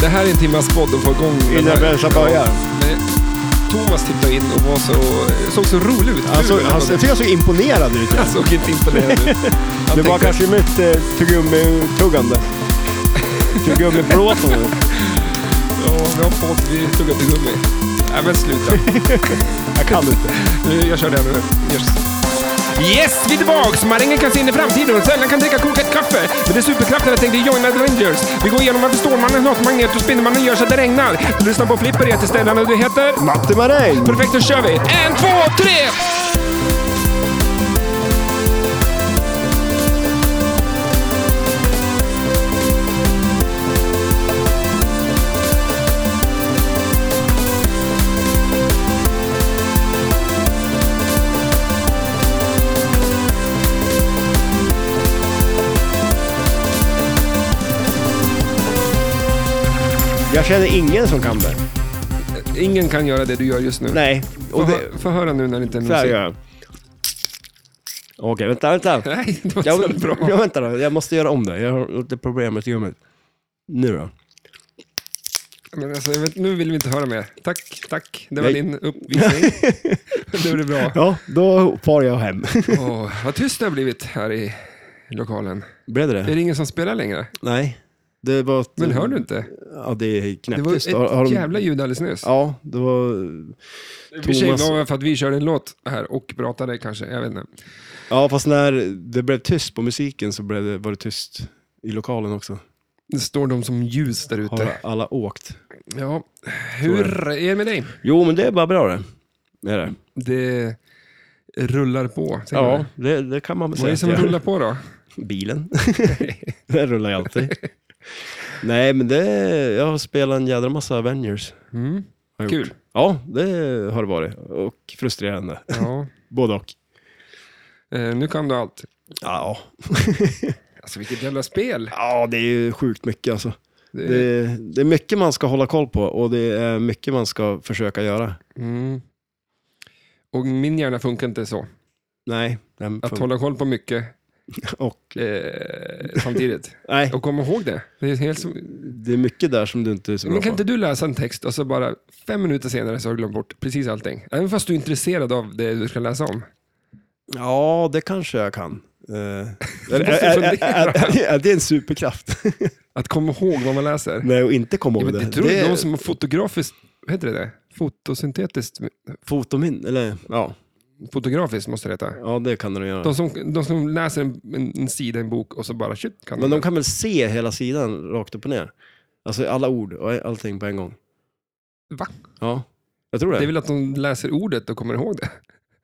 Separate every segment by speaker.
Speaker 1: Det här är en timmas podd och få igång den
Speaker 2: Innan
Speaker 1: här.
Speaker 2: Bensa börjar.
Speaker 1: Men Thomas tittade in och var så, såg så rolig ut.
Speaker 2: Han såg,
Speaker 1: Kul,
Speaker 2: han, jag tycker han såg imponerad ut.
Speaker 1: han såg Alltså, inte imponerad ut. Han
Speaker 2: Det var
Speaker 1: tänkte,
Speaker 2: kanske mitt eh, tuggummi-tuggande. Tuggummi-plåtande.
Speaker 1: Ja, vi har fått, vi tog upp i gummi. Nej men sluta.
Speaker 2: Jag kan inte.
Speaker 1: Nu, Jag kör det här nu. Yes. Yes, vi är tillbaks! Marängen kan se in i framtiden och sällan kan dricka kokat kaffe. Med dess superkrafter tänkte vi joina the Rangers. Vi går igenom varför Stålmannen, Nakenmagnet och Spindelmannen gör så att det regnar. Du lyssnar på Flipper, jag heter Stellan och du heter?
Speaker 2: Matte Maräng!
Speaker 1: Perfekt, då kör vi! En, två, tre!
Speaker 2: Jag känner ingen som kan det.
Speaker 1: Ingen kan göra det du gör just nu.
Speaker 2: Nej.
Speaker 1: Få,
Speaker 2: Och det,
Speaker 1: hö- få höra nu när det inte är
Speaker 2: så här
Speaker 1: musik.
Speaker 2: gör jag. Okej, vänta, vänta.
Speaker 1: Nej, det var
Speaker 2: Jag,
Speaker 1: så bra.
Speaker 2: jag vänta då. Jag måste göra om det. Jag har lite problem med gummin. Nu då.
Speaker 1: Men alltså, jag vet, nu vill vi inte höra mer. Tack, tack. Det var
Speaker 2: Nej.
Speaker 1: din uppvisning. det blev bra.
Speaker 2: Ja, då far jag hem.
Speaker 1: Åh, vad tyst det har blivit här i lokalen.
Speaker 2: Blev det
Speaker 1: Är
Speaker 2: det?
Speaker 1: det ingen som spelar längre?
Speaker 2: Nej. Det var ett,
Speaker 1: Men hör du inte?
Speaker 2: Ja, det är
Speaker 1: Det var
Speaker 2: knäpptyst.
Speaker 1: ett
Speaker 2: Har- har de-
Speaker 1: jävla ljud alldeles nyss.
Speaker 2: Ja, det var...
Speaker 1: Vi
Speaker 2: Thomas-
Speaker 1: tjejgavade för att vi körde en låt här och pratade kanske. Jag vet inte.
Speaker 2: Ja, fast när det blev tyst på musiken så blev det, var det tyst i lokalen också.
Speaker 1: Det står de som ljus där ute.
Speaker 2: Har alla åkt?
Speaker 1: Ja. Hur är det med dig?
Speaker 2: Jo, men det är bara bra det. Är det?
Speaker 1: Det rullar på. tänker jag.
Speaker 2: Ja, det, det kan man väl
Speaker 1: Vad är det
Speaker 2: säga.
Speaker 1: som
Speaker 2: att jag-
Speaker 1: rullar på då?
Speaker 2: Bilen. den rullar ju alltid. Nej, men det... Jag har spelat en jädra massa Avengers.
Speaker 1: Mm.
Speaker 2: Har jag
Speaker 1: Kul.
Speaker 2: gjort. Ja, det har det varit. Och frustrerande.
Speaker 1: Ja.
Speaker 2: Både och.
Speaker 1: Eh, nu kan du allt.
Speaker 2: Ja.
Speaker 1: Alltså vilket jävla spel.
Speaker 2: ja, det är ju sjukt mycket alltså.
Speaker 1: Det,
Speaker 2: Det, det är mycket man ska hålla koll på och det är mycket man ska försöka göra.
Speaker 1: Mm. Och min hjärna funkar inte så.
Speaker 2: Nej, den
Speaker 1: Att
Speaker 2: fun-
Speaker 1: hålla koll på mycket
Speaker 2: och,
Speaker 1: eh, samtidigt.
Speaker 2: nej
Speaker 1: Och kom ihåg det. det är helt som...
Speaker 2: det är mycket där som du inte är så bra
Speaker 1: Men kan
Speaker 2: på.
Speaker 1: inte du läsa en text och så bara fem minuter senare så har du glömt bort precis allting? Även fast du är intresserad av det du ska läsa om.
Speaker 2: Ja, det kanske jag kan. Eh, är, är,
Speaker 1: måste
Speaker 2: är,
Speaker 1: fundera.
Speaker 2: är, är, är eh, det en superkraft?
Speaker 1: Att komma ihåg vad man läser.
Speaker 2: nej, och inte komma
Speaker 1: Ja,
Speaker 2: ihåg
Speaker 1: men
Speaker 2: Mm. det.
Speaker 1: det tror jag är någon som har fotografiskt, vad heter det det? Fotosyntetiskt,
Speaker 2: Fotomin, eller ja,
Speaker 1: fotografiskt måste det heta.
Speaker 2: ja, det kan de göra.
Speaker 1: De som, de som läser en, en, en sida, en bok och så bara shit kan
Speaker 2: Men
Speaker 1: de
Speaker 2: de kan väl se hela sidan rakt upp och ner? Alltså alla ord och allting på en gång.
Speaker 1: Va?
Speaker 2: Ja, jag tror det.
Speaker 1: Det är väl att de läser ordet och kommer ihåg det.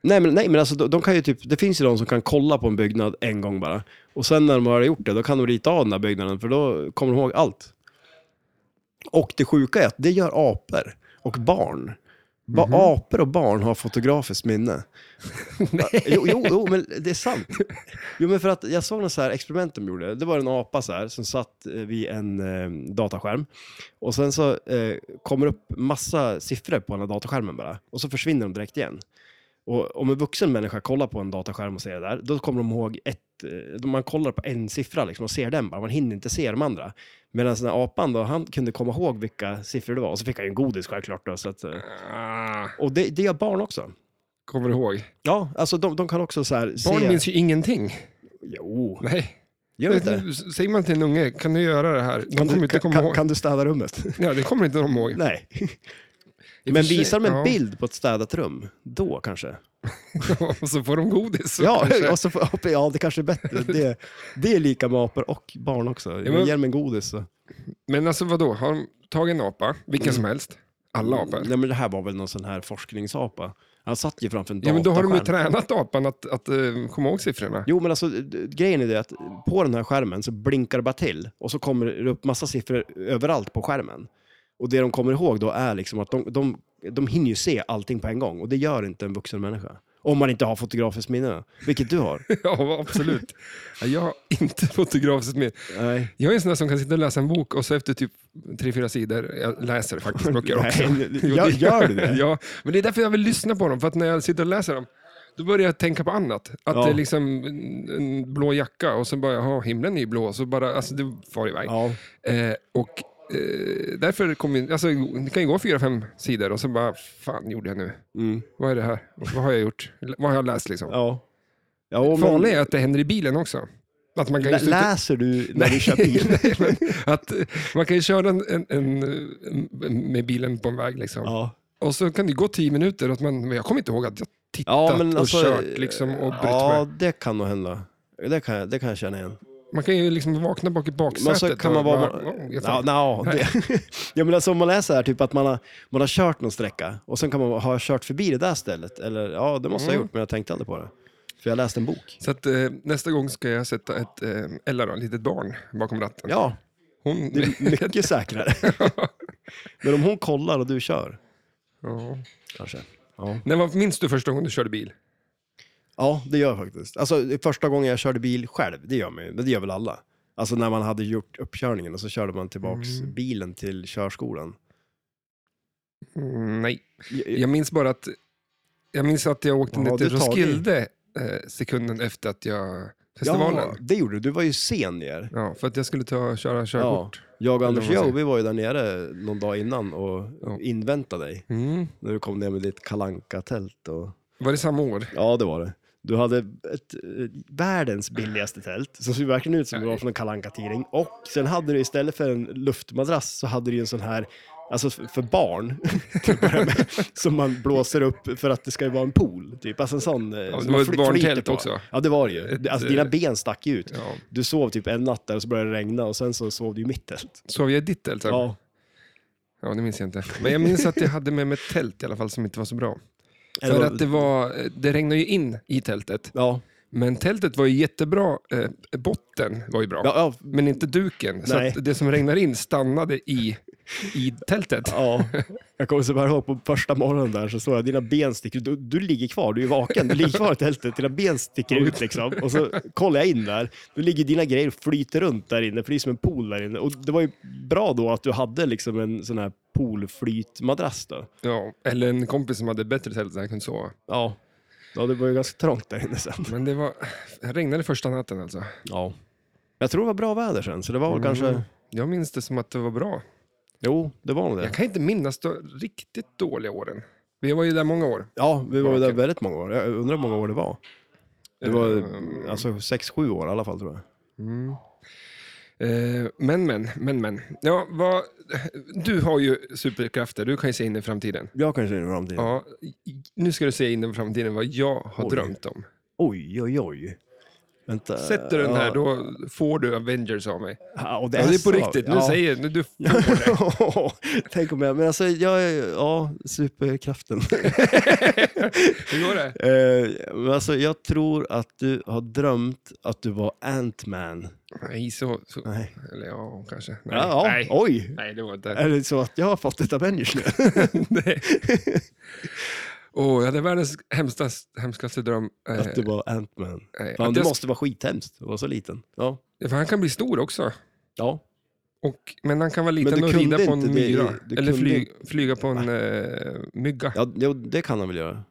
Speaker 2: Nej men, nej men alltså de, de kan ju typ, det finns ju de som kan kolla på en byggnad en gång bara. Och sen när de har gjort det, då kan de rita av den där byggnaden för då kommer de ihåg allt. Och det sjuka är att det gör apor och barn. Ba, Apor och barn har fotografiskt minne. jo, jo, jo, men det är sant. Jo, men för att jag såg något så här experiment de gjorde. Det var en apa så här, som satt eh, vid en eh, dataskärm. Och sen så eh, kommer upp massa siffror på den här dataskärmen bara. Och så försvinner de direkt igen. Och om en vuxen människa kollar på en dataskärm och ser det där, då kommer de ihåg ett... eh, då Man kollar på en siffra liksom och ser den bara, man hinner inte se de andra. Medan den här apan då, han kunde komma ihåg vilka siffror det var. Och så fick han ju en godis självklart då. Så att, eh,
Speaker 1: Ah,
Speaker 2: och det, det gör barn också.
Speaker 1: kommer ihåg.
Speaker 2: Ja, alltså de, de kan också så här
Speaker 1: Barn
Speaker 2: se...
Speaker 1: minns ju ingenting.
Speaker 2: Jo,
Speaker 1: Nej.
Speaker 2: gör det inte?
Speaker 1: Säger man till en unge, kan du göra det här? De
Speaker 2: Kan
Speaker 1: kommer
Speaker 2: du,
Speaker 1: inte
Speaker 2: kan,
Speaker 1: komma
Speaker 2: kan,
Speaker 1: ihåg.
Speaker 2: kan du städa rummet?
Speaker 1: Ja, det kommer inte de ihåg. I
Speaker 2: Nej.
Speaker 1: och
Speaker 2: Men
Speaker 1: för sig,
Speaker 2: visar de en
Speaker 1: ja.
Speaker 2: bild på ett städat rum, då kanske?
Speaker 1: och så får de godis.
Speaker 2: Ja,
Speaker 1: kanske.
Speaker 2: och så, får- ja, det kanske är bättre. Det, det är lika med apor och barn också.
Speaker 1: Ja, men-
Speaker 2: Ge dem en godis. Så.
Speaker 1: Men alltså vadå, har de tagit en apa, vilken
Speaker 2: Mm.
Speaker 1: som helst, alla apor?
Speaker 2: Nej, men det här var väl någon sån här forskningsapa. Han satt ju framför en
Speaker 1: Ja, men då har de ju
Speaker 2: dataskärm.
Speaker 1: tränat apan att, att eh, komma ihåg siffrorna.
Speaker 2: Jo, men alltså d- grejen är det att på den här skärmen så blinkar det bara till och så kommer det upp massa siffror överallt på skärmen. Och det de kommer ihåg då är liksom att de, de, de hinner ju se allting på en gång och det gör inte en vuxen människa. Om man inte har fotografiskt minne, vilket du har.
Speaker 1: ja, absolut. Ja, jag har inte fotografiskt med.
Speaker 2: Nej.
Speaker 1: Jag är en sån där som kan sitta och läsa en bok och så efter typ tre, fyra sidor, jag läser faktiskt böcker också.
Speaker 2: Nej,
Speaker 1: Jo,
Speaker 2: gör,
Speaker 1: det-
Speaker 2: gör du det?
Speaker 1: ja, men det är därför jag vill lyssna på dem, för att när jag sitter och läser dem, då börjar jag tänka på annat. Att
Speaker 2: Ja.
Speaker 1: det är liksom en, en blå jacka och så bara, jaha, himlen är ju blå, så bara, alltså det far iväg.
Speaker 2: Ja.
Speaker 1: Eh, och eh, därför kommer ju- alltså, det kan ju gå fyra, fem sidor och sen bara, fan gjorde jag nu?
Speaker 2: Mm.
Speaker 1: Vad är det här? Vad har jag gjort? L- Vad har jag läst liksom?
Speaker 2: Ja. ja och men,
Speaker 1: Farligt är att det händer i bilen också. Att man kan ju
Speaker 2: lä-
Speaker 1: sluta-
Speaker 2: läser du när du kör bil?
Speaker 1: Nej, men att eh, man kan ju köra en, en, en, en, med bilen på en väg. Liksom.
Speaker 2: ja.
Speaker 1: Och så kan det gå tio minuter och att man, men jag kommer inte ihåg att jag tittat
Speaker 2: ja, men
Speaker 1: och
Speaker 2: alltså...
Speaker 1: kört liksom, och brytt
Speaker 2: Ja,
Speaker 1: mig.
Speaker 2: det kan nog hända. Det kan, jag- det kan jag känna igen.
Speaker 1: Man kan ju liksom vakna bak i
Speaker 2: Men
Speaker 1: baksätet.
Speaker 2: så kan man
Speaker 1: och
Speaker 2: vara...
Speaker 1: bara, "Åh, jag
Speaker 2: Ja,
Speaker 1: fan."
Speaker 2: no, det... ja, men alltså om man läser här, typ att man har, man har kört någon sträcka och sen kan man ha kört förbi det där stället. Eller ja, det måste jag ha
Speaker 1: Mm.
Speaker 2: gjort, men jag tänkte aldrig på det. För jag läste en bok.
Speaker 1: Så att, eh, nästa gång ska jag sätta ett, eh, Ella då, ett litet barn bakom ratten.
Speaker 2: Ja,
Speaker 1: Hon,
Speaker 2: det är mycket säkrare. men om hon kollar och du kör,
Speaker 1: ja.
Speaker 2: kanske. Ja,
Speaker 1: När var, minns du första gången du körde bil?
Speaker 2: ja det gör jag faktiskt. Alltså det är första gången jag körde bil själv, det gör, man, ju, men det gör väl alla. Alltså när man hade gjort uppkörningen och så körde man tillbaks bilen till körskolan.
Speaker 1: Mm, nej, jag minns bara att jag, minns att jag åkte
Speaker 2: Vad
Speaker 1: ner
Speaker 2: har
Speaker 1: till
Speaker 2: du tagit?
Speaker 1: Roskilde eh, sekunden efter att jag... Festivalen.
Speaker 2: Ja, det gjorde du. Du var ju sen ner.
Speaker 1: Ja, för att jag skulle ta köra körkort.
Speaker 2: Jag och Anders
Speaker 1: Eller vad man
Speaker 2: Joe, vi var ju där nere någon dag innan och
Speaker 1: Ja.
Speaker 2: inväntade dig.
Speaker 1: Mm.
Speaker 2: När du kom ner med ditt kalanka tält och...
Speaker 1: Var det samma år?
Speaker 2: Ja, det var det. Du hade ett, eh, världens billigaste tält, som såg verkligen ut som det var från en kalanka tidning Och sen hade du istället för en luftmadrass så hade du ju en sån här, alltså f- för barn, till att börja med, som man blåser upp för att det ska ju vara en pool. Typ. Alltså en sån... eh,
Speaker 1: det var
Speaker 2: som man
Speaker 1: ett
Speaker 2: fly- flyter
Speaker 1: barntält
Speaker 2: på.
Speaker 1: också.
Speaker 2: Ja, det var det ju.
Speaker 1: Ett,
Speaker 2: Alltså
Speaker 1: eh,
Speaker 2: dina ben stack ju ut.
Speaker 1: Ja.
Speaker 2: Du sov typ en natt där och så började det regna och sen så sov du i mitt tält.
Speaker 1: Sov jag i ditt tält? Ja.
Speaker 2: Ja.
Speaker 1: ja, det minns jag inte. Men jag minns att jag hade med mig ett tält i alla fall som inte var så bra.
Speaker 2: Eller
Speaker 1: För
Speaker 2: vad-
Speaker 1: att det, var, det regnade ju in i tältet.
Speaker 2: Ja,
Speaker 1: Men tältet var ju jättebra. Eh, botten var ju bra.
Speaker 2: ja, ja,
Speaker 1: Men inte duken. Så
Speaker 2: Nej.
Speaker 1: att det som regnar in stannade i, i tältet.
Speaker 2: ja. Jag kommer så väl ihåg på första morgonen där så såg jag dina ben sticker ut. Du, du ligger kvar, du är vaken, du ligger kvar i tältet. Dina ben sticker ut liksom. Och så kollar jag in där. Då ligger dina grejer och flyter runt där inne, för det är som en pool där inne. Och det var ju bra då att du hade liksom en sån här poolflytmadrass då.
Speaker 1: Ja, eller en kompis som hade bättre tält där jag kunde sova.
Speaker 2: Ja. Ja, det var ju ganska trångt där inne sen.
Speaker 1: Men det var, det regnade första natten alltså.
Speaker 2: Ja. Jag tror det var bra väder sen, så det var väl
Speaker 1: Mm.
Speaker 2: kanske...
Speaker 1: Jag minns det som att det var bra.
Speaker 2: Jo, det var nog det.
Speaker 1: Jag kan inte minnas de riktigt dåliga åren. Vi var ju där många år.
Speaker 2: Ja, vi var ju där väldigt många år. Jag undrar hur många år det var. Det var alltså sex, sju år i alla fall tror jag.
Speaker 1: Eh, men, men, men, men. Ja, vad, du har ju superkrafter, du kan ju se in i framtiden.
Speaker 2: Jag kanske är i framtiden.
Speaker 1: Ja, i- nu ska du se in i framtiden vad jag har
Speaker 2: Oj.
Speaker 1: drömt om.
Speaker 2: Oj, oj, oj. Vänta.
Speaker 1: Sätter du den här,
Speaker 2: Eh, Ja.
Speaker 1: då får du Avengers av mig.
Speaker 2: Ja, och
Speaker 1: Det är, ja, det är
Speaker 2: så.
Speaker 1: på riktigt, nu
Speaker 2: Ja.
Speaker 1: säger nu, du.
Speaker 2: Tänk om jag, men alltså jag är, ja, superkraften.
Speaker 1: Hur går det?
Speaker 2: Eh, men alltså jag tror att du har drömt att du var Ant-Man.
Speaker 1: Nej, så, så
Speaker 2: Nej.
Speaker 1: eller ja, kanske. Nej,
Speaker 2: Ja, ja.
Speaker 1: nej.
Speaker 2: Oj!
Speaker 1: nej det var inte.
Speaker 2: Är det så att jag har fått ett Avengers nu?
Speaker 1: Nej. Åh, jag hade världens hemskaste, hemskaste dröm. Eh,
Speaker 2: Att du var Ant-Man.
Speaker 1: nej, att
Speaker 2: Fan, det
Speaker 1: jag-
Speaker 2: måste vara skithemskt att vara så liten. Ja.
Speaker 1: För han kan bli stor också.
Speaker 2: Ja,
Speaker 1: Och, men han kan vara
Speaker 2: Men
Speaker 1: liten
Speaker 2: du
Speaker 1: och
Speaker 2: kunde
Speaker 1: rida på
Speaker 2: inte
Speaker 1: en
Speaker 2: det-
Speaker 1: myra.
Speaker 2: du
Speaker 1: Eller
Speaker 2: kunde-
Speaker 1: fly, flyga på en eh, mygga.
Speaker 2: Ja, jo, det kan han väl göra. Men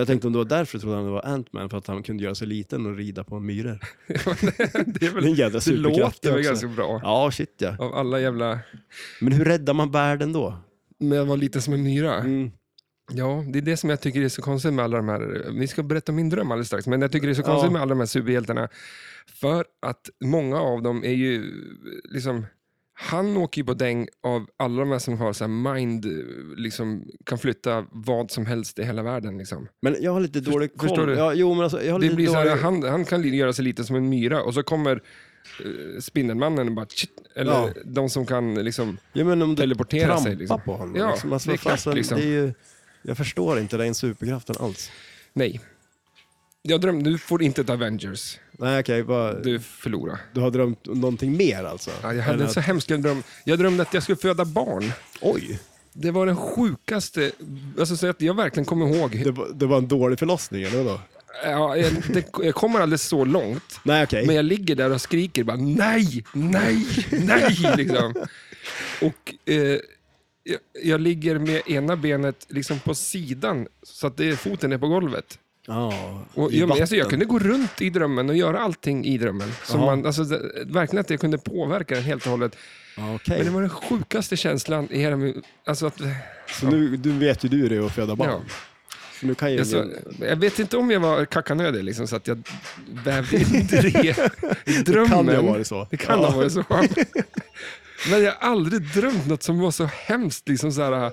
Speaker 2: jag tänkte om det var därför jag trodde han det var Ant-Man, för att han kunde göra sig liten och rida på myror.
Speaker 1: det är väl,
Speaker 2: Det är en jävla
Speaker 1: det
Speaker 2: superkraft
Speaker 1: låter
Speaker 2: det
Speaker 1: väl
Speaker 2: också.
Speaker 1: ganska bra.
Speaker 2: Ja, shit ja.
Speaker 1: Av alla jävla...
Speaker 2: Men hur räddar man världen då? Mm.
Speaker 1: Men jag var liten som en myra. Mm. Ja, det är det som jag tycker är så konstigt med alla de här... Vi ska berätta min dröm alldeles strax, men jag tycker det är så
Speaker 2: Ja.
Speaker 1: konstigt med alla de här superhjältarna. För att många av dem är ju liksom... Han åker ju på däng av alla de här som har så här mind, liksom kan flytta vad som helst i hela världen. Liksom.
Speaker 2: Men jag har lite dålig koll.
Speaker 1: förstår du?
Speaker 2: Ja, jo, men alltså, jag har
Speaker 1: Det
Speaker 2: lite
Speaker 1: blir så
Speaker 2: dålig...
Speaker 1: här, han, han kan li- göra sig lite som en myra och så kommer eh, Spindelmannen och bara... Tjit, eller
Speaker 2: Ja.
Speaker 1: de som kan liksom...
Speaker 2: jag menar, om du
Speaker 1: teleportera
Speaker 2: trampar
Speaker 1: sig, liksom.
Speaker 2: på honom.
Speaker 1: Ja,
Speaker 2: liksom. alltså,
Speaker 1: det är
Speaker 2: vad fasen,
Speaker 1: klart, liksom.
Speaker 2: det är ju... Jag förstår inte den superkraften alls.
Speaker 1: Nej. Jag drömde, du får inte ett Avengers.
Speaker 2: Nej, okej. bara- du...
Speaker 1: Du förlorar.
Speaker 2: har drömt om någonting mer alltså?
Speaker 1: Ja, jag hade
Speaker 2: Än
Speaker 1: en så
Speaker 2: att...
Speaker 1: hemsk dröm. Jag drömde att jag skulle föda barn.
Speaker 2: Oj!
Speaker 1: Det var den sjukaste, alltså så att jag verkligen kommer ihåg.
Speaker 2: Det var, det var en dålig förlossning, eller då?
Speaker 1: Ja, jag, det, jag kommer aldrig så långt,
Speaker 2: Nej, okej.
Speaker 1: men jag ligger där och skriker bara nej, nej, nej. Liksom. Och eh, jag, jag ligger med ena benet liksom på sidan så att det, foten är på golvet.
Speaker 2: Ja,
Speaker 1: Och,
Speaker 2: i
Speaker 1: ja, men, alltså,
Speaker 2: vatten.
Speaker 1: jag kunde gå runt i drömmen och göra allting i drömmen. Så
Speaker 2: Jaha.
Speaker 1: man, alltså, det, verkligen att jag kunde påverka den helt och hållet.
Speaker 2: Ja, okej.
Speaker 1: Men det var den sjukaste känslan i hela min... Alltså att,
Speaker 2: Så nu du vet ju du hur det är att föda barn.
Speaker 1: ja.
Speaker 2: Så nu kan ju
Speaker 1: alltså,
Speaker 2: ingen-
Speaker 1: jag vet inte om jag var kackanödig, liksom, så att jag vävde in det i drömmen.
Speaker 2: kan ju ha varit så.
Speaker 1: Det kan
Speaker 2: Ja.
Speaker 1: ha varit så. Men jag har aldrig drömt något som var så hemskt liksom så här,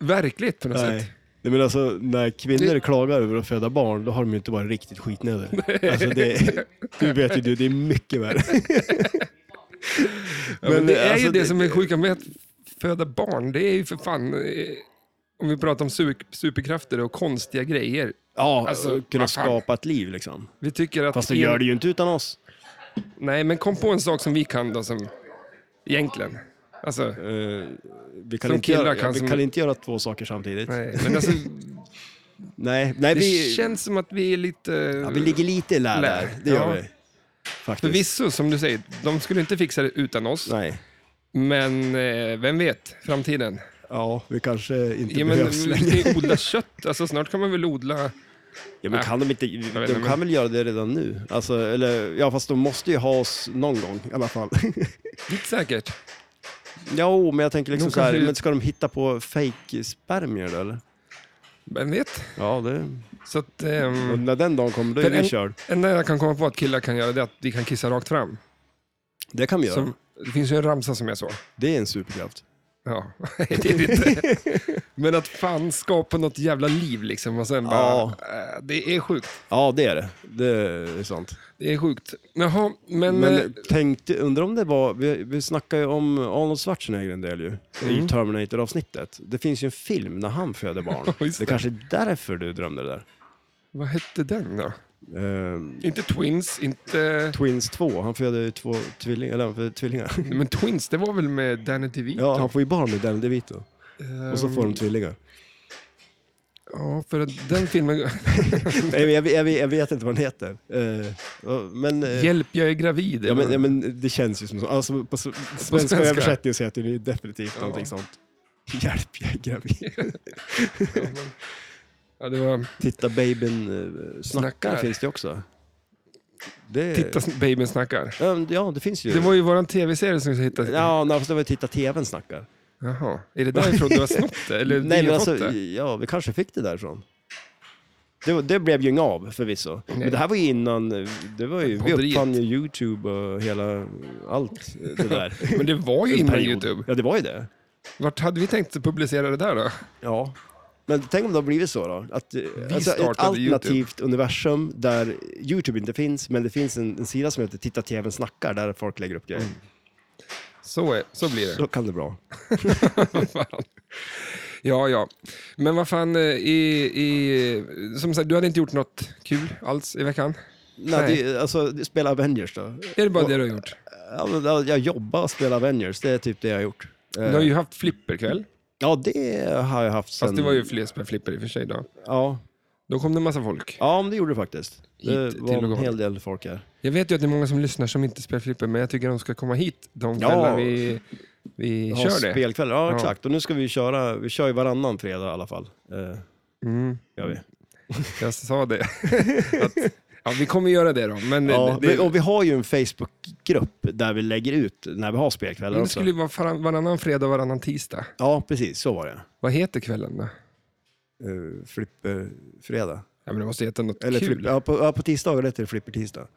Speaker 1: verkligt på något sätt.
Speaker 2: Nej. Nej, men alltså, när kvinnor
Speaker 1: Det-
Speaker 2: klagar över att föda barn, då har de ju inte varit riktigt skitnödiga. Alltså, det, du vet ju du, det är mycket värre.
Speaker 1: Ja, men
Speaker 2: Men,
Speaker 1: det är
Speaker 2: alltså,
Speaker 1: ju det,
Speaker 2: det-
Speaker 1: som är sjuka med att föda barn. Det är ju för fan, eh, om vi pratar om su- superkrafter och konstiga grejer.
Speaker 2: Ja,
Speaker 1: Alltså,
Speaker 2: kunna
Speaker 1: vad fan.
Speaker 2: skapa ett liv liksom.
Speaker 1: Vi tycker att...
Speaker 2: Fast det
Speaker 1: en-
Speaker 2: gör det ju inte utan oss.
Speaker 1: Nej, men kom på en sak som vi kan då som... Egentligen. Alltså,
Speaker 2: Eh, vi kan,
Speaker 1: Som
Speaker 2: inte göra,
Speaker 1: killar kan
Speaker 2: vi
Speaker 1: som-
Speaker 2: kan inte göra två saker samtidigt. Nej,
Speaker 1: nej. Men alltså,
Speaker 2: nej,
Speaker 1: det
Speaker 2: vi,
Speaker 1: känns som att vi är lite...
Speaker 2: ja, vi ligger lite i
Speaker 1: Lär.
Speaker 2: lä där. Det gör
Speaker 1: Ja.
Speaker 2: vi. Faktiskt.
Speaker 1: Förvisso, som du säger, de skulle inte fixa det utan oss.
Speaker 2: Nej.
Speaker 1: Men eh, vem vet, framtiden.
Speaker 2: Ja, vi kanske inte
Speaker 1: Ja, men,
Speaker 2: behövs
Speaker 1: vi
Speaker 2: längre.
Speaker 1: kan ju odla kött, alltså, snart kan man väl odla...
Speaker 2: Ja, men kan de inte...
Speaker 1: vet
Speaker 2: De
Speaker 1: inte,
Speaker 2: kan väl göra det redan nu? Alltså, eller, ja, fast de måste ju ha oss någon gång i alla fall.
Speaker 1: Gick säkert.
Speaker 2: Jo, men jag tänker liksom
Speaker 1: De
Speaker 2: så här,
Speaker 1: kanske-
Speaker 2: men ska de hitta på fake spermier då eller?
Speaker 1: Vem vet?
Speaker 2: Ja, det...
Speaker 1: Så att... ehm,
Speaker 2: Och när den dagen kommer, då är
Speaker 1: För
Speaker 2: vi körd.
Speaker 1: enda jag kan komma på att killar kan göra det är att vi kan kissa rakt fram.
Speaker 2: Det kan vi göra.
Speaker 1: Som, det finns ju en ramsa som är så.
Speaker 2: Det är en superkraft.
Speaker 1: Ja, det är det inte. Men att fan skapa något jävla liv liksom och sen bara...
Speaker 2: Ja.
Speaker 1: eh, det är sjukt.
Speaker 2: Ja, det är det. Det är sant.
Speaker 1: Det är sjukt. Jaha, men...
Speaker 2: Men
Speaker 1: eh,
Speaker 2: tänkte, undrar om det var, vi, vi snackade ju om Arnold Schwarzenegger en del ju,
Speaker 1: Mm.
Speaker 2: i Terminator-avsnittet. Det finns ju en film när han föder barn.
Speaker 1: Just
Speaker 2: det
Speaker 1: det.
Speaker 2: kanske är därför du drömde det där.
Speaker 1: vad hette den då?
Speaker 2: Ehm,
Speaker 1: Inte Twins, inte...
Speaker 2: Twins 2, han föder ju två tvillingar, eller han föder tvillingar.
Speaker 1: Men Twins, det var väl med Danny DeVito?
Speaker 2: Mm.
Speaker 1: Ehm,
Speaker 2: Ja, han får ju barn med Danny DeVito. Och så får de tvillingar.
Speaker 1: Ja, för att den filmen...
Speaker 2: Nej, men jag, jag, jag vet inte vad den heter. Eh, och- men, eh,
Speaker 1: Hjälp, jag är gravid.
Speaker 2: ja, men, ja, men det känns ju som så. Alltså, på, s- svenska
Speaker 1: svenska.
Speaker 2: översättning så heter det ju definitivt
Speaker 1: Ja.
Speaker 2: någonting sånt. Hjälp, jag är gravid.
Speaker 1: Ja, det var...
Speaker 2: Titta babyn eh, snackar,
Speaker 1: Snackar.
Speaker 2: finns det också. Det,
Speaker 1: Titta, babyn snackar.
Speaker 2: Ja, men- Eh. Ja, det finns ju.
Speaker 1: Det var ju våran tv-serie som vi hittade.
Speaker 2: Ja, nej, fast det var ju Titta TVn snackar.
Speaker 1: Jaha, är det därifrån du har snott det? Eller
Speaker 2: Nej,
Speaker 1: vi
Speaker 2: men
Speaker 1: har
Speaker 2: alltså,
Speaker 1: fått det?
Speaker 2: ja, vi kanske fick det därifrån. Det, var- det blev ju inget av förvisso.
Speaker 1: Nej.
Speaker 2: Men det här var ju innan, eh, det var ju, vi
Speaker 1: Podderiet.
Speaker 2: uppfann ju YouTube och hela, allt det där.
Speaker 1: Men det var ju
Speaker 2: En
Speaker 1: innan
Speaker 2: period.
Speaker 1: YouTube.
Speaker 2: Ja, det var ju det.
Speaker 1: Vart hade vi tänkt att publicera det där då?
Speaker 2: Ja. Men tänk om det har blivit så då? Att, eh, alltså, ett
Speaker 1: startade YouTube.
Speaker 2: alternativt universum där YouTube inte finns, men det finns en, en sida som heter Titta TVn snackar, där folk lägger upp grejer.
Speaker 1: Mm. Så, är, så blir det.
Speaker 2: Då kan det bra.
Speaker 1: Vad fan. ja, ja. Men vad fan, eh, i, i, som sagt, du hade inte gjort något kul alls i veckan?
Speaker 2: Nej, det, alltså, det- spela Avengers då.
Speaker 1: Är det bara
Speaker 2: Och-
Speaker 1: det du har gjort?
Speaker 2: Ja, men, ja, Jag jobbar och spelar Avengers, det är typ det jag har gjort.
Speaker 1: Du
Speaker 2: Eh,
Speaker 1: har ju haft flipperkväll.
Speaker 2: Ja, det har jag haft sen...
Speaker 1: Fast det var ju fler spel flipper i och för sig då.
Speaker 2: Ja,
Speaker 1: Då kom det en massa folk.
Speaker 2: ja men det gjorde det faktiskt. Det
Speaker 1: Hit till
Speaker 2: var
Speaker 1: och
Speaker 2: en
Speaker 1: gång.
Speaker 2: hel del folk här.
Speaker 1: Jag vet ju att det är många som lyssnar som inte spelar flipper, men jag tycker de ska komma hit de
Speaker 2: Ja.
Speaker 1: kvällar vi, vi
Speaker 2: Ja,
Speaker 1: kör det.
Speaker 2: Spelkväll, ja,
Speaker 1: Ja.
Speaker 2: exakt. Och nu ska vi köra, vi kör ju varannan fredag i alla fall. Eh,
Speaker 1: Mm.
Speaker 2: gör vi.
Speaker 1: Jag sa det. att, ja, vi kommer göra det då. Men
Speaker 2: Ja,
Speaker 1: det,
Speaker 2: men- och vi har ju en Facebookgrupp där vi lägger ut när vi har spelkvällar
Speaker 1: men det
Speaker 2: också.
Speaker 1: skulle ju vara varann- varannan fredag och varannan tisdag.
Speaker 2: Ja, precis, så var det.
Speaker 1: Vad heter kvällen då?
Speaker 2: Uh,
Speaker 1: Eh,
Speaker 2: Flipperfredag.
Speaker 1: Ja, men det måste heta något
Speaker 2: Eller
Speaker 1: kul.
Speaker 2: flipper, ja, på, ja, på tisdagar heter det Flippertisdag.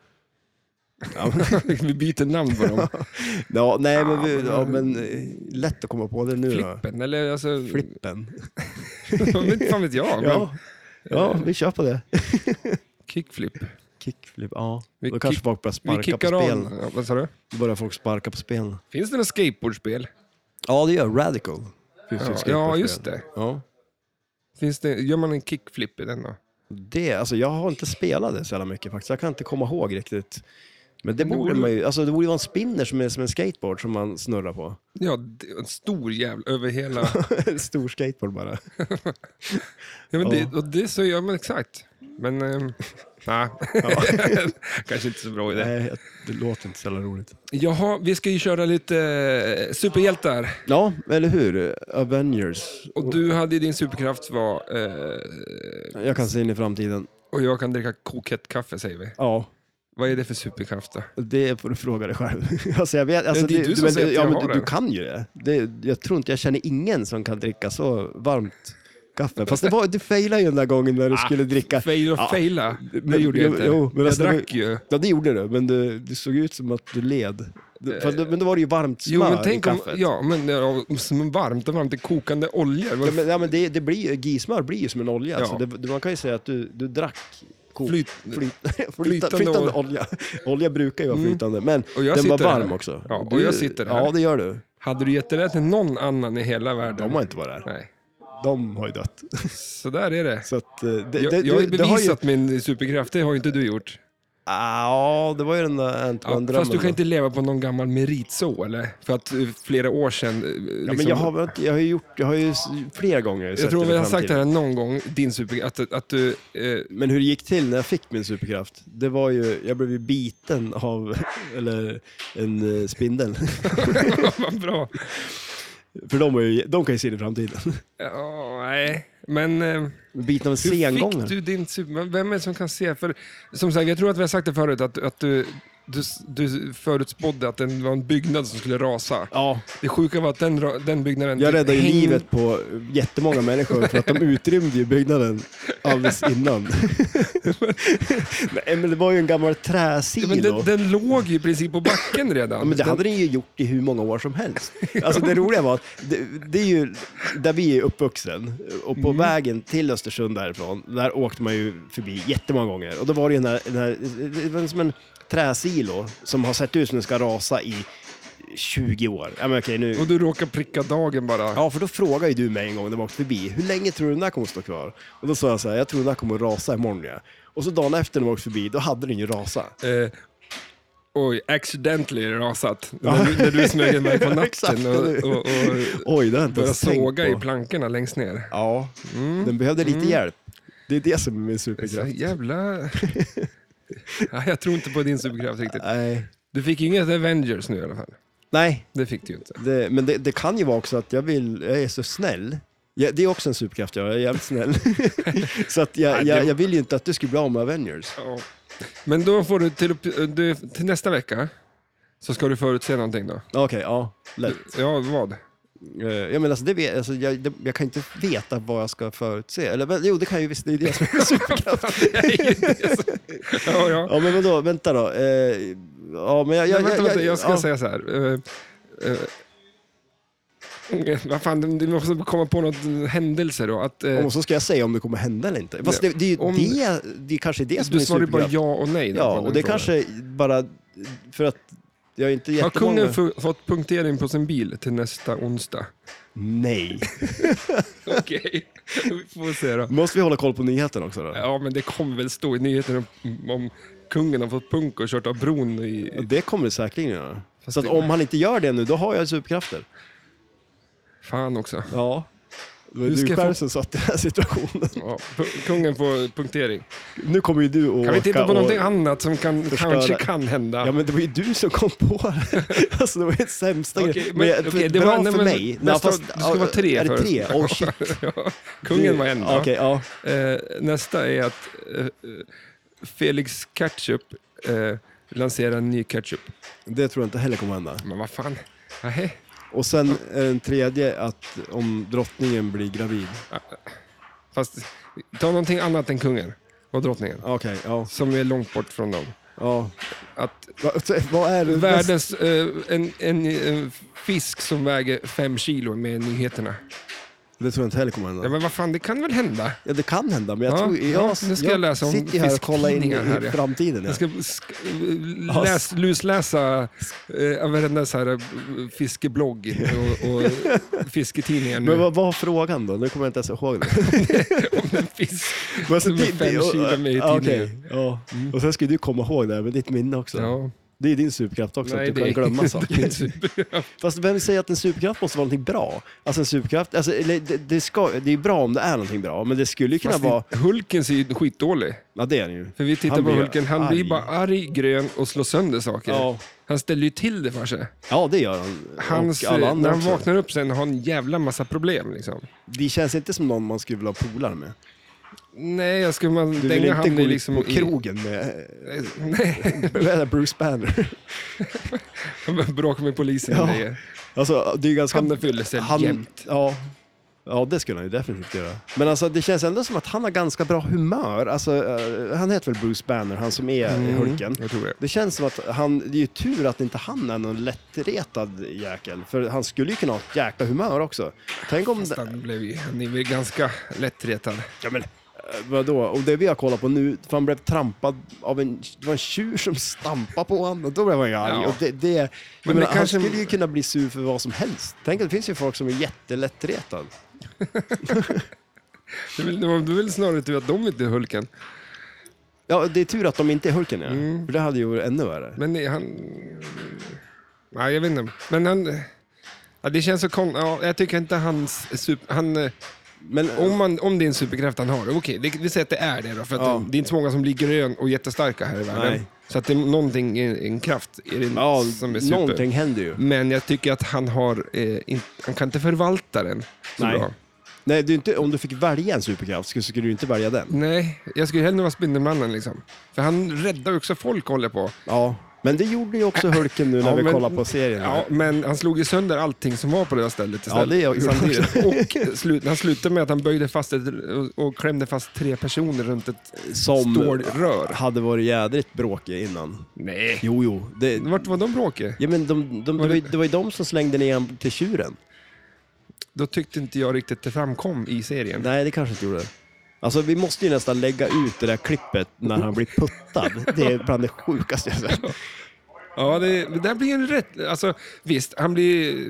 Speaker 2: Ja, men-
Speaker 1: vi byter namn på dem.
Speaker 2: Ja, nej, men,
Speaker 1: Ja,
Speaker 2: vi,
Speaker 1: Ah, men-
Speaker 2: ja, men eh, lätt att komma på det nu. då.
Speaker 1: Flippen, eller alltså...
Speaker 2: Flippen.
Speaker 1: Inte fan vet jag. Men
Speaker 2: Ja. ja, vi kör på det.
Speaker 1: Kickflip.
Speaker 2: Kickflip, ja.
Speaker 1: Vi
Speaker 2: Då kanske
Speaker 1: kick-
Speaker 2: folk börjar
Speaker 1: Vi
Speaker 2: sparka på
Speaker 1: kickar
Speaker 2: spelen.
Speaker 1: av. Ja, vad sa du?
Speaker 2: Då börjar folk sparka på spelen.
Speaker 1: Finns det något skateboardspel?
Speaker 2: Ja, det gör Radical. Finns ju
Speaker 1: Ja,
Speaker 2: skateboardspel.
Speaker 1: ja, just det.
Speaker 2: Ja.
Speaker 1: Finns det. Gör man en kickflip i den då?
Speaker 2: det. Alltså, jag har inte spelat det så jävla mycket faktiskt. Jag kan inte komma ihåg riktigt. Men det
Speaker 1: Men det
Speaker 2: borde
Speaker 1: borde-
Speaker 2: man ju, alltså det borde ju vara en spinner som är som en skateboard som man snurrar på.
Speaker 1: Ja, det- en stor jävla över hela...
Speaker 2: en stor skateboard bara.
Speaker 1: Ja, men
Speaker 2: Ja.
Speaker 1: Det, och det så gör man exakt. Men... ehm, nej, kanske inte så bra idé.
Speaker 2: Nej, jag- det låter inte så jävla roligt.
Speaker 1: Jaha, vi ska ju köra lite eh, superhjältar.
Speaker 2: Ja, eller hur? Avengers.
Speaker 1: Och du hade ju din superkraft var... Eh,
Speaker 2: Jag kan se in i framtiden.
Speaker 1: Och jag kan dricka kokhett kaffe säger vi.
Speaker 2: Ja,
Speaker 1: Vad är det för superkraft då?
Speaker 2: det får du fråga dig själv. Alltså jag vet, alltså
Speaker 1: Men det är du som
Speaker 2: men,
Speaker 1: säger att
Speaker 2: ja,
Speaker 1: jag
Speaker 2: men
Speaker 1: har
Speaker 2: du,
Speaker 1: det.
Speaker 2: du kan ju det. det. Jag tror inte jag känner ingen som kan dricka så varmt kaffe. Fast det var, du failade ju den där gången när du skulle dricka.
Speaker 1: Ah, Fail och
Speaker 2: Ja.
Speaker 1: faila. Det
Speaker 2: Men-
Speaker 1: gjorde jag
Speaker 2: jo-
Speaker 1: inte.
Speaker 2: jo, men
Speaker 1: jag
Speaker 2: alltså, det var-
Speaker 1: drack ju.
Speaker 2: Ja, det gjorde du, men du, du såg ut som att du led. Du- Fast, men då var det ju varmt smör
Speaker 1: Eh, Jo, men
Speaker 2: i
Speaker 1: tänk om...
Speaker 2: kaffet.
Speaker 1: Ja, men ja, som varmt och varmt. Det är kokande olja.
Speaker 2: Ja, men, ja, men det, det blir ju, gismör blir ju som en olja.
Speaker 1: Ja.
Speaker 2: Så det, det- man kan ju säga att du, du drack kok,
Speaker 1: Flyt-
Speaker 2: flytande,
Speaker 1: flytande
Speaker 2: flytande,
Speaker 1: ol-
Speaker 2: olja. Olja brukar ju vara flytande, men
Speaker 1: Och jag
Speaker 2: den var
Speaker 1: sitter här.
Speaker 2: varm också.
Speaker 1: Ja, och jag sitter här.
Speaker 2: Ja, det gör du.
Speaker 1: Hade du gett det där till någon annan i hela världen?
Speaker 2: De har inte varit här.
Speaker 1: Nej,
Speaker 2: De har ju dött.
Speaker 1: så där är det.
Speaker 2: Så att, eh, det,
Speaker 1: Jag,
Speaker 2: det,
Speaker 1: jag har ju
Speaker 2: det- det har ju-
Speaker 1: bevisat min superkraft, det har ju inte du gjort.
Speaker 2: Ah, Ja, det var ju den där
Speaker 1: Ja,
Speaker 2: Antoine-drömmen.
Speaker 1: fast du kan inte leva på någon gammal merit så, eller? För att eh, flera år sedan... eh, Liksom,
Speaker 2: Ja, men jag, har, väl inte- jag har ju gjort, jag har ju s- flera gånger
Speaker 1: jag
Speaker 2: sett
Speaker 1: tror
Speaker 2: det
Speaker 1: vi
Speaker 2: i
Speaker 1: har sagt det
Speaker 2: framtiden.
Speaker 1: här någon gång, din superkraft, att, att du... Eh,
Speaker 2: Men hur det gick till när jag fick min superkraft, det var ju, jag blev ju biten av, eller en eh, spindel.
Speaker 1: vad bra.
Speaker 2: För de, är ju, de kan ju se det i framtiden.
Speaker 1: Ja, nej, men... Eh,
Speaker 2: Biten av en
Speaker 1: hur
Speaker 2: sengångare.
Speaker 1: fick du din super... Vem är det som kan se? För, som sagt, jag tror att vi har sagt det förut, att, att du, du, du förutspådde att det var en byggnad som skulle rasa.
Speaker 2: Ja,
Speaker 1: Det sjuka var att den, ra- den byggnaden...
Speaker 2: jag räddade ju
Speaker 1: häng-
Speaker 2: livet på jättemånga människor för att de utrymde ju byggnaden alldeles innan. Nej, men det var ju en gammal
Speaker 1: Ja,
Speaker 2: träsilo.
Speaker 1: men den,
Speaker 2: Ja,
Speaker 1: den låg ju i princip på backen redan.
Speaker 2: men det
Speaker 1: Den-
Speaker 2: hade den ju gjort i hur många år som helst. Alltså det roliga var att det, det är ju där vi är uppvuxen och på vägen till Östersund därifrån, där åkte man ju förbi jättemånga gånger. Och då var det ju den här, den här det var som en träsilo som har sett ut som den ska rasa i 20 år. Ja, men okej, nu,
Speaker 1: Och du råkar pricka dagen bara.
Speaker 2: Ja, för då frågade ju du mig en gång när vi åkte förbi, hur länge tror du den där kommer att stå kvar? Och då sa jag så här, jag tror den där kommer att rasa imorgon. Ja. Och så dagen efter när vi åkte förbi, då hade den ju rasat.
Speaker 1: Eh, oj, accidentally rasat. När, du, när du smög iväg på
Speaker 2: Exakt.
Speaker 1: natten och, och, och
Speaker 2: Oj, det har jag inte
Speaker 1: började
Speaker 2: ens tänkt
Speaker 1: såga
Speaker 2: på.
Speaker 1: i plankorna längst ner.
Speaker 2: Ja, Mm. den behövde lite hjälp. Det är det som är min
Speaker 1: Så
Speaker 2: superkraft.
Speaker 1: jävla... Ja, jag tror inte på din superkraft riktigt.
Speaker 2: Nej,
Speaker 1: Du fick ju inget Avengers nu i alla fall.
Speaker 2: Nej
Speaker 1: Det fick du ju inte.
Speaker 2: det, men det, det kan ju vara också att jag vill, jag är så snäll. Ja, det är också en superkraft, jag jag är jävligt snäll. så att jag, jag, jag vill ju inte att du skulle bli av med Avengers.
Speaker 1: Ja. Men då får du till, upp- du till nästa vecka så ska du förutse någonting då.
Speaker 2: Okej, ja, lätt.
Speaker 1: Ja, vad?
Speaker 2: Eh, Ja, men alltså, det vet, alltså, jag, det, jag kan inte veta vad jag ska förutse. Eller, men, jo, det kan jag ju visst. Det är det som är superkraft.
Speaker 1: Ja, ja.
Speaker 2: ja, men vadå, vänta då. Eh, ja, men jag,
Speaker 1: Nej,
Speaker 2: jag,
Speaker 1: vänta,
Speaker 2: jag,
Speaker 1: vänta, jag ska
Speaker 2: ja.
Speaker 1: säga så här. Eh, eh, vad fan, du måste komma på något händelse då. Att, eh,
Speaker 2: Och så ska jag säga om det kommer hända eller inte. Fast det, det, är ju
Speaker 1: Om-
Speaker 2: det, det är kanske det som
Speaker 1: du
Speaker 2: är
Speaker 1: svarar ju bara
Speaker 2: superkraft.
Speaker 1: ja och nej. då på
Speaker 2: Ja,
Speaker 1: den
Speaker 2: och det
Speaker 1: frågan.
Speaker 2: kanske bara för att jag är inte
Speaker 1: Har
Speaker 2: jättemånga...
Speaker 1: kungen fu- fått punktering på sin bil till nästa onsdag?
Speaker 2: Nej.
Speaker 1: Okej, vi får se då.
Speaker 2: Måste vi hålla koll på nyheten också då?
Speaker 1: Ja, men det kommer väl stå i nyheterna om, om kungen har fått punk och kört av bron.
Speaker 2: Ja,
Speaker 1: I,
Speaker 2: Det kommer det säkerligen göra.
Speaker 1: Fast
Speaker 2: Så att
Speaker 1: det-
Speaker 2: om han inte gör det nu, då har jag superkrafter.
Speaker 1: fan också.
Speaker 2: Ja. Men
Speaker 1: Hur ska
Speaker 2: du
Speaker 1: jag få-
Speaker 2: själv som satt i den här situationen.
Speaker 1: Ja, pu- kungen får punktering.
Speaker 2: Nu kommer ju du att
Speaker 1: Kan vi titta
Speaker 2: åka
Speaker 1: på
Speaker 2: och-
Speaker 1: någonting annat som kan,
Speaker 2: förstöra-
Speaker 1: kanske kan hända?
Speaker 2: Ja men det var ju du som kom på det. Alltså det var ju det sämsta
Speaker 1: Okej,
Speaker 2: grejen.
Speaker 1: men-
Speaker 2: Men,
Speaker 1: okej,
Speaker 2: det
Speaker 1: det
Speaker 2: bra
Speaker 1: var- nej,
Speaker 2: för
Speaker 1: men
Speaker 2: mig.
Speaker 1: nästa-
Speaker 2: fast-
Speaker 1: det ska vara tre
Speaker 2: Är det
Speaker 1: först.
Speaker 2: tre? Oh, shit.
Speaker 1: Ja, Kungen var en.
Speaker 2: Okej,
Speaker 1: då.
Speaker 2: ja.
Speaker 1: Eh, nästa är att eh, eh, Felix Ketchup eh, lanserar en ny ketchup.
Speaker 2: Det tror jag inte heller kommer hända.
Speaker 1: Men vad fan? Nähä.
Speaker 2: Och sen är den tredje att om drottningen blir gravid.
Speaker 1: Fast ta någonting annat än kungen och drottningen.
Speaker 2: Okej, ja.
Speaker 1: Som är långt bort från dem.
Speaker 2: ja.
Speaker 1: Att
Speaker 2: Va, så- vad är det?
Speaker 1: världens, eh, en, en, en fisk som väger fem kilo med nyheterna.
Speaker 2: Det tror jag inte heller kommer
Speaker 1: Ja,
Speaker 2: hända.
Speaker 1: men vad fan, det kan väl hända?
Speaker 2: Ja, det kan hända, men jag
Speaker 1: Ja,
Speaker 2: tror...
Speaker 1: ja,
Speaker 2: Jag,
Speaker 1: nu ska jag läsa om
Speaker 2: sitter ju här och kollar in i,
Speaker 1: fisktidningar här,
Speaker 2: i
Speaker 1: ja.
Speaker 2: framtiden. Ja.
Speaker 1: Jag ska sk- läs, lusläsa eh, varenda så här eh, fiskeblogg och, och fisketidningar nu.
Speaker 2: Men vad vad var frågan då? Nu kommer jag inte ens ihåg det.
Speaker 1: om en fisk
Speaker 2: Men alltså,
Speaker 1: som är fem kilo med i
Speaker 2: ja,
Speaker 1: tidningen.
Speaker 2: okej, ja. Och sen ska ju du komma ihåg det här med ditt minne också.
Speaker 1: Ja.
Speaker 2: Det är din superkraft också,
Speaker 1: Nej,
Speaker 2: att
Speaker 1: det
Speaker 2: du kan
Speaker 1: är
Speaker 2: glömma
Speaker 1: inte min
Speaker 2: saker.
Speaker 1: superkraft.
Speaker 2: Fast vem säger att en superkraft måste vara någonting bra? Alltså en superkraft, alltså, eller, det, det, ska, det är bra om det är någonting bra, men det skulle ju kunna
Speaker 1: Fast
Speaker 2: vara...
Speaker 1: Hulken ser ju skitdålig.
Speaker 2: Ja, det är den ju.
Speaker 1: För vi tittar
Speaker 2: Han
Speaker 1: på
Speaker 2: blir
Speaker 1: Hulken, han blir
Speaker 2: arg.
Speaker 1: bara arg, grön och slår sönder saker.
Speaker 2: Ja.
Speaker 1: Han ställer ju till det för sig.
Speaker 2: Ja, det gör han.
Speaker 1: Hans,
Speaker 2: och alla
Speaker 1: eh, när
Speaker 2: andra
Speaker 1: han
Speaker 2: också.
Speaker 1: vaknar upp sen har han en jävla massa problem. Liksom.
Speaker 2: Det känns inte som någon man skulle vilja ha polare med.
Speaker 1: Nej, jag skulle man
Speaker 2: Du vill
Speaker 1: dänga
Speaker 2: inte
Speaker 1: han
Speaker 2: gå
Speaker 1: i
Speaker 2: ut
Speaker 1: liksom...
Speaker 2: på
Speaker 1: i-
Speaker 2: krogen med,
Speaker 1: Nej,
Speaker 2: med Bruce Banner.
Speaker 1: bråka med polisen
Speaker 2: Ja.
Speaker 1: och grejer.
Speaker 2: Alltså, det är ju ganska...
Speaker 1: Han fyller sig jämt.
Speaker 2: Ja. ja, det skulle han ju definitivt göra. Men alltså, det känns ändå som att han har ganska bra humör. Alltså, eh, han heter väl Bruce Banner, han som är Hulken.
Speaker 1: Mm, Jag tror det.
Speaker 2: Det känns som att han, det är ju tur att inte han är någon lättretad jäkel. För han skulle ju kunna ha ett jäkla humör också. Tänk om...
Speaker 1: Fast Han blev ju, han är väl ganska lättretad.
Speaker 2: Ja, men, eh, vadå? Och det vi har kollat på nu, för han blev trampad av en, det var en tjur som stampade på honom och då blev han ju arg.
Speaker 1: Ja.
Speaker 2: Och det, det, jag
Speaker 1: Men
Speaker 2: menar,
Speaker 1: det
Speaker 2: Han
Speaker 1: kanske-
Speaker 2: skulle ju kunna bli sur för vad som helst. Tänk att det finns ju folk som är jättelättretad.
Speaker 1: Det är väl, det var det är väl snarare tur att de inte är Hulken.
Speaker 2: Ja, det är tur att de inte är Hulken, ja.
Speaker 1: Mm.
Speaker 2: För det hade ju varit ännu värre.
Speaker 1: Men nej, han... Nej, jag vet inte. Men han... Ja, det känns så konstigt. Ja, jag tycker inte hans... Super, han, eh,
Speaker 2: Men,
Speaker 1: om, man, om det är en superkraft han har, okej, det, vi säger att det är det då. För att
Speaker 2: Ja.
Speaker 1: det, det är inte så många som blir grön och jättestarka här i världen.
Speaker 2: Nej.
Speaker 1: Så att det är någonting, en, en kraft är det
Speaker 2: ja,
Speaker 1: som är super.
Speaker 2: någonting händer ju.
Speaker 1: Men jag tycker att han har... Eh, in, han kan inte förvalta den så
Speaker 2: Nej.
Speaker 1: bra.
Speaker 2: Nej, det är inte, om du fick välja en superkraft skulle, skulle du inte välja den.
Speaker 1: Nej, jag skulle hellre vara Spindelmannen liksom. För han räddar ju också folk håller på.
Speaker 2: Ja. Men det gjorde ju också Hulken nu när
Speaker 1: Ja,
Speaker 2: vi
Speaker 1: men-
Speaker 2: kollade på serien. här.
Speaker 1: Ja, men han slog ju sönder allting som var på det där stället
Speaker 2: Ja, det gjorde han
Speaker 1: samtidigt. Och slut, han slutade med att han böjde fast ett, och klämde fast tre personer runt ett
Speaker 2: som
Speaker 1: stålrör.
Speaker 2: hade varit jädrigt bråkig innan.
Speaker 1: Nej.
Speaker 2: Jo, jo. Det,
Speaker 1: Vart var de bråkiga?
Speaker 2: Ja, men de, de, det, var ju, det var ju de som slängde ner honom till tjuren.
Speaker 1: Då tyckte inte jag riktigt det framkom i serien.
Speaker 2: Nej, det kanske inte gjorde. Alltså, vi måste ju nästan lägga ut det där klippet när han blir puttad. Det är bland det sjukaste jag sett.
Speaker 1: Ja, det, det där blir en rätt... Alltså, visst, han blir...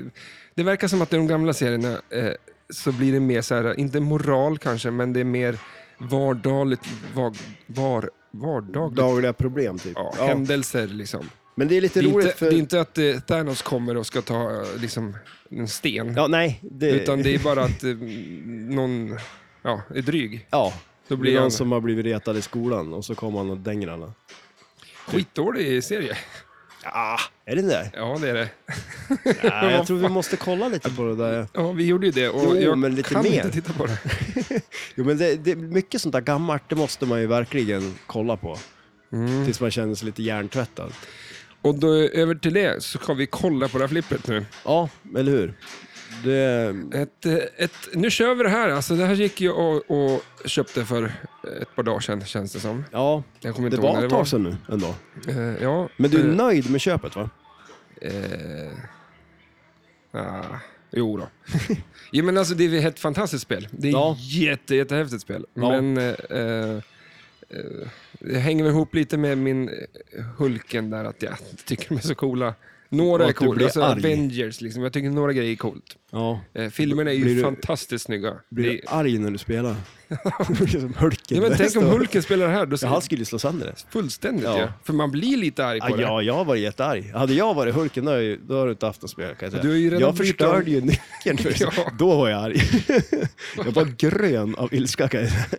Speaker 1: Det verkar som att i de gamla serierna eh, så blir det mer så här, inte moral kanske, men det är mer vardagligt, var, var, vardagligt.
Speaker 2: Dagliga problem, typ.
Speaker 1: Ja,
Speaker 2: Ja.
Speaker 1: händelser liksom.
Speaker 2: Men det är lite
Speaker 1: Det är,
Speaker 2: roligt
Speaker 1: inte,
Speaker 2: för...
Speaker 1: det är inte att eh, Thanos kommer och ska ta eh, liksom, en sten.
Speaker 2: Ja, nej. Det...
Speaker 1: Utan det är bara att eh, någon ja, är dryg.
Speaker 2: Ja.
Speaker 1: Då
Speaker 2: Det är
Speaker 1: blir
Speaker 2: någon
Speaker 1: han
Speaker 2: som har blivit retad i skolan och så kommer han och dänger alla.
Speaker 1: skitdålig i serie.
Speaker 2: Ja, är det det?
Speaker 1: Ja, det är det.
Speaker 2: Ja, jag tror vi måste kolla lite på det där.
Speaker 1: Ja, vi gjorde ju det och
Speaker 2: Jo,
Speaker 1: jag
Speaker 2: men lite
Speaker 1: kan
Speaker 2: mer.
Speaker 1: inte titta på det.
Speaker 2: Jo, men det, det, mycket sånt där gammalt, det måste man ju verkligen kolla på.
Speaker 1: Mm.
Speaker 2: Tills man känner sig lite hjärntvättad.
Speaker 1: Och då över till det så ska vi kolla på det här flippet nu.
Speaker 2: Ja, eller hur? Det,
Speaker 1: Ett, eh, ett, nu kör vi det här. Alltså, det här gick jag och, och köpte för ett par dagar sedan känns det som.
Speaker 2: ja,
Speaker 1: Jag kommer
Speaker 2: det
Speaker 1: inte ihåg
Speaker 2: var
Speaker 1: när
Speaker 2: ett tag sedan nu ändå.
Speaker 1: Eh, ja,
Speaker 2: Men du är
Speaker 1: eh,
Speaker 2: nöjd med köpet va?
Speaker 1: Eh, ah, jo då. ja, men alltså, det är ett helt fantastiskt spel. Det är
Speaker 2: Ja.
Speaker 1: ett jätte, jättehäftigt spel.
Speaker 2: Ja.
Speaker 1: Men eh, eh, det hänger väl ihop lite med min eh, Hulken där, att jag tycker de är så coola. Några
Speaker 2: Och
Speaker 1: är
Speaker 2: att du
Speaker 1: coola,
Speaker 2: blir
Speaker 1: alltså
Speaker 2: arg.
Speaker 1: Avengers liksom. Jag tycker några grejer är coolt.
Speaker 2: Ja.
Speaker 1: Eh, filmerna är ju
Speaker 2: Blir du-
Speaker 1: fantastiskt snygga.
Speaker 2: Blir
Speaker 1: Det,
Speaker 2: du arg när du spelar? Det blir som Hulken.
Speaker 1: ja, men
Speaker 2: där
Speaker 1: tänk om
Speaker 2: står.
Speaker 1: Hulken spelar det här, då
Speaker 2: Ja,
Speaker 1: skulle
Speaker 2: han skulle ju slå sönder det.
Speaker 1: fullständigt
Speaker 2: Ja.
Speaker 1: ja. För man blir lite arg på
Speaker 2: Ja,
Speaker 1: det.
Speaker 2: ja, jag har varit jättearg. Hade jag varit Hulken, då, har jag ju- då har du inte haft något spel. Kan jag säga.
Speaker 1: Du har ju redan
Speaker 2: jag
Speaker 1: bytt
Speaker 2: förstörde
Speaker 1: om-
Speaker 2: ju nyckeln först.
Speaker 1: Ja.
Speaker 2: Då var jag arg. jag var grön av ilska. Kan jag säga.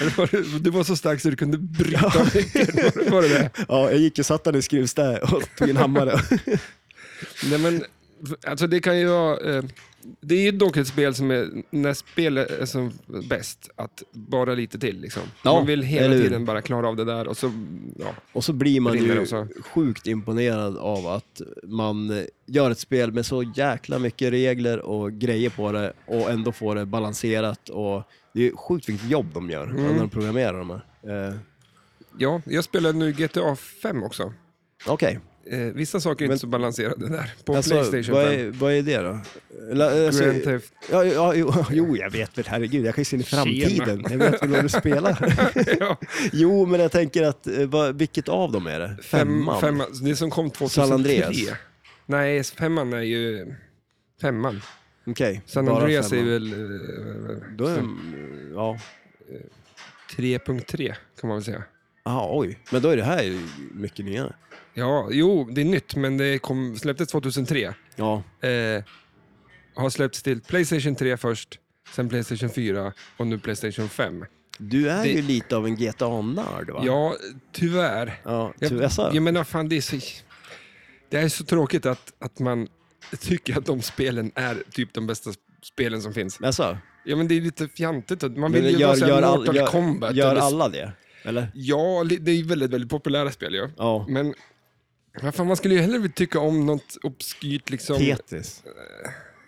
Speaker 1: Eller var det- Du var så stark så du kunde bryta nyckeln. Var det- Var det det?
Speaker 2: Ja, jag gick och satt där i skruvstäd och tog en hammare.
Speaker 1: Nej men, alltså det kan ju vara... Eh, det är ju dock ett spel som är, när spel är som bäst, att bara lite till liksom.
Speaker 2: Ja,
Speaker 1: Man vill hela
Speaker 2: eller hur?
Speaker 1: tiden bara klara av det där och så, ja.
Speaker 2: Och så blir man
Speaker 1: Brinner
Speaker 2: ju
Speaker 1: också.
Speaker 2: sjukt imponerad av att man gör ett spel med så jäkla mycket regler och grejer på det och ändå får det balanserat. Och det är sjukt vilket jobb de gör
Speaker 1: Mm.
Speaker 2: när de programmerar de här. Eh,
Speaker 1: Ja, jag spelar nu GTA 5 också.
Speaker 2: Okej,
Speaker 1: Eh, vissa saker är
Speaker 2: Men-
Speaker 1: inte så balanserade där, på
Speaker 2: alltså,
Speaker 1: Playstation
Speaker 2: vad,
Speaker 1: 5.
Speaker 2: är, vad är det då? Eller, alltså,
Speaker 1: Grand Theft.
Speaker 2: ja, ja, jo, jo, jag vet väl, herregud, jag kan ju se in i framtiden. Jag vet väl vad du spelar.
Speaker 1: ja,
Speaker 2: jo, men jag tänker att, eh, vad, vilket av dem är det?
Speaker 1: fem,
Speaker 2: Femman?
Speaker 1: femman. Det som kom
Speaker 2: San
Speaker 1: 2003.
Speaker 2: Andreas.
Speaker 1: Nej, femman är ju... Femman.
Speaker 2: Okej,
Speaker 1: San
Speaker 2: bara
Speaker 1: Andreas är
Speaker 2: femman.
Speaker 1: väl
Speaker 2: Då är,
Speaker 1: eh,
Speaker 2: ja,
Speaker 1: 3.3 kan man väl säga.
Speaker 2: Aha, oj. Men då är det här ju mycket nyare.
Speaker 1: Ja, jo, det är nytt, men det kom, släpptes 2003.
Speaker 2: Ja.
Speaker 1: Eh, har släppts till Playstation 3 först, sen Playstation 4 och nu Playstation 5.
Speaker 2: Du är
Speaker 1: Det-
Speaker 2: ju lite av en GTA-nörd va?
Speaker 1: Ja, tyvärr.
Speaker 2: Ja,
Speaker 1: Jag,
Speaker 2: tyvärr så.
Speaker 1: jag menar, fan, det är så, det är så tråkigt att, att man tycker att de spelen är typ de bästa spelen som finns.
Speaker 2: Jaså?
Speaker 1: Ja, men det är lite fjantigt. att- Man
Speaker 2: Men
Speaker 1: vill ju
Speaker 2: gör,
Speaker 1: gör,
Speaker 2: gör,
Speaker 1: säga
Speaker 2: all,
Speaker 1: Mortal
Speaker 2: gör,
Speaker 1: Kombat.
Speaker 2: gör
Speaker 1: eller-
Speaker 2: alla det? Eller?
Speaker 1: Ja, li- det är ju väldigt, väldigt populära spel ju.
Speaker 2: Ja.
Speaker 1: Men vad fan, man skulle ju hellre tycka om något obskyrt liksom.
Speaker 2: Tetris.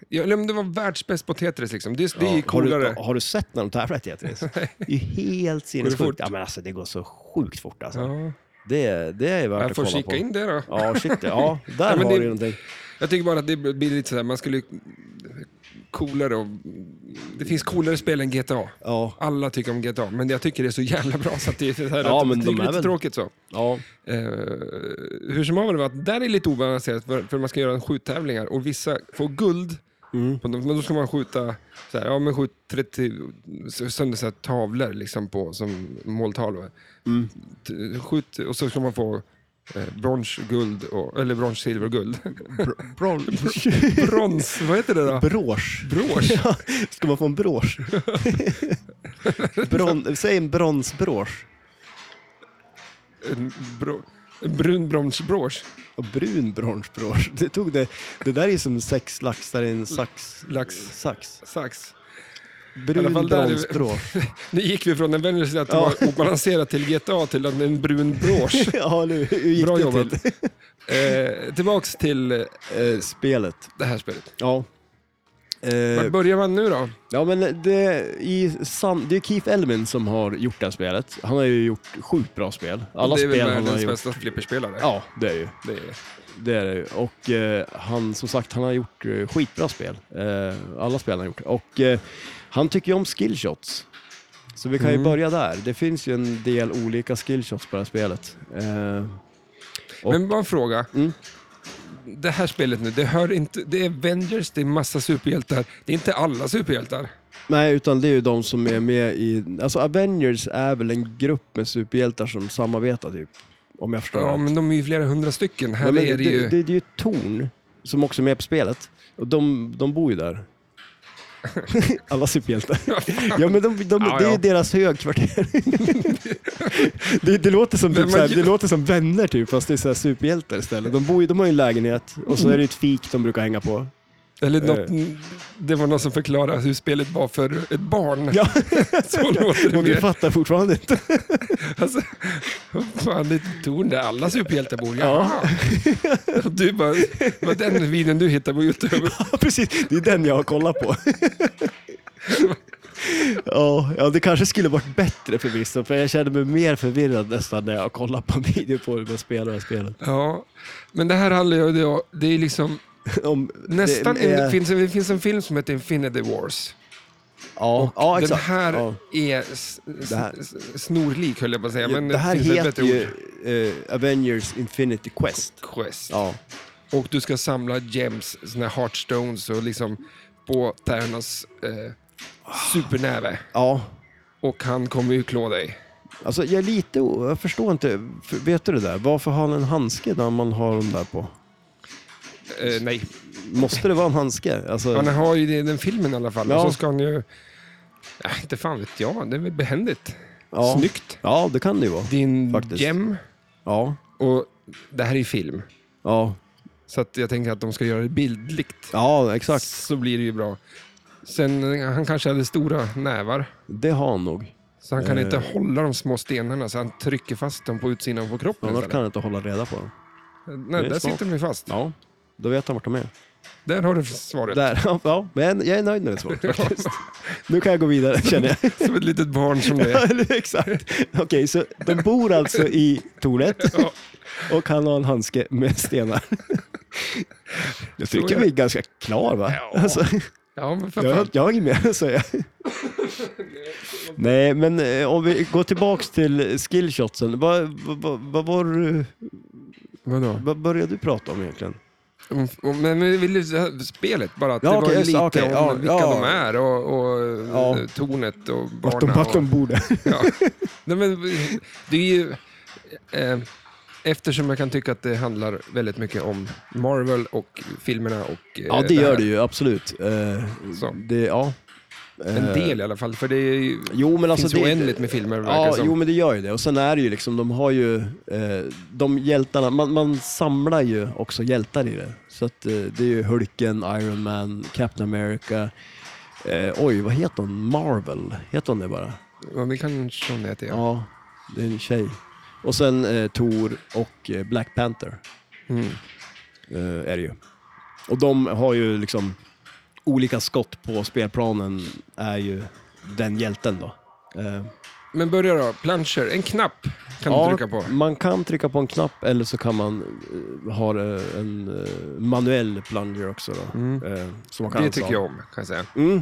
Speaker 1: Ja, eller om det var världsbäst på Tetris liksom. Det, det är
Speaker 2: Ja.
Speaker 1: ju coolare.
Speaker 2: Har du, har du sett när de tävlar i Tetris? Det är ju helt
Speaker 1: fort?
Speaker 2: sinnessjukt. Ja, men alltså, det går så sjukt fort alltså.
Speaker 1: Ja,
Speaker 2: Det, det är värt
Speaker 1: jag
Speaker 2: att
Speaker 1: får
Speaker 2: kolla
Speaker 1: kika
Speaker 2: på.
Speaker 1: in det då.
Speaker 2: Ja, shit ja. Där
Speaker 1: Ja, men
Speaker 2: har
Speaker 1: det-
Speaker 2: du ju någonting.
Speaker 1: Jag tycker bara att det blir lite sådär, man skulle ju coolare och... Det finns coolare spel än GTA.
Speaker 2: Ja.
Speaker 1: Alla tycker om GTA, men jag tycker det är så jävla bra så att det är, så här,
Speaker 2: Ja,
Speaker 1: att,
Speaker 2: men
Speaker 1: det
Speaker 2: de
Speaker 1: är lite
Speaker 2: är väl-
Speaker 1: tråkigt så.
Speaker 2: ja.
Speaker 1: Eh, hur som haver det var att där är lite obalanserat för, för man ska göra sjuttävlingar och vissa får guld. På dem, men då ska man skjuta, så här, ja, men skjut 30 s- sönder så här, tavlor liksom på, som måltavlor. T- Skjut, och så ska man få eh, brons, guld, och, eller brons, silver och guld. brons, vad heter det då?
Speaker 2: Brås.
Speaker 1: Brås.
Speaker 2: Ja, Ska man få en brås? Bron, säg en bronsbrås.
Speaker 1: En bro, en brun bronsbrås.
Speaker 2: Och brun bronsbrås. Det, tog det, det där är ju som sex laxar i en sax.
Speaker 1: Lax.
Speaker 2: sax.
Speaker 1: Sax. I
Speaker 2: Brun
Speaker 1: alla fall där är vi-
Speaker 2: bronsbrås.
Speaker 1: Nu gick vi från Avengers att det var obalanserat till GTA till en- en brun brås.
Speaker 2: Ja, nu, hur gick
Speaker 1: Bra
Speaker 2: det
Speaker 1: jobbat.
Speaker 2: till?
Speaker 1: Eh, tillbaks till eh,
Speaker 2: Eh, spelet.
Speaker 1: det här spelet.
Speaker 2: Ja. Eh,
Speaker 1: Var börjar man nu då?
Speaker 2: Ja, men det, i San, det är Keith Elmin som har gjort det här spelet. Han har ju gjort sjukt bra spel. Alla
Speaker 1: det är
Speaker 2: spel
Speaker 1: väl
Speaker 2: han har
Speaker 1: världens
Speaker 2: gjort.
Speaker 1: bästa flipperspelare?
Speaker 2: Ja, det är ju.
Speaker 1: Det är,
Speaker 2: Det är det ju. Och eh, han, som sagt, han har gjort eh, skitbra spel. Eh, alla spel han har gjort. Och eh, han tycker ju om skillshots. Så vi kan
Speaker 1: Mm.
Speaker 2: ju börja där. Det finns ju en del olika skillshots på det här spelet. Eh, Och-
Speaker 1: Men bara en fråga.
Speaker 2: Mm.
Speaker 1: Det här spelet nu, det, hör inte, det är Avengers, det är massa superhjältar. Det är inte alla superhjältar.
Speaker 2: nej, utan det är ju de som är med i... Alltså Avengers är väl en grupp med superhjältar som samarbetar typ. Om jag förstår
Speaker 1: Ja,
Speaker 2: rätt.
Speaker 1: men de är ju flera hundra stycken. Här
Speaker 2: Nej, men
Speaker 1: är det, ju...
Speaker 2: det, det är ju Torn som också är med på spelet. Och de, de bor ju där. Alla superhjältar. ja, men de, de,
Speaker 1: Ja,
Speaker 2: det är
Speaker 1: ja.
Speaker 2: ju deras högkvarter. det, det, låter som
Speaker 1: Men
Speaker 2: typ
Speaker 1: man
Speaker 2: såhär,
Speaker 1: gör-
Speaker 2: det låter som vänner typ, fast det är såhär superhjältar istället. De, bor ju, de har ju en lägenhet och så är det ju ett fik de brukar hänga på.
Speaker 1: Eller
Speaker 2: eh.
Speaker 1: något, det var någon som förklarade hur spelet var för ett barn.
Speaker 2: Ja.
Speaker 1: Så låter det
Speaker 2: Och du
Speaker 1: mer.
Speaker 2: fattar fortfarande inte.
Speaker 1: Alltså, vad fan, det är ett torn där alla superhjältar bor.
Speaker 2: Ja.
Speaker 1: Jaha. Och Du bara, vad den videon du hittar på YouTube.
Speaker 2: Precis, det är den jag har kollat på. Ja, ja, det kanske skulle varit bättre förvisso, för jag kände mig mer förvirrad nästan när jag kollade på en video på hur man spelar det här spelet.
Speaker 1: Ja, men det här handlar ju om, det är liksom
Speaker 2: Om,
Speaker 1: nästan,
Speaker 2: det,
Speaker 1: en,
Speaker 2: är-
Speaker 1: det, finns, det finns en film som heter Infinity Wars.
Speaker 2: ja, ja,
Speaker 1: Den
Speaker 2: exakt.
Speaker 1: här
Speaker 2: ja.
Speaker 1: är s, s,
Speaker 2: Det här-
Speaker 1: s, snorlik höll jag på att säga, men
Speaker 2: det här
Speaker 1: finns ett
Speaker 2: heter
Speaker 1: bättre
Speaker 2: ju
Speaker 1: ord.
Speaker 2: eh, Avengers Infinity Quest.
Speaker 1: Quest.
Speaker 2: Ja.
Speaker 1: Och du ska samla gems, såna här heartstones och liksom på Thanos eh, supernäve.
Speaker 2: ja.
Speaker 1: Och han kommer ju klå dig.
Speaker 2: Alltså jag är lite, o- jag förstår inte, För- vet du det där? Varför har han en handske när man har dem där på?
Speaker 1: Eh, nej,
Speaker 2: Måste det vara en handske? Alltså,
Speaker 1: han har ju det i den filmen i alla fall.
Speaker 2: Ja.
Speaker 1: Och så ska han ju... Äh, inte fan vet jag, det är väl behändigt.
Speaker 2: ja.
Speaker 1: Snyggt.
Speaker 2: Ja, det kan det ju vara.
Speaker 1: Din
Speaker 2: Faktiskt.
Speaker 1: gem
Speaker 2: Ja,
Speaker 1: och det här är ju film.
Speaker 2: ja,
Speaker 1: Så att jag tänker att de ska göra det bildligt.
Speaker 2: ja exakt.
Speaker 1: Så blir det ju bra. Sen, eh, han kanske hade stora nävar.
Speaker 2: Det har han nog.
Speaker 1: Så han kan
Speaker 2: Eh.
Speaker 1: inte hålla de små stenarna, så han trycker fast dem på utsidan på kroppen.
Speaker 2: Annars
Speaker 1: istället.
Speaker 2: kan han inte hålla reda på dem.
Speaker 1: Nej,
Speaker 2: det är
Speaker 1: där
Speaker 2: smart.
Speaker 1: sitter de ju fast.
Speaker 2: Ja, då vet han vart de är.
Speaker 1: Där har du svaret.
Speaker 2: Där, ja, ja, men jag är nöjd med det svaret faktiskt. Nu kan jag gå vidare känner jag.
Speaker 1: Som ett litet barn som det är.
Speaker 2: Eller hur? Exakt. Okej, så de bor alltså i tornet
Speaker 1: Ja.
Speaker 2: och han har en handske med stenar. Jag
Speaker 1: Så
Speaker 2: tycker
Speaker 1: är
Speaker 2: vi är ganska klar va?
Speaker 1: Ja.
Speaker 2: Alltså,
Speaker 1: Ja, men för
Speaker 2: jag,
Speaker 1: fan.
Speaker 2: jag har inget mer att säga. Nej, men eh, om vi går tillbaks till skillshotsen. Vad, vad, vad, vad, var, du-
Speaker 1: Vadå?
Speaker 2: vad började du prata om egentligen?
Speaker 1: Om- om- Men vi ville ju säga spelet bara, att
Speaker 2: Ja,
Speaker 1: det var
Speaker 2: okej,
Speaker 1: ju
Speaker 2: just
Speaker 1: lite
Speaker 2: det, okej,
Speaker 1: om
Speaker 2: ja,
Speaker 1: vilka
Speaker 2: ja.
Speaker 1: de är och, och
Speaker 2: Ja.
Speaker 1: eh, tornet och
Speaker 2: Vart de,
Speaker 1: barnen.
Speaker 2: vart de bor där?
Speaker 1: ja. Nej, men det är ju... Eh, eftersom jag kan tycka att det handlar väldigt mycket om Marvel och filmerna och... eh,
Speaker 2: Ja, det
Speaker 1: här.
Speaker 2: gör det ju absolut. Eh,
Speaker 1: Så.
Speaker 2: Det, ja.
Speaker 1: En
Speaker 2: Eh,
Speaker 1: del i alla fall, för det är ju...
Speaker 2: Jo, men alltså
Speaker 1: finns
Speaker 2: det,
Speaker 1: oändligt med filmer, verkar
Speaker 2: Ja,
Speaker 1: det som.
Speaker 2: jo men det gör ju det. Och sen är det ju liksom, de har ju, eh, de hjältarna, man, man samlar ju också hjältar i det. Så att eh, det är ju Hulken, Iron Man, Captain America, Eh, oj, vad heter hon? Marvel? Heter hon det bara?
Speaker 1: Ja, det kanske hon heter, ja.
Speaker 2: Ja, det är en tjej. Och sen eh, Thor och eh, Black Panther
Speaker 1: Mm.
Speaker 2: eh, är det ju. Och de har ju liksom olika skott på spelplanen är ju den hjälten då. Eh,
Speaker 1: Men börja då. Plancher, en knapp kan du trycka på.
Speaker 2: Man kan trycka på en knapp eller så kan man eh, ha eh, en eh, manuell plunger också. Då, eh, som man
Speaker 1: Mm.
Speaker 2: kan
Speaker 1: Det
Speaker 2: ansa.
Speaker 1: tycker jag om, kan jag säga.
Speaker 2: Mm,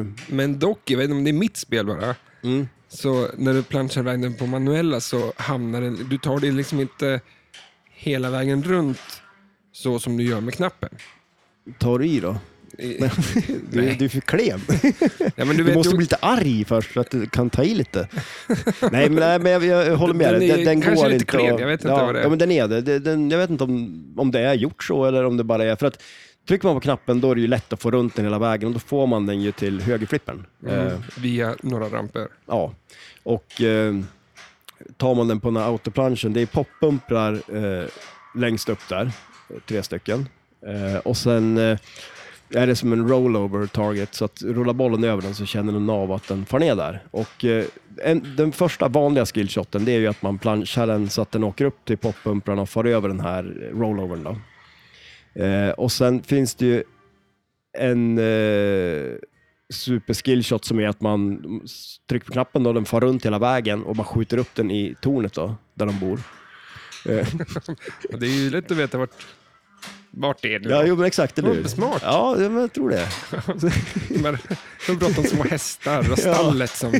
Speaker 2: eh,
Speaker 1: Men dock, jag vet inte om det är mitt spel bara,
Speaker 2: mm.
Speaker 1: så när du planchar iväg den på manuella så hamnar den... Du tar det liksom inte hela vägen runt så som du gör med knappen.
Speaker 2: Tar du i då?
Speaker 1: I-
Speaker 2: Du, du är för klen.
Speaker 1: Ja, men du
Speaker 2: Du
Speaker 1: vet,
Speaker 2: måste
Speaker 1: du-
Speaker 2: bli lite arg först för att du kan ta i lite. nej, men, nej, men jag, jag håller med
Speaker 1: Den
Speaker 2: dig.
Speaker 1: är
Speaker 2: Den, den
Speaker 1: kanske
Speaker 2: går
Speaker 1: lite
Speaker 2: inte
Speaker 1: klen,
Speaker 2: att-
Speaker 1: jag vet inte
Speaker 2: ja,
Speaker 1: vad det är.
Speaker 2: Ja, men den är det. Det- Den, jag vet inte om, om det är gjort så eller om det bara är... För att trycker man på knappen då är det ju lätt att få runt den hela vägen och då får man den ju till högerflippen. Eh,
Speaker 1: Mm, via några ramper.
Speaker 2: ja. Och eh, tar man den på den här autoplanschen, det är poppumprar eh, längst upp där, eh, tre stycken. Eh, och sen eh, är det som en rollover target, så att rullar bollen över den så känner den av att den far ner där. Och eh, en, den första vanliga skillshoten, det är ju att man planchar den så att den åker upp till poppumprarna och far över den här rollovern då. Eh, och sen finns det ju en eh, superskillshot som är att man trycker på knappen då, den far runt hela vägen och man skjuter upp den i tornet då, där de bor. Eh,
Speaker 1: Och det är ju lätt att veta vart, vart det är nu.
Speaker 2: ja, jo men exakt, eller
Speaker 1: Ja,
Speaker 2: hur?
Speaker 1: smart.
Speaker 2: Ja, ja, men jag tror det.
Speaker 1: Men De pratar om små hästar och stallet som...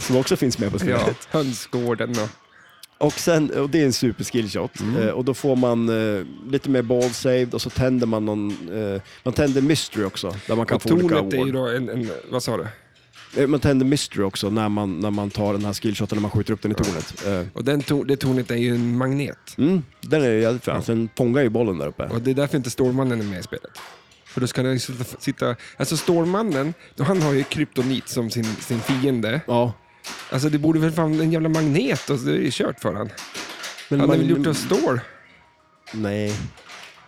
Speaker 2: Som också finns med på spelet.
Speaker 1: Ja, hönsgården och...
Speaker 2: Och, sen, och det är en superskillshot.
Speaker 1: Mm.
Speaker 2: Eh, och då får man eh, lite mer ball saved och så tänder man någon, eh, man tänder mystery också. Där man kan
Speaker 1: och
Speaker 2: få olika
Speaker 1: tornet är ju
Speaker 2: award.
Speaker 1: då en, en... Vad sa du?
Speaker 2: Eh, Man tänder mystery också när man, när man tar den här skillshoten, när man skjuter upp den i tornet. Eh,
Speaker 1: Och den to, det tornet är ju en magnet.
Speaker 2: mm, den är ju jävligt fin. Den fångar ju bollen där uppe.
Speaker 1: Och det är därför inte Stålmannen är med i spelet. För då ska den ju sitta- sitta... Alltså Stålmannen, då han har ju kryptonit som sin, sin fiende.
Speaker 2: Ja.
Speaker 1: Alltså det borde väl fan en jävla magnet och det är ju kört för han. Han
Speaker 2: Men
Speaker 1: har
Speaker 2: man-
Speaker 1: väl gjort av stål?
Speaker 2: Nej.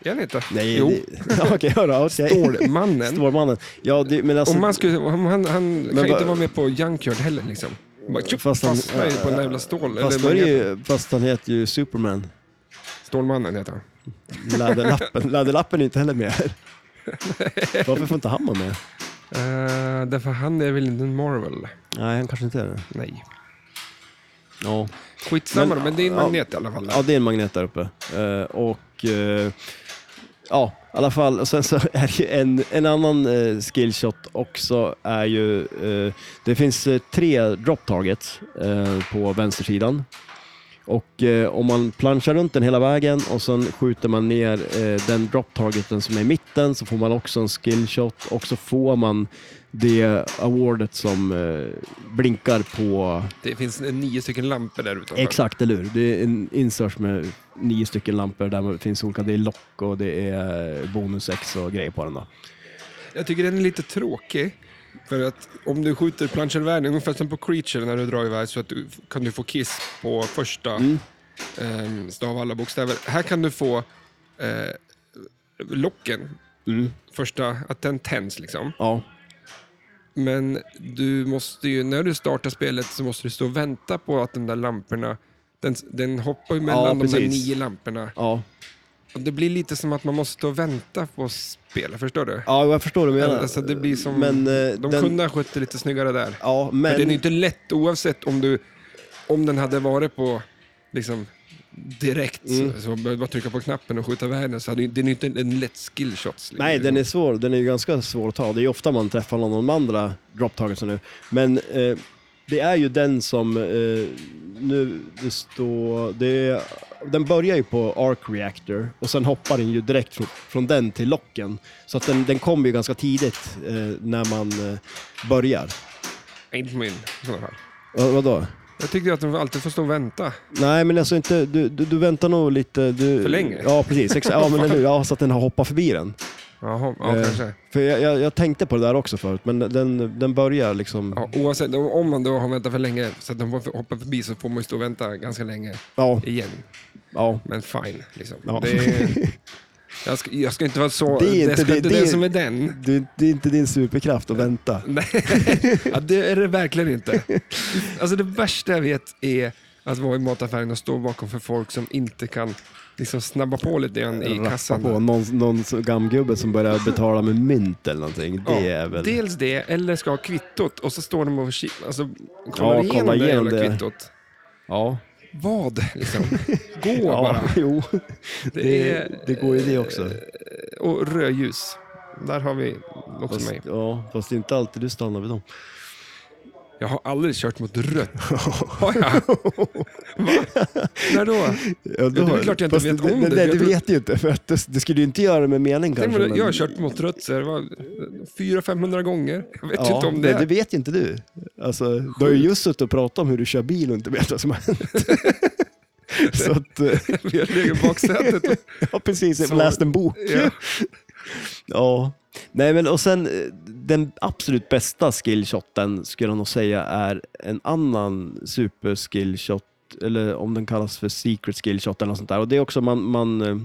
Speaker 1: Är han inte?
Speaker 2: Nej.
Speaker 1: Jo.
Speaker 2: det- Ja, Okej, okay, okay.
Speaker 1: Stålmannen.
Speaker 2: Stålmannen. Ja, det, men alltså...
Speaker 1: Om man skulle, om han han kan ju
Speaker 2: vad-
Speaker 1: inte vara med på Junkyard heller. Liksom. Bara, tjup,
Speaker 2: Fast han-
Speaker 1: fastnar ju på en jävla stål.
Speaker 2: Fast, då är
Speaker 1: eller
Speaker 2: det
Speaker 1: magneten.
Speaker 2: ju, fast han heter ju Superman.
Speaker 1: Stålmannen heter han.
Speaker 2: Läderlappen, Läderlappen är inte heller med här. Varför får inte han vara med?
Speaker 1: Eh, därför han är väl inte en Marvel?
Speaker 2: Nej, han kanske inte är det.
Speaker 1: Nej.
Speaker 2: Ja.
Speaker 1: Skitsamma
Speaker 2: Men-
Speaker 1: men, men det är en
Speaker 2: ja.
Speaker 1: magnet i alla fall.
Speaker 2: Ja, det är en magnet där uppe. Eh, och eh, ja, i alla fall. Och sen så är det ju en, en annan eh, skillshot också är ju, eh, det finns eh, tre drop targets eh, på vänstersidan. Och eh, om man planchar runt den hela vägen och sen skjuter man ner eh, den drop targeten som är i mitten så får man också en skillshot och så får man det awardet som eh, blinkar på
Speaker 1: Det finns eh, nio stycken lampor där utanför.
Speaker 2: Exakt, eller hur? Det är en insats med nio stycken lampor där det finns olika, det är lock och det är bonus X och grejer på den då.
Speaker 1: Jag tycker den är lite tråkig. För att om du skjuter planschervärden, ungefär som på Creature när du drar iväg så att du, kan du få kiss på första
Speaker 2: Mm.
Speaker 1: ehm, stav alla bokstäver. Här kan du få eh, locken, första, att den tänds liksom.
Speaker 2: Ja,
Speaker 1: Men du måste ju, när du startar spelet så måste du stå och vänta på att de där lamporna, den, den hoppar ju mellan de där
Speaker 2: precis.
Speaker 1: nio lamporna.
Speaker 2: ja.
Speaker 1: Och det blir lite som att man måste stå och vänta på spelet, förstår du?
Speaker 2: ja jag förstår vad du menar.
Speaker 1: Alltså det blir som,
Speaker 2: men, eh,
Speaker 1: de
Speaker 2: den,
Speaker 1: kunde ha skött det lite snyggare där.
Speaker 2: Ja, men,
Speaker 1: Men det är ju inte lätt oavsett om du, om den hade varit på, liksom direkt,
Speaker 2: Mm.
Speaker 1: så, så behövde man trycka på knappen och skjuta världen så hade ju- det är ju inte en, en lätt liksom. skillshot.
Speaker 2: Nej, den är svår. Den är ju ganska svår att ta. Det är ju ofta man träffar någon av de andra dropptagelserna nu. Men eh, det är ju den som eh, nu, det står, det är, den börjar ju på Arc Reactor och sen hoppar den ju direkt från, från den till locken. Så att den, den kommer ju ganska tidigt eh, när man eh, börjar.
Speaker 1: Inte på min i sådana fall.
Speaker 2: Vad, vadå?
Speaker 1: Jag tyckte att de alltid får stå och vänta.
Speaker 2: Nej, men alltså inte, du, du, du väntar nog lite... Du,
Speaker 1: För länge?
Speaker 2: Ja, precis. Exa, ja, men eller hur? Ja, så att den har hoppat förbi den.
Speaker 1: Jaha, ja,
Speaker 2: Eh,
Speaker 1: kanske.
Speaker 2: För jag, jag, jag tänkte på det där också förut, men den, den börjar liksom...
Speaker 1: Ja, oavsett, om om man då har väntat för länge så att de hoppar förbi så får man ju stå och vänta ganska länge
Speaker 2: Ja,
Speaker 1: igen.
Speaker 2: ja.
Speaker 1: Men fine, liksom.
Speaker 2: Ja.
Speaker 1: Det är, Jag ska, jag ska inte vara så...
Speaker 2: Det är inte-
Speaker 1: jag ska
Speaker 2: det-
Speaker 1: inte
Speaker 2: det-
Speaker 1: den som är den.
Speaker 2: Det, det är inte din superkraft att vänta.
Speaker 1: Nej, ja, det är det verkligen inte. Alltså det värsta jag vet är att vara i mataffären och stå bakom för folk som inte kan liksom snabba på lite grann i
Speaker 2: Rappa
Speaker 1: kassan.
Speaker 2: på någon, någon så gamgubbe som börjar betala med mynt eller någonting.
Speaker 1: Ja,
Speaker 2: Det är väl...
Speaker 1: Dels det, eller ska ha kvittot och så står de och ki- alltså, kollar
Speaker 2: Ja,
Speaker 1: igenom
Speaker 2: kolla
Speaker 1: det
Speaker 2: igenom
Speaker 1: jävla
Speaker 2: det.
Speaker 1: kvittot.
Speaker 2: Ja.
Speaker 1: Vad? Liksom. Gå
Speaker 2: ja
Speaker 1: bara.
Speaker 2: jo.
Speaker 1: Det
Speaker 2: Det,
Speaker 1: är- eh,
Speaker 2: det går ju det också.
Speaker 1: Och rödljus. Där har vi också
Speaker 2: Fast,
Speaker 1: mig.
Speaker 2: ja, fast det är inte alltid du stannar vid dem.
Speaker 1: Jag har aldrig kört mot rött. Har jag? Va? När då?
Speaker 2: Ja,
Speaker 1: det är väl klart jag inte
Speaker 2: fast
Speaker 1: vet om det,
Speaker 2: Nej,
Speaker 1: jag
Speaker 2: du
Speaker 1: tror-
Speaker 2: vet ju inte. För att det, det skulle ju inte göra det med mening
Speaker 1: Tänk
Speaker 2: kanske.
Speaker 1: om
Speaker 2: men-
Speaker 1: jag har kört mot rött så det var 400-500 gånger. Jag vet
Speaker 2: Ja,
Speaker 1: inte om det.
Speaker 2: nej,
Speaker 1: är.
Speaker 2: det vet ju inte du. Alltså, du har ju just suttit och pratat om hur du kör bil och inte vet vad som har hänt. Så att, eh,
Speaker 1: Vi har legat i baksätet. och-
Speaker 2: ja precis, jag
Speaker 1: Så-
Speaker 2: har läst en bok.
Speaker 1: Ja.
Speaker 2: Ja. Nej, men och sen eh, den absolut bästa skillshoten skulle jag nog säga är en annan superskillshot, eller om den kallas för secret skillshot eller något sånt där. Och det är också man, man eh,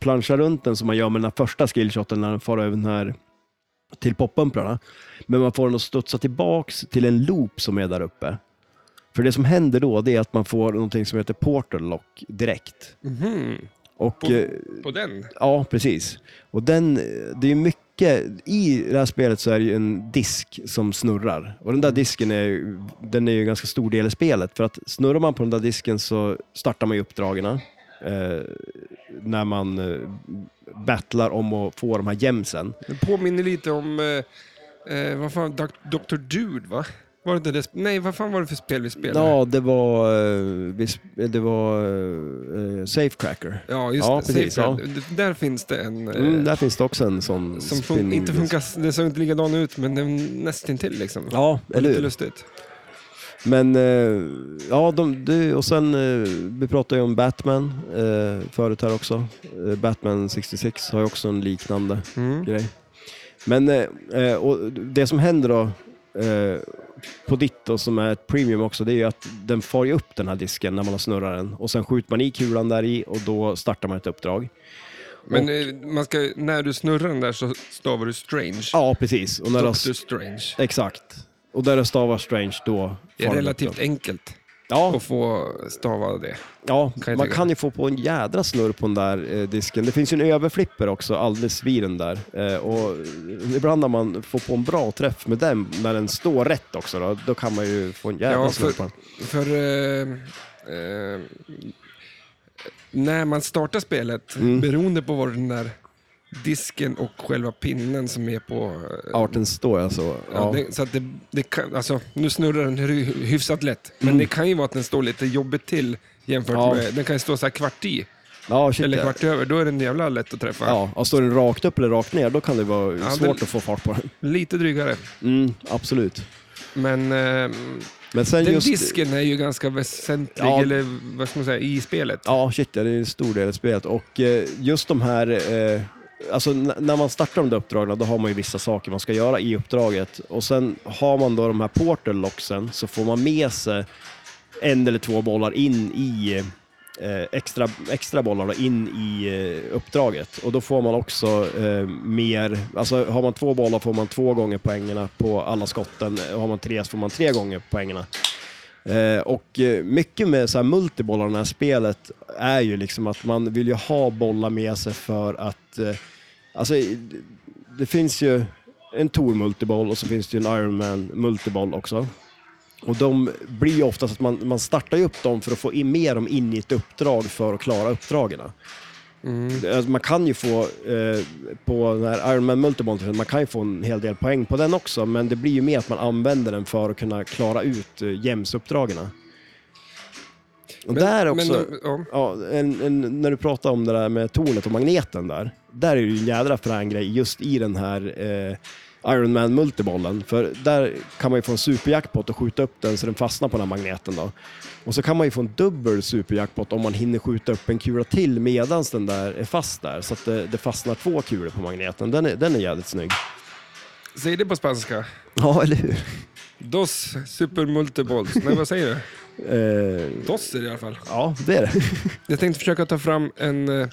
Speaker 2: planschar runt den som man gör med den här första skillshoten när den far över den här till poppumprarna. Men man får den att studsa tillbaks till en loop som är där uppe. För det som händer då, det är att man får någonting som heter portal lock direkt.
Speaker 1: Mhm.
Speaker 2: Och,
Speaker 1: På-
Speaker 2: eh,
Speaker 1: På den?
Speaker 2: Ja, precis. Och den, det är ju mycket, i det här spelet så är det ju en disk som snurrar. Och den där disken är, ju- den är ju en ganska stor del i spelet. För att snurrar man på den där disken så startar man ju uppdragen. Eh, när man eh, battlar om att få de här gemsen.
Speaker 1: Det påminner lite om, eh, eh, vad fan, Doc- Dr. Dude va? Var det inte det? sp- Nej, vad fan var det för spel vi spelade?
Speaker 2: Ja, det var, eh, vi sp- det var eh, Safecracker.
Speaker 1: Ja, just
Speaker 2: Ja,
Speaker 1: det.
Speaker 2: precis,
Speaker 1: Safe Red. D- Där finns det en eh,
Speaker 2: Mm, där finns det också en sån
Speaker 1: som fun-
Speaker 2: spinning
Speaker 1: inte
Speaker 2: disk.
Speaker 1: funkar, det såg inte likadan ut, men den nästintill liksom.
Speaker 2: Ja, eller
Speaker 1: Lite
Speaker 2: hur?
Speaker 1: lustigt.
Speaker 2: Men eh, ja, de, det- och sen eh, vi pratade ju om Batman eh, förut här också. Eh, Batman 66 har ju också en liknande
Speaker 1: Mm.
Speaker 2: grej. Men eh, eh, och det som händer då eh, på ditt då, som är ett premium också, det är ju att den far ju upp den här disken när man har snurrat den och sen skjuter man i kulan där i och då startar man ett uppdrag.
Speaker 1: Men eh, man ska, när du snurrar den där så stavar du strange.
Speaker 2: Ja, precis. Och när det har-
Speaker 1: Dr. Strange.
Speaker 2: exakt. Och där det stavar strange då... far
Speaker 1: Det är
Speaker 2: den
Speaker 1: relativt
Speaker 2: upp då.
Speaker 1: enkelt
Speaker 2: Ja,
Speaker 1: att få stava det.
Speaker 2: Ja,
Speaker 1: Kan jag
Speaker 2: man
Speaker 1: tycka.
Speaker 2: kan ju få på en jädra snurr på den där eh, disken. Det finns ju en överflipper också alldeles vid den där. Eh, och ibland när man får på en bra träff med den, när den står rätt också, då, då kan man ju få en jädra
Speaker 1: Ja,
Speaker 2: snurr
Speaker 1: för,
Speaker 2: på den.
Speaker 1: för eh, eh, när man startar spelet,
Speaker 2: Mm.
Speaker 1: beroende på var den där disken och själva pinnen som är på... eh,
Speaker 2: Arten står jag så.
Speaker 1: Ja,
Speaker 2: Ja,
Speaker 1: det, så att det, det kan, alltså, nu snurrar den hy- hyfsat lätt, men det kan ju vara att den står lite jobbigt till jämfört
Speaker 2: Mm. Ja.
Speaker 1: med... Den kan ju stå så här kvart i,
Speaker 2: ja shit
Speaker 1: eller
Speaker 2: ja.
Speaker 1: kvart över. Då är den jävla lätt att träffa.
Speaker 2: Ja, och står den rakt upp eller rakt ner, då kan det vara
Speaker 1: Ja,
Speaker 2: svårt
Speaker 1: den-
Speaker 2: att få fart på den.
Speaker 1: Lite drygare.
Speaker 2: Mm, absolut.
Speaker 1: Men eh,
Speaker 2: Men sen
Speaker 1: den
Speaker 2: just...
Speaker 1: disken är ju ganska väsentlig,
Speaker 2: Ja.
Speaker 1: eller vad ska man säga, i spelet.
Speaker 2: Ja, shit, ja, det är en stor del av spelet. Och eh, just de här, eh, alltså n- när man startar de där uppdragen, då har man ju vissa saker man ska göra i uppdraget. Och sen har man då de här portal locksen, så får man med sig en eller två bollar in i eh, extra, extra bollar då, in i eh, uppdraget. Och då får man också eh, mer, alltså har man två bollar får man två gånger poängerna på alla skotten. Och har man tre så får man tre gånger poängerna. Eh, och eh, mycket med så här multibollar i det här spelet är ju liksom att man vill ju ha bollar med sig för att, eh, alltså i- det finns ju en Tor multiboll och så finns det ju en Iron Man multiboll också. Och de blir ju oftast att man, man startar ju upp dem för att få in med dem in i ett uppdrag för att klara uppdragen.
Speaker 1: Mm.
Speaker 2: Det- Alltså man kan ju få, eh, på den här Iron Man Multibolt, man kan ju få en hel del poäng på den också, men det blir ju mer att man använder den för att kunna klara ut eh, jämsuppdragen. Och där också,
Speaker 1: de- ja.
Speaker 2: ja, en, en, när du pratar om det där med tornet och magneten där, där är det ju en jädra frän grej just i den här eh, Iron Man multibollen, för där kan man ju få en superjackpot och skjuta upp den så den fastnar på den här magneten då. Och så kan man ju få en dubbel superjackpot om man hinner skjuta upp en kula till medans den där är fast där, så att det, det fastnar två kulor på magneten. Den är, den är jävligt snygg.
Speaker 1: Säg det på spanska.
Speaker 2: Ja, eller hur?
Speaker 1: Dos supermultibols. Nej, vad säger du?
Speaker 2: Eh,
Speaker 1: Tosser i alla fall.
Speaker 2: ja, det är det.
Speaker 1: Jag tänkte försöka ta fram en... eh,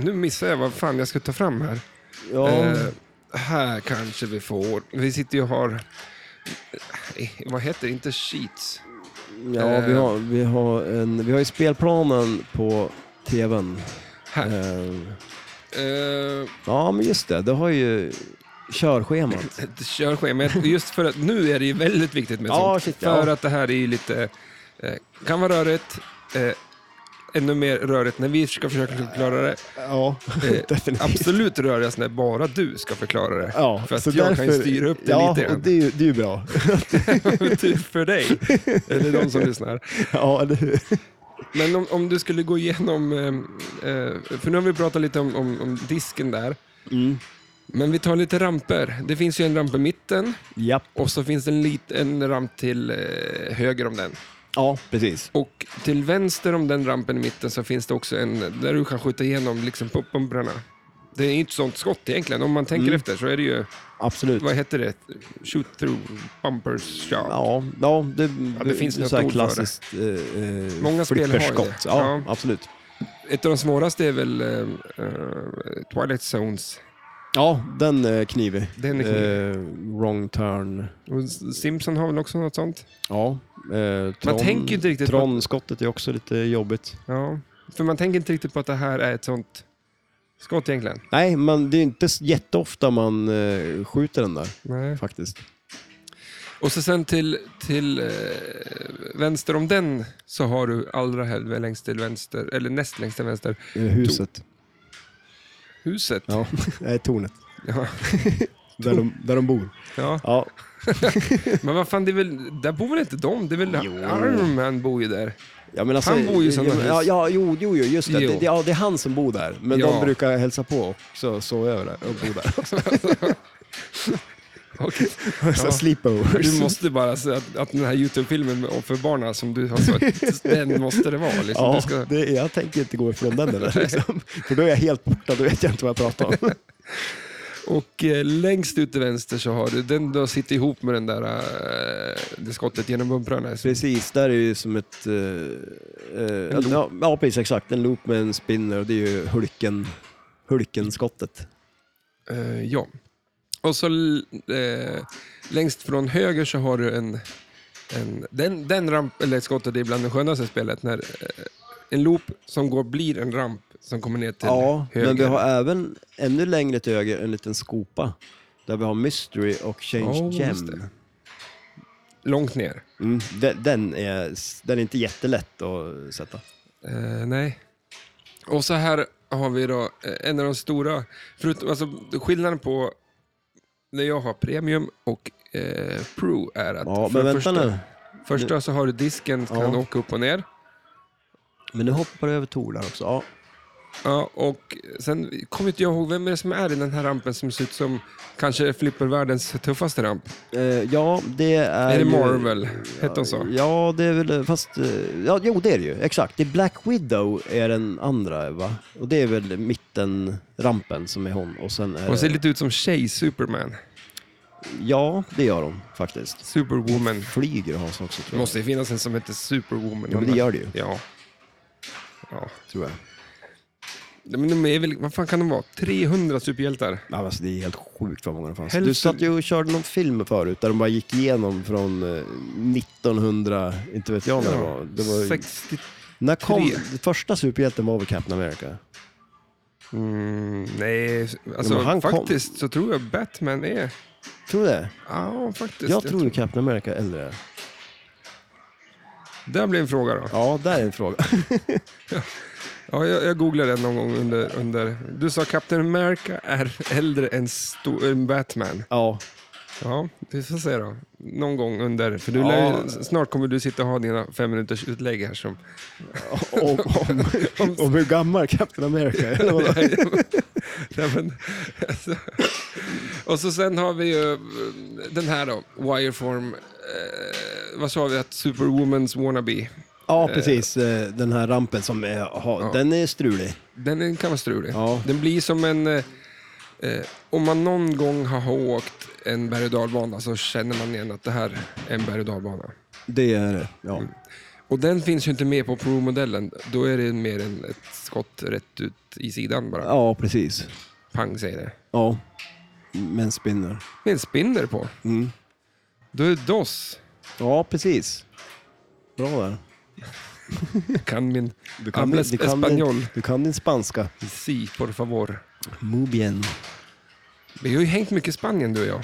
Speaker 1: Nu missar jag vad fan jag ska ta fram här.
Speaker 2: Ja,
Speaker 1: Eh, här kanske vi får... Vi sitter ju och har... eh, Vad heter det? Inte sheets.
Speaker 2: ja vi, har, vi, har en, vi har ju spelplanen på tvn.
Speaker 1: Här.
Speaker 2: Eh,
Speaker 1: Eh,
Speaker 2: ja, men just det. Det har ju körschemat.
Speaker 1: ett körschema. Just för att nu är det ju väldigt viktigt med
Speaker 2: Ja,
Speaker 1: sånt.
Speaker 2: shit, ja.
Speaker 1: för att det här är ju lite... Eh, kan vara rörigt. Eh, ännu mer rörigt när vi ska försöka förklara det.
Speaker 2: Ja,
Speaker 1: Eh,
Speaker 2: definitivt.
Speaker 1: Absolut rörigast när bara du ska förklara det.
Speaker 2: Ja,
Speaker 1: för att
Speaker 2: så
Speaker 1: jag kan ju
Speaker 2: därför-
Speaker 1: styra upp det
Speaker 2: ja,
Speaker 1: lite
Speaker 2: och
Speaker 1: grann.
Speaker 2: det är ju, det är ju bra.
Speaker 1: Tur Typ för dig. Eller de som lyssnar.
Speaker 2: ja, eller hur?
Speaker 1: Men om, om du skulle gå igenom, eh, eh, för nu har vi pratat lite om, om, om disken där. Mm. Men vi tar lite ramper. Det finns ju en ramp i mitten
Speaker 2: Japp.
Speaker 1: och så finns det en, lit, en ramp till eh, höger om den.
Speaker 2: Ja, precis.
Speaker 1: Och till vänster om den rampen i mitten så finns det också en där du kan skjuta igenom liksom pumpumbrarna. Det är ju inte sånt skott egentligen. Om man tänker efter så är det ju,
Speaker 2: Absolut.
Speaker 1: vad heter det? Shoot through bumpers shot.
Speaker 2: Ja, ja, det,
Speaker 1: det finns
Speaker 2: det är
Speaker 1: något
Speaker 2: så här
Speaker 1: ord för det.
Speaker 2: klassiskt eh, eh,
Speaker 1: Många spel har ju det.
Speaker 2: flipperskott. Ja,
Speaker 1: Ja.
Speaker 2: absolut.
Speaker 1: Ett av de svåraste är väl eh, eh, Twilight Zones.
Speaker 2: Ja, den är knivig.
Speaker 1: Den är knivig.
Speaker 2: Eh, wrong turn.
Speaker 1: Och S- Simpson har väl också något sånt?
Speaker 2: Ja. Eh, Tron,
Speaker 1: tänker ju inte riktigt på-
Speaker 2: Tron-skottet är också lite jobbigt.
Speaker 1: Ja. För man tänker inte riktigt på att det här är ett sånt skott egentligen.
Speaker 2: Nej, men det är inte s- jätteofta man eh, skjuter den där
Speaker 1: Nej.
Speaker 2: faktiskt.
Speaker 1: Och så sen till, till eh, vänster om den så har du allra helvete längst till vänster, eller näst längst till vänster,
Speaker 2: Eh, Huset.
Speaker 1: huset.
Speaker 2: Ja, nej, tornet.
Speaker 1: Ja.
Speaker 2: Där de, där de bor.
Speaker 1: Ja.
Speaker 2: Ja,
Speaker 1: Men vad fan, det är väl, där bor väl inte de? Det är väl
Speaker 2: Jo.
Speaker 1: Iron Man bor ju där.
Speaker 2: Ja, men alltså,
Speaker 1: Han bor ju i sådana
Speaker 2: ja,
Speaker 1: hus.
Speaker 2: ja, jo, jo, jo, just det.
Speaker 1: Jo.
Speaker 2: Det, det. Ja, det är han som bor där. Men
Speaker 1: Ja.
Speaker 2: de brukar hälsa på också, sova över där och bo där.
Speaker 1: Okej.
Speaker 2: Så
Speaker 1: Ja.
Speaker 2: sleepovers.
Speaker 1: Du måste bara säga att, att den här YouTube-filmen för barnen som du har sett, den måste det vara. Liksom.
Speaker 2: Ja,
Speaker 1: Du ska,
Speaker 2: det, jag tänker inte gå ifrån den eller, liksom. För då är jag helt borta, då vet jag inte vad jag pratar om.
Speaker 1: Och eh, längst ut till vänster så har du den du har sitter ihop med den där, eh, det skottet genom bumprarna. Så-
Speaker 2: Precis, där är ju som ett... eh, ja, ja, precis, exakt. En loop med en spinner och det är ju hulken, hulkenskottet.
Speaker 1: Eh, ja. Och så eh, längst från höger så har du en, en den, den ramp, eller skottet är bland det skönaste i spelet. När, eh, en loop som går blir en ramp som kommer ner till
Speaker 2: Ja,
Speaker 1: höger.
Speaker 2: men vi har även ännu längre till höger en liten skopa där vi har Mystery och Change
Speaker 1: Ja, Oh, just
Speaker 2: Gem.
Speaker 1: det. Långt ner.
Speaker 2: Mm, den, den, är, den är inte jättelätt att sätta.
Speaker 1: Eh, nej. Och så här har vi då eh, en av de stora, förutom, alltså, skillnaden på när jag har premium och eh, pro är att
Speaker 2: Ja,
Speaker 1: för
Speaker 2: men
Speaker 1: det
Speaker 2: vänta
Speaker 1: första,
Speaker 2: nu.
Speaker 1: första så har du disken, kan
Speaker 2: Ja.
Speaker 1: åka upp och ner.
Speaker 2: Men nu hoppar du över Tor där också. Ja,
Speaker 1: Ja, och sen kommer inte jag ihåg, vem är det som är i den här rampen som ser ut som kanske flippervärldens tuffaste ramp?
Speaker 2: Eh, ja det är
Speaker 1: är det
Speaker 2: ju-
Speaker 1: Marvel? Hette de så?
Speaker 2: Ja, det är väl, fast, eh, ja, jo det är det ju, exakt. Det är Black Widow är den andra va? Och det är väl mittenrampen som är hon och sen är
Speaker 1: Hon ser
Speaker 2: det,
Speaker 1: lite ut som tjej-Superman.
Speaker 2: ja det gör hon faktiskt.
Speaker 1: Superwoman.
Speaker 2: Flyger har hon också
Speaker 1: Det
Speaker 2: tror jag.
Speaker 1: måste ju finnas en som heter Superwoman.
Speaker 2: Ja, men det gör det ju,
Speaker 1: Ja. ja.
Speaker 2: tror jag.
Speaker 1: Men de är väl, vad fan kan de vara? 300 superhjältar?
Speaker 2: Ja, alltså, det är helt sjukt vad många det fanns.
Speaker 1: Hälften-
Speaker 2: Du satt ju och körde någon film förut där de bara gick igenom från eh, 1900, inte vet jag när det var. Det var ju-
Speaker 1: 60...
Speaker 2: när kom,
Speaker 1: tre.
Speaker 2: det första superhjälten var väl Captain America?
Speaker 1: Mm, nej, alltså
Speaker 2: men han kom-
Speaker 1: faktiskt så tror jag Batman är...
Speaker 2: Tror du det?
Speaker 1: Ja, faktiskt.
Speaker 2: Jag tror Captain America är äldre.
Speaker 1: Där blir en fråga då.
Speaker 2: Ja, där är en fråga.
Speaker 1: Ja, jag, jag googlade den någon gång under, under... Du sa Captain America är äldre än sto- än Batman.
Speaker 2: Ja,
Speaker 1: Ja, vi får se då. Någon gång under... För du lär, ju- snart kommer du sitta och ha dina fem minuters utlägg här som...
Speaker 2: om, om, om hur gammal Captain America är. eller vadå?
Speaker 1: Nej, men, alltså. Och så sen har vi ju eh, den här då, Wireform. Eh, vad sa vi att Superwoman's wannabe?
Speaker 2: Ja, precis. eh, Den här rampen som är, ha, den är strulig.
Speaker 1: Den är- kan vara strulig.
Speaker 2: Ja.
Speaker 1: Den blir som en... Eh, eh, om man någon gång har åkt en berg och dalbana så känner man igen att det här är en berg och dalbana.
Speaker 2: Det är det, ja.
Speaker 1: Och den finns ju inte med på Pro-modellen. Då är det mer än ett skott rätt ut i sidan bara.
Speaker 2: Ja, precis.
Speaker 1: Pang säger det.
Speaker 2: Ja. Men spinner.
Speaker 1: Med en spinner på.
Speaker 2: Mm.
Speaker 1: Då är det DOS.
Speaker 2: Ja, precis. Bra där.
Speaker 1: Jag Kan min
Speaker 2: Du
Speaker 1: Hablas
Speaker 2: din- du kan
Speaker 1: espanjol.
Speaker 2: din, du kan din spanska.
Speaker 1: Si, por favor.
Speaker 2: Muy bien.
Speaker 1: Vi har ju hängt mycket i Spanien du och jag.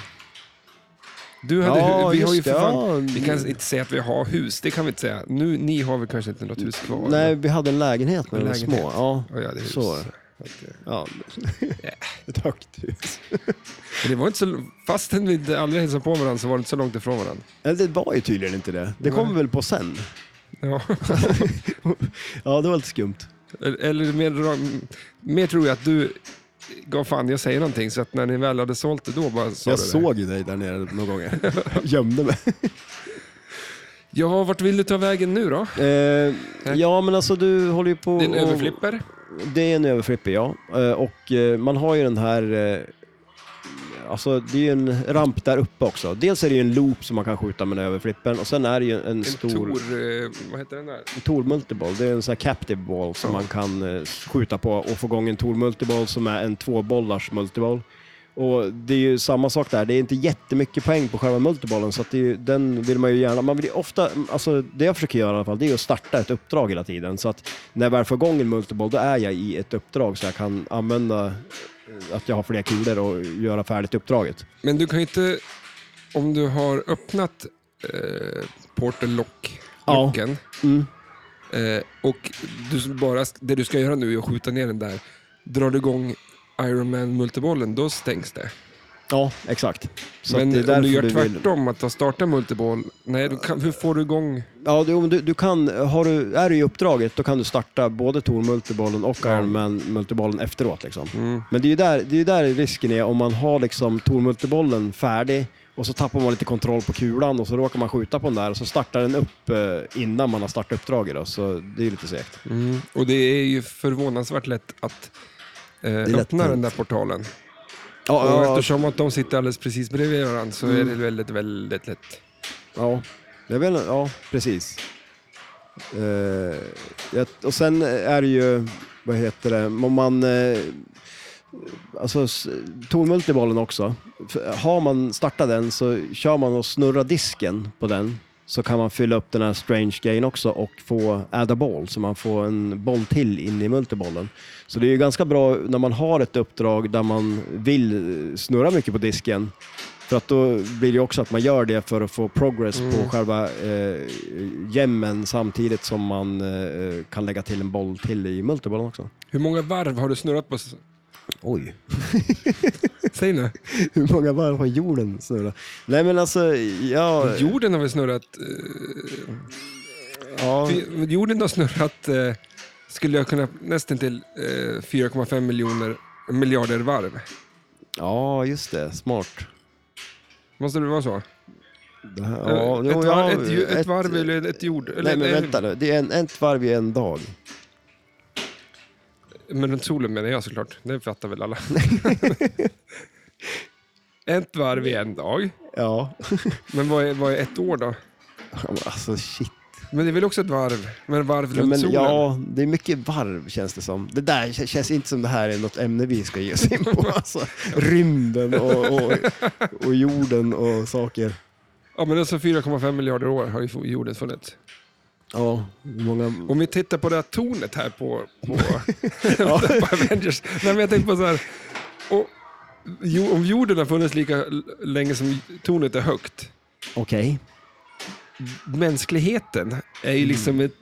Speaker 1: Du hade
Speaker 2: Ja,
Speaker 1: hu- vi har ju
Speaker 2: just
Speaker 1: för
Speaker 2: det,
Speaker 1: fan,
Speaker 2: ja.
Speaker 1: Vi kan inte säga att vi har hus, det kan vi inte säga. Nu, ni har väl kanske inte något hus kvar?
Speaker 2: Nej, vi hade en lägenhet när vi var
Speaker 1: Lägenhet.
Speaker 2: små. Ja.
Speaker 1: Och jag hade hus.
Speaker 2: Så.
Speaker 1: Att, eh,
Speaker 2: ja. Ett högt hus.
Speaker 1: men Det var inte så, fastän vi inte aldrig hälsade på varandra så var det inte så långt ifrån varandra.
Speaker 2: Eller det var ju tydligen inte det. Det
Speaker 1: Nej.
Speaker 2: kom väl på sen.
Speaker 1: Ja.
Speaker 2: Ja, det var lite skumt.
Speaker 1: Eller- Eller mer, mer tror jag att du gav fan jag säger någonting så att när ni väl hade sålt det då bara sa
Speaker 2: jag
Speaker 1: du det.
Speaker 2: såg ju dig där nere någon gång. Gömde mig.
Speaker 1: Ja, vart vill du ta vägen nu då?
Speaker 2: Eh, ja, men alltså du håller ju på...
Speaker 1: Din
Speaker 2: och-
Speaker 1: överflipper?
Speaker 2: Det är en överflipper, ja. Eh, Och eh, man har ju den här... eh, Alltså det är ju en ramp där uppe också. Dels är det ju en loop som man kan skjuta med den överflippen och sen är det ju en,
Speaker 1: En
Speaker 2: stor...
Speaker 1: Tor, eh, vad heter den där?
Speaker 2: En Tor Multiball, det är en sån här captive ball som
Speaker 1: Ja.
Speaker 2: man kan eh, skjuta på och få igång en Tor Multiball som är en tvåbollars multiball. Och det är ju samma sak där, det är inte jättemycket poäng på själva multibollen så att det är ju, den vill man ju gärna, man vill ju ofta, alltså det jag försöker göra i alla fall, det är ju att starta ett uppdrag hela tiden så att när jag väl får igång en multiboll då är jag i ett uppdrag så jag kan använda eh, att jag har fler kulor och göra färdigt uppdraget.
Speaker 1: Men du kan ju inte, om du har öppnat eh, Portal Lock,
Speaker 2: Ja.
Speaker 1: locken,
Speaker 2: Mm.
Speaker 1: eh, och du bara, det du ska göra nu är att skjuta ner den där. Drar du igång Iron Man multibollen, då stängs det.
Speaker 2: Ja, exakt. Så
Speaker 1: Men
Speaker 2: att det är
Speaker 1: om du
Speaker 2: därför
Speaker 1: gör
Speaker 2: vill-
Speaker 1: tvärtom, att att starta multiboll, nej, då kan, hur får du igång?
Speaker 2: Ja, du, du, du kan, har du, är du i uppdraget då kan du starta både Tor Multibollen och
Speaker 1: Ja.
Speaker 2: Iron Man Multibollen efteråt. Liksom.
Speaker 1: Mm.
Speaker 2: Men det är ju där, det är ju där risken är om man har liksom Tor Multibollen färdig och så tappar man lite kontroll på kulan och så råkar man skjuta på den där och så startar den upp eh, innan man har startat uppdraget. Då, så det är ju lite segt.
Speaker 1: Mm. Och det är ju förvånansvärt lätt att eh,
Speaker 2: lätt
Speaker 1: öppna
Speaker 2: hänt.
Speaker 1: den där portalen.
Speaker 2: Ja, Mm.
Speaker 1: Och
Speaker 2: ja,
Speaker 1: eftersom att de sitter alldeles precis bredvid varandra så är det väldigt, väldigt lätt.
Speaker 2: ja. Jag vet inte, ja precis. Eh, jag, och sen är det ju, vad heter det, om man... Eh, alltså s- tornmultibollen också. F- Har man startat den så kör man och snurrar disken på den så kan man fylla upp den här strange gain också och få adda ball så man får en boll till in i multibollen. Så det är ju ganska bra när man har ett uppdrag där man vill eh, snurra mycket på disken för att då blir det ju också att man gör det för att få progress
Speaker 1: Mm.
Speaker 2: på själva eh, jämmen samtidigt som man eh, kan lägga till en boll till i multibollen också.
Speaker 1: Hur många varv har du snurrat på? s-
Speaker 2: Oj.
Speaker 1: Säg nu.
Speaker 2: Hur många varv har jorden snurrat? Nej men alltså, jag...
Speaker 1: Jorden har väl snurrat... Eh,
Speaker 2: Ja,
Speaker 1: fy- jorden har snurrat, eh, skulle jag kunna, nästan till eh, 4,5 miljoner miljarder varv.
Speaker 2: ja just det. Smart.
Speaker 1: Måste det vara så?
Speaker 2: Det här, ja,
Speaker 1: Eh,
Speaker 2: jo,
Speaker 1: ett,
Speaker 2: ja,
Speaker 1: varv, ett, ju- ett varv
Speaker 2: Nej
Speaker 1: eller ett jord... Eller,
Speaker 2: men vänta nu, det är en, ett varv i en dag.
Speaker 1: eh, Men runt solen menar jag såklart. Det fattar väl alla. ett varv i en dag.
Speaker 2: Ja.
Speaker 1: Men vad är, vad är ett år då?
Speaker 2: Ja, men alltså shit.
Speaker 1: Men det är väl också ett varv? Men varv runt
Speaker 2: Ja, men,
Speaker 1: solen?
Speaker 2: ja, det är mycket varv känns det som. Det där k- känns inte som det här är något ämne vi ska ge oss in på. Alltså, rymden och, och, och jorden och saker.
Speaker 1: ja men alltså 4,5 miljarder år har ju jorden funnits.
Speaker 2: Ja, hur många...
Speaker 1: Om vi tittar på det här tornet här på, på, på Avengers. Nej, men jag tänkte på så här. Och, jo, om jorden har funnits lika l- länge som tornet är högt.
Speaker 2: Okej,
Speaker 1: Mänskligheten är ju liksom ett,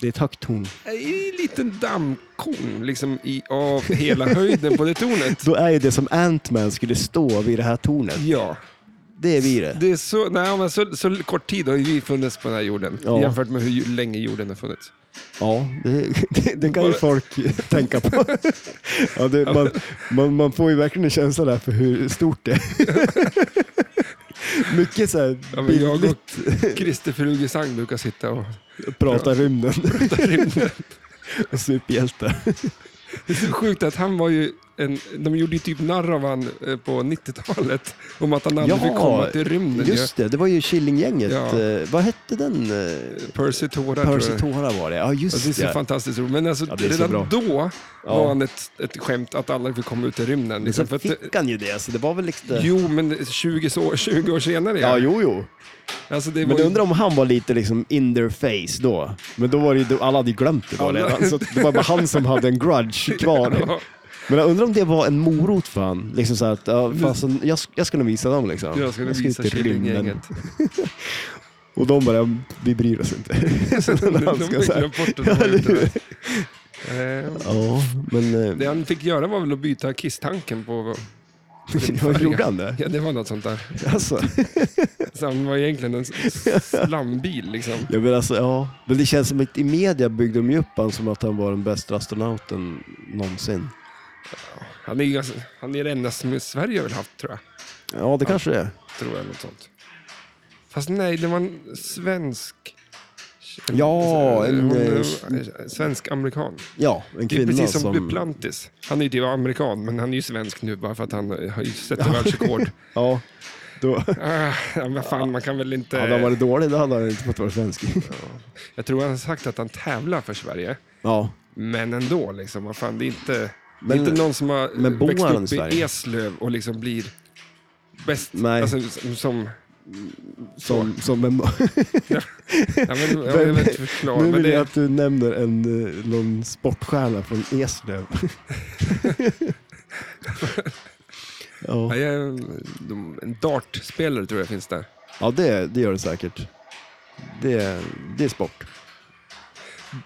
Speaker 2: det är ett högt torn.
Speaker 1: är ju en liten dammkorn liksom i, av hela höjden på det tornet.
Speaker 2: Då är ju det som Ant-Man skulle stå vid det här tornet.
Speaker 1: Ja,
Speaker 2: Det är vi det.
Speaker 1: det är så, nej, men så, så kort tid har ju vi funnits på den här jorden
Speaker 2: Ja.
Speaker 1: jämfört med hur ju- länge jorden har funnits.
Speaker 2: Ja, det, det, det kan ju folk tänka på. Ja, det, man, man, man får ju verkligen en känsla där för hur stort det är. Mycket så
Speaker 1: Ja,
Speaker 2: här
Speaker 1: men jag
Speaker 2: bildligt
Speaker 1: och Christer Rugesang brukar sitta och
Speaker 2: prata i rymden
Speaker 1: prata rymden.
Speaker 2: och superhjältar.
Speaker 1: Det är så sjukt att han var ju en, de gjorde ju typ narr av han eh, på 90-talet. Om att han aldrig fick komma till rymden. ju.
Speaker 2: just det. Det var ju Killinggänget.
Speaker 1: Ja.
Speaker 2: Eh, Vad hette den? eh,
Speaker 1: Percy Tora tror
Speaker 2: Percy
Speaker 1: jag.
Speaker 2: Tora var det. Ja,
Speaker 1: Ja,
Speaker 2: just
Speaker 1: Det är så
Speaker 2: det.
Speaker 1: fantastiskt roligt. Men alltså,
Speaker 2: Ja, det är så
Speaker 1: redan
Speaker 2: bra.
Speaker 1: då var
Speaker 2: Ja.
Speaker 1: han ett, ett skämt att alla fick komma ut i rymden.
Speaker 2: Men
Speaker 1: Liksom,
Speaker 2: sen
Speaker 1: för att,
Speaker 2: fick han ju det, så det var väl lite...
Speaker 1: jo, men 20, så, 20 år senare.
Speaker 2: Ja, jo, jo.
Speaker 1: Alltså, det
Speaker 2: Men
Speaker 1: var
Speaker 2: jag
Speaker 1: ju-
Speaker 2: undrar om han var lite liksom in their face då. Men då var det ju, då- alla hade ju glömt det då
Speaker 1: Alla-
Speaker 2: redan. Så det var bara han som hade en grudge kvar.
Speaker 1: Ja,
Speaker 2: Men jag undrar om det var en morot för han. Liksom så här att, ja, fasen, jag, sk- jag ska nog visa dem liksom.
Speaker 1: jag skulle
Speaker 2: ut
Speaker 1: visa
Speaker 2: i rymden.
Speaker 1: Killinggänget.
Speaker 2: Och de bara, vi bryr oss inte. Så
Speaker 1: De
Speaker 2: när han
Speaker 1: de
Speaker 2: ska
Speaker 1: glömde
Speaker 2: så här-
Speaker 1: bort
Speaker 2: Ja,
Speaker 1: att de var
Speaker 2: eller hur?
Speaker 1: ute. Eh,
Speaker 2: Ja, men...
Speaker 1: Det
Speaker 2: eh,
Speaker 1: han fick göra var väl att byta kisstanken på...
Speaker 2: Vad gjorde han det?
Speaker 1: Ja, det var något sånt där.
Speaker 2: Alltså,
Speaker 1: Så han var egentligen en s- slambil liksom.
Speaker 2: jag menar alltså, ja. Men det känns som att i media byggde de ju upp han som att han var den bästa astronauten någonsin.
Speaker 1: Han är, ju ganska- han är den enda som Sverige har väl haft tror jag.
Speaker 2: Ja, det kanske det är.
Speaker 1: Tror jag, något sånt. Fast nej, det var en svensk... Alltså,
Speaker 2: Ja, en,
Speaker 1: Hon,
Speaker 2: eh,
Speaker 1: eh, Svensk-amerikan.
Speaker 2: Ja, en
Speaker 1: Det är
Speaker 2: kvinna
Speaker 1: precis som,
Speaker 2: som...
Speaker 1: Duplantis. Han är ju typ amerikan, men han är ju svensk nu bara för att han eh, har ju sett världsrekord.
Speaker 2: Ja, då...
Speaker 1: Ah, ja, men fan, man kan väl inte...
Speaker 2: Hade han varit dålig då hade han inte fått vara svensk.
Speaker 1: Jag tror han har sagt att han tävlar för Sverige.
Speaker 2: Ja,
Speaker 1: Men ändå, liksom, vad fan, det är inte,
Speaker 2: Men-
Speaker 1: det är inte någon som har
Speaker 2: men bor
Speaker 1: växt
Speaker 2: han i
Speaker 1: upp i
Speaker 2: Sverige?
Speaker 1: Eslöv och liksom blir bäst.
Speaker 2: Nej.
Speaker 1: Alltså, som, som,
Speaker 2: som, som en...
Speaker 1: ja, men, jag vill inte förklara,
Speaker 2: nu
Speaker 1: men
Speaker 2: vill
Speaker 1: det,
Speaker 2: jag att du nämner en, eh, någon sportstjärna från Eslöv.
Speaker 1: ja,
Speaker 2: ja,
Speaker 1: jag, är- de, en dartspelare tror jag finns där.
Speaker 2: ja det, det gör det säkert. Det, det är sport.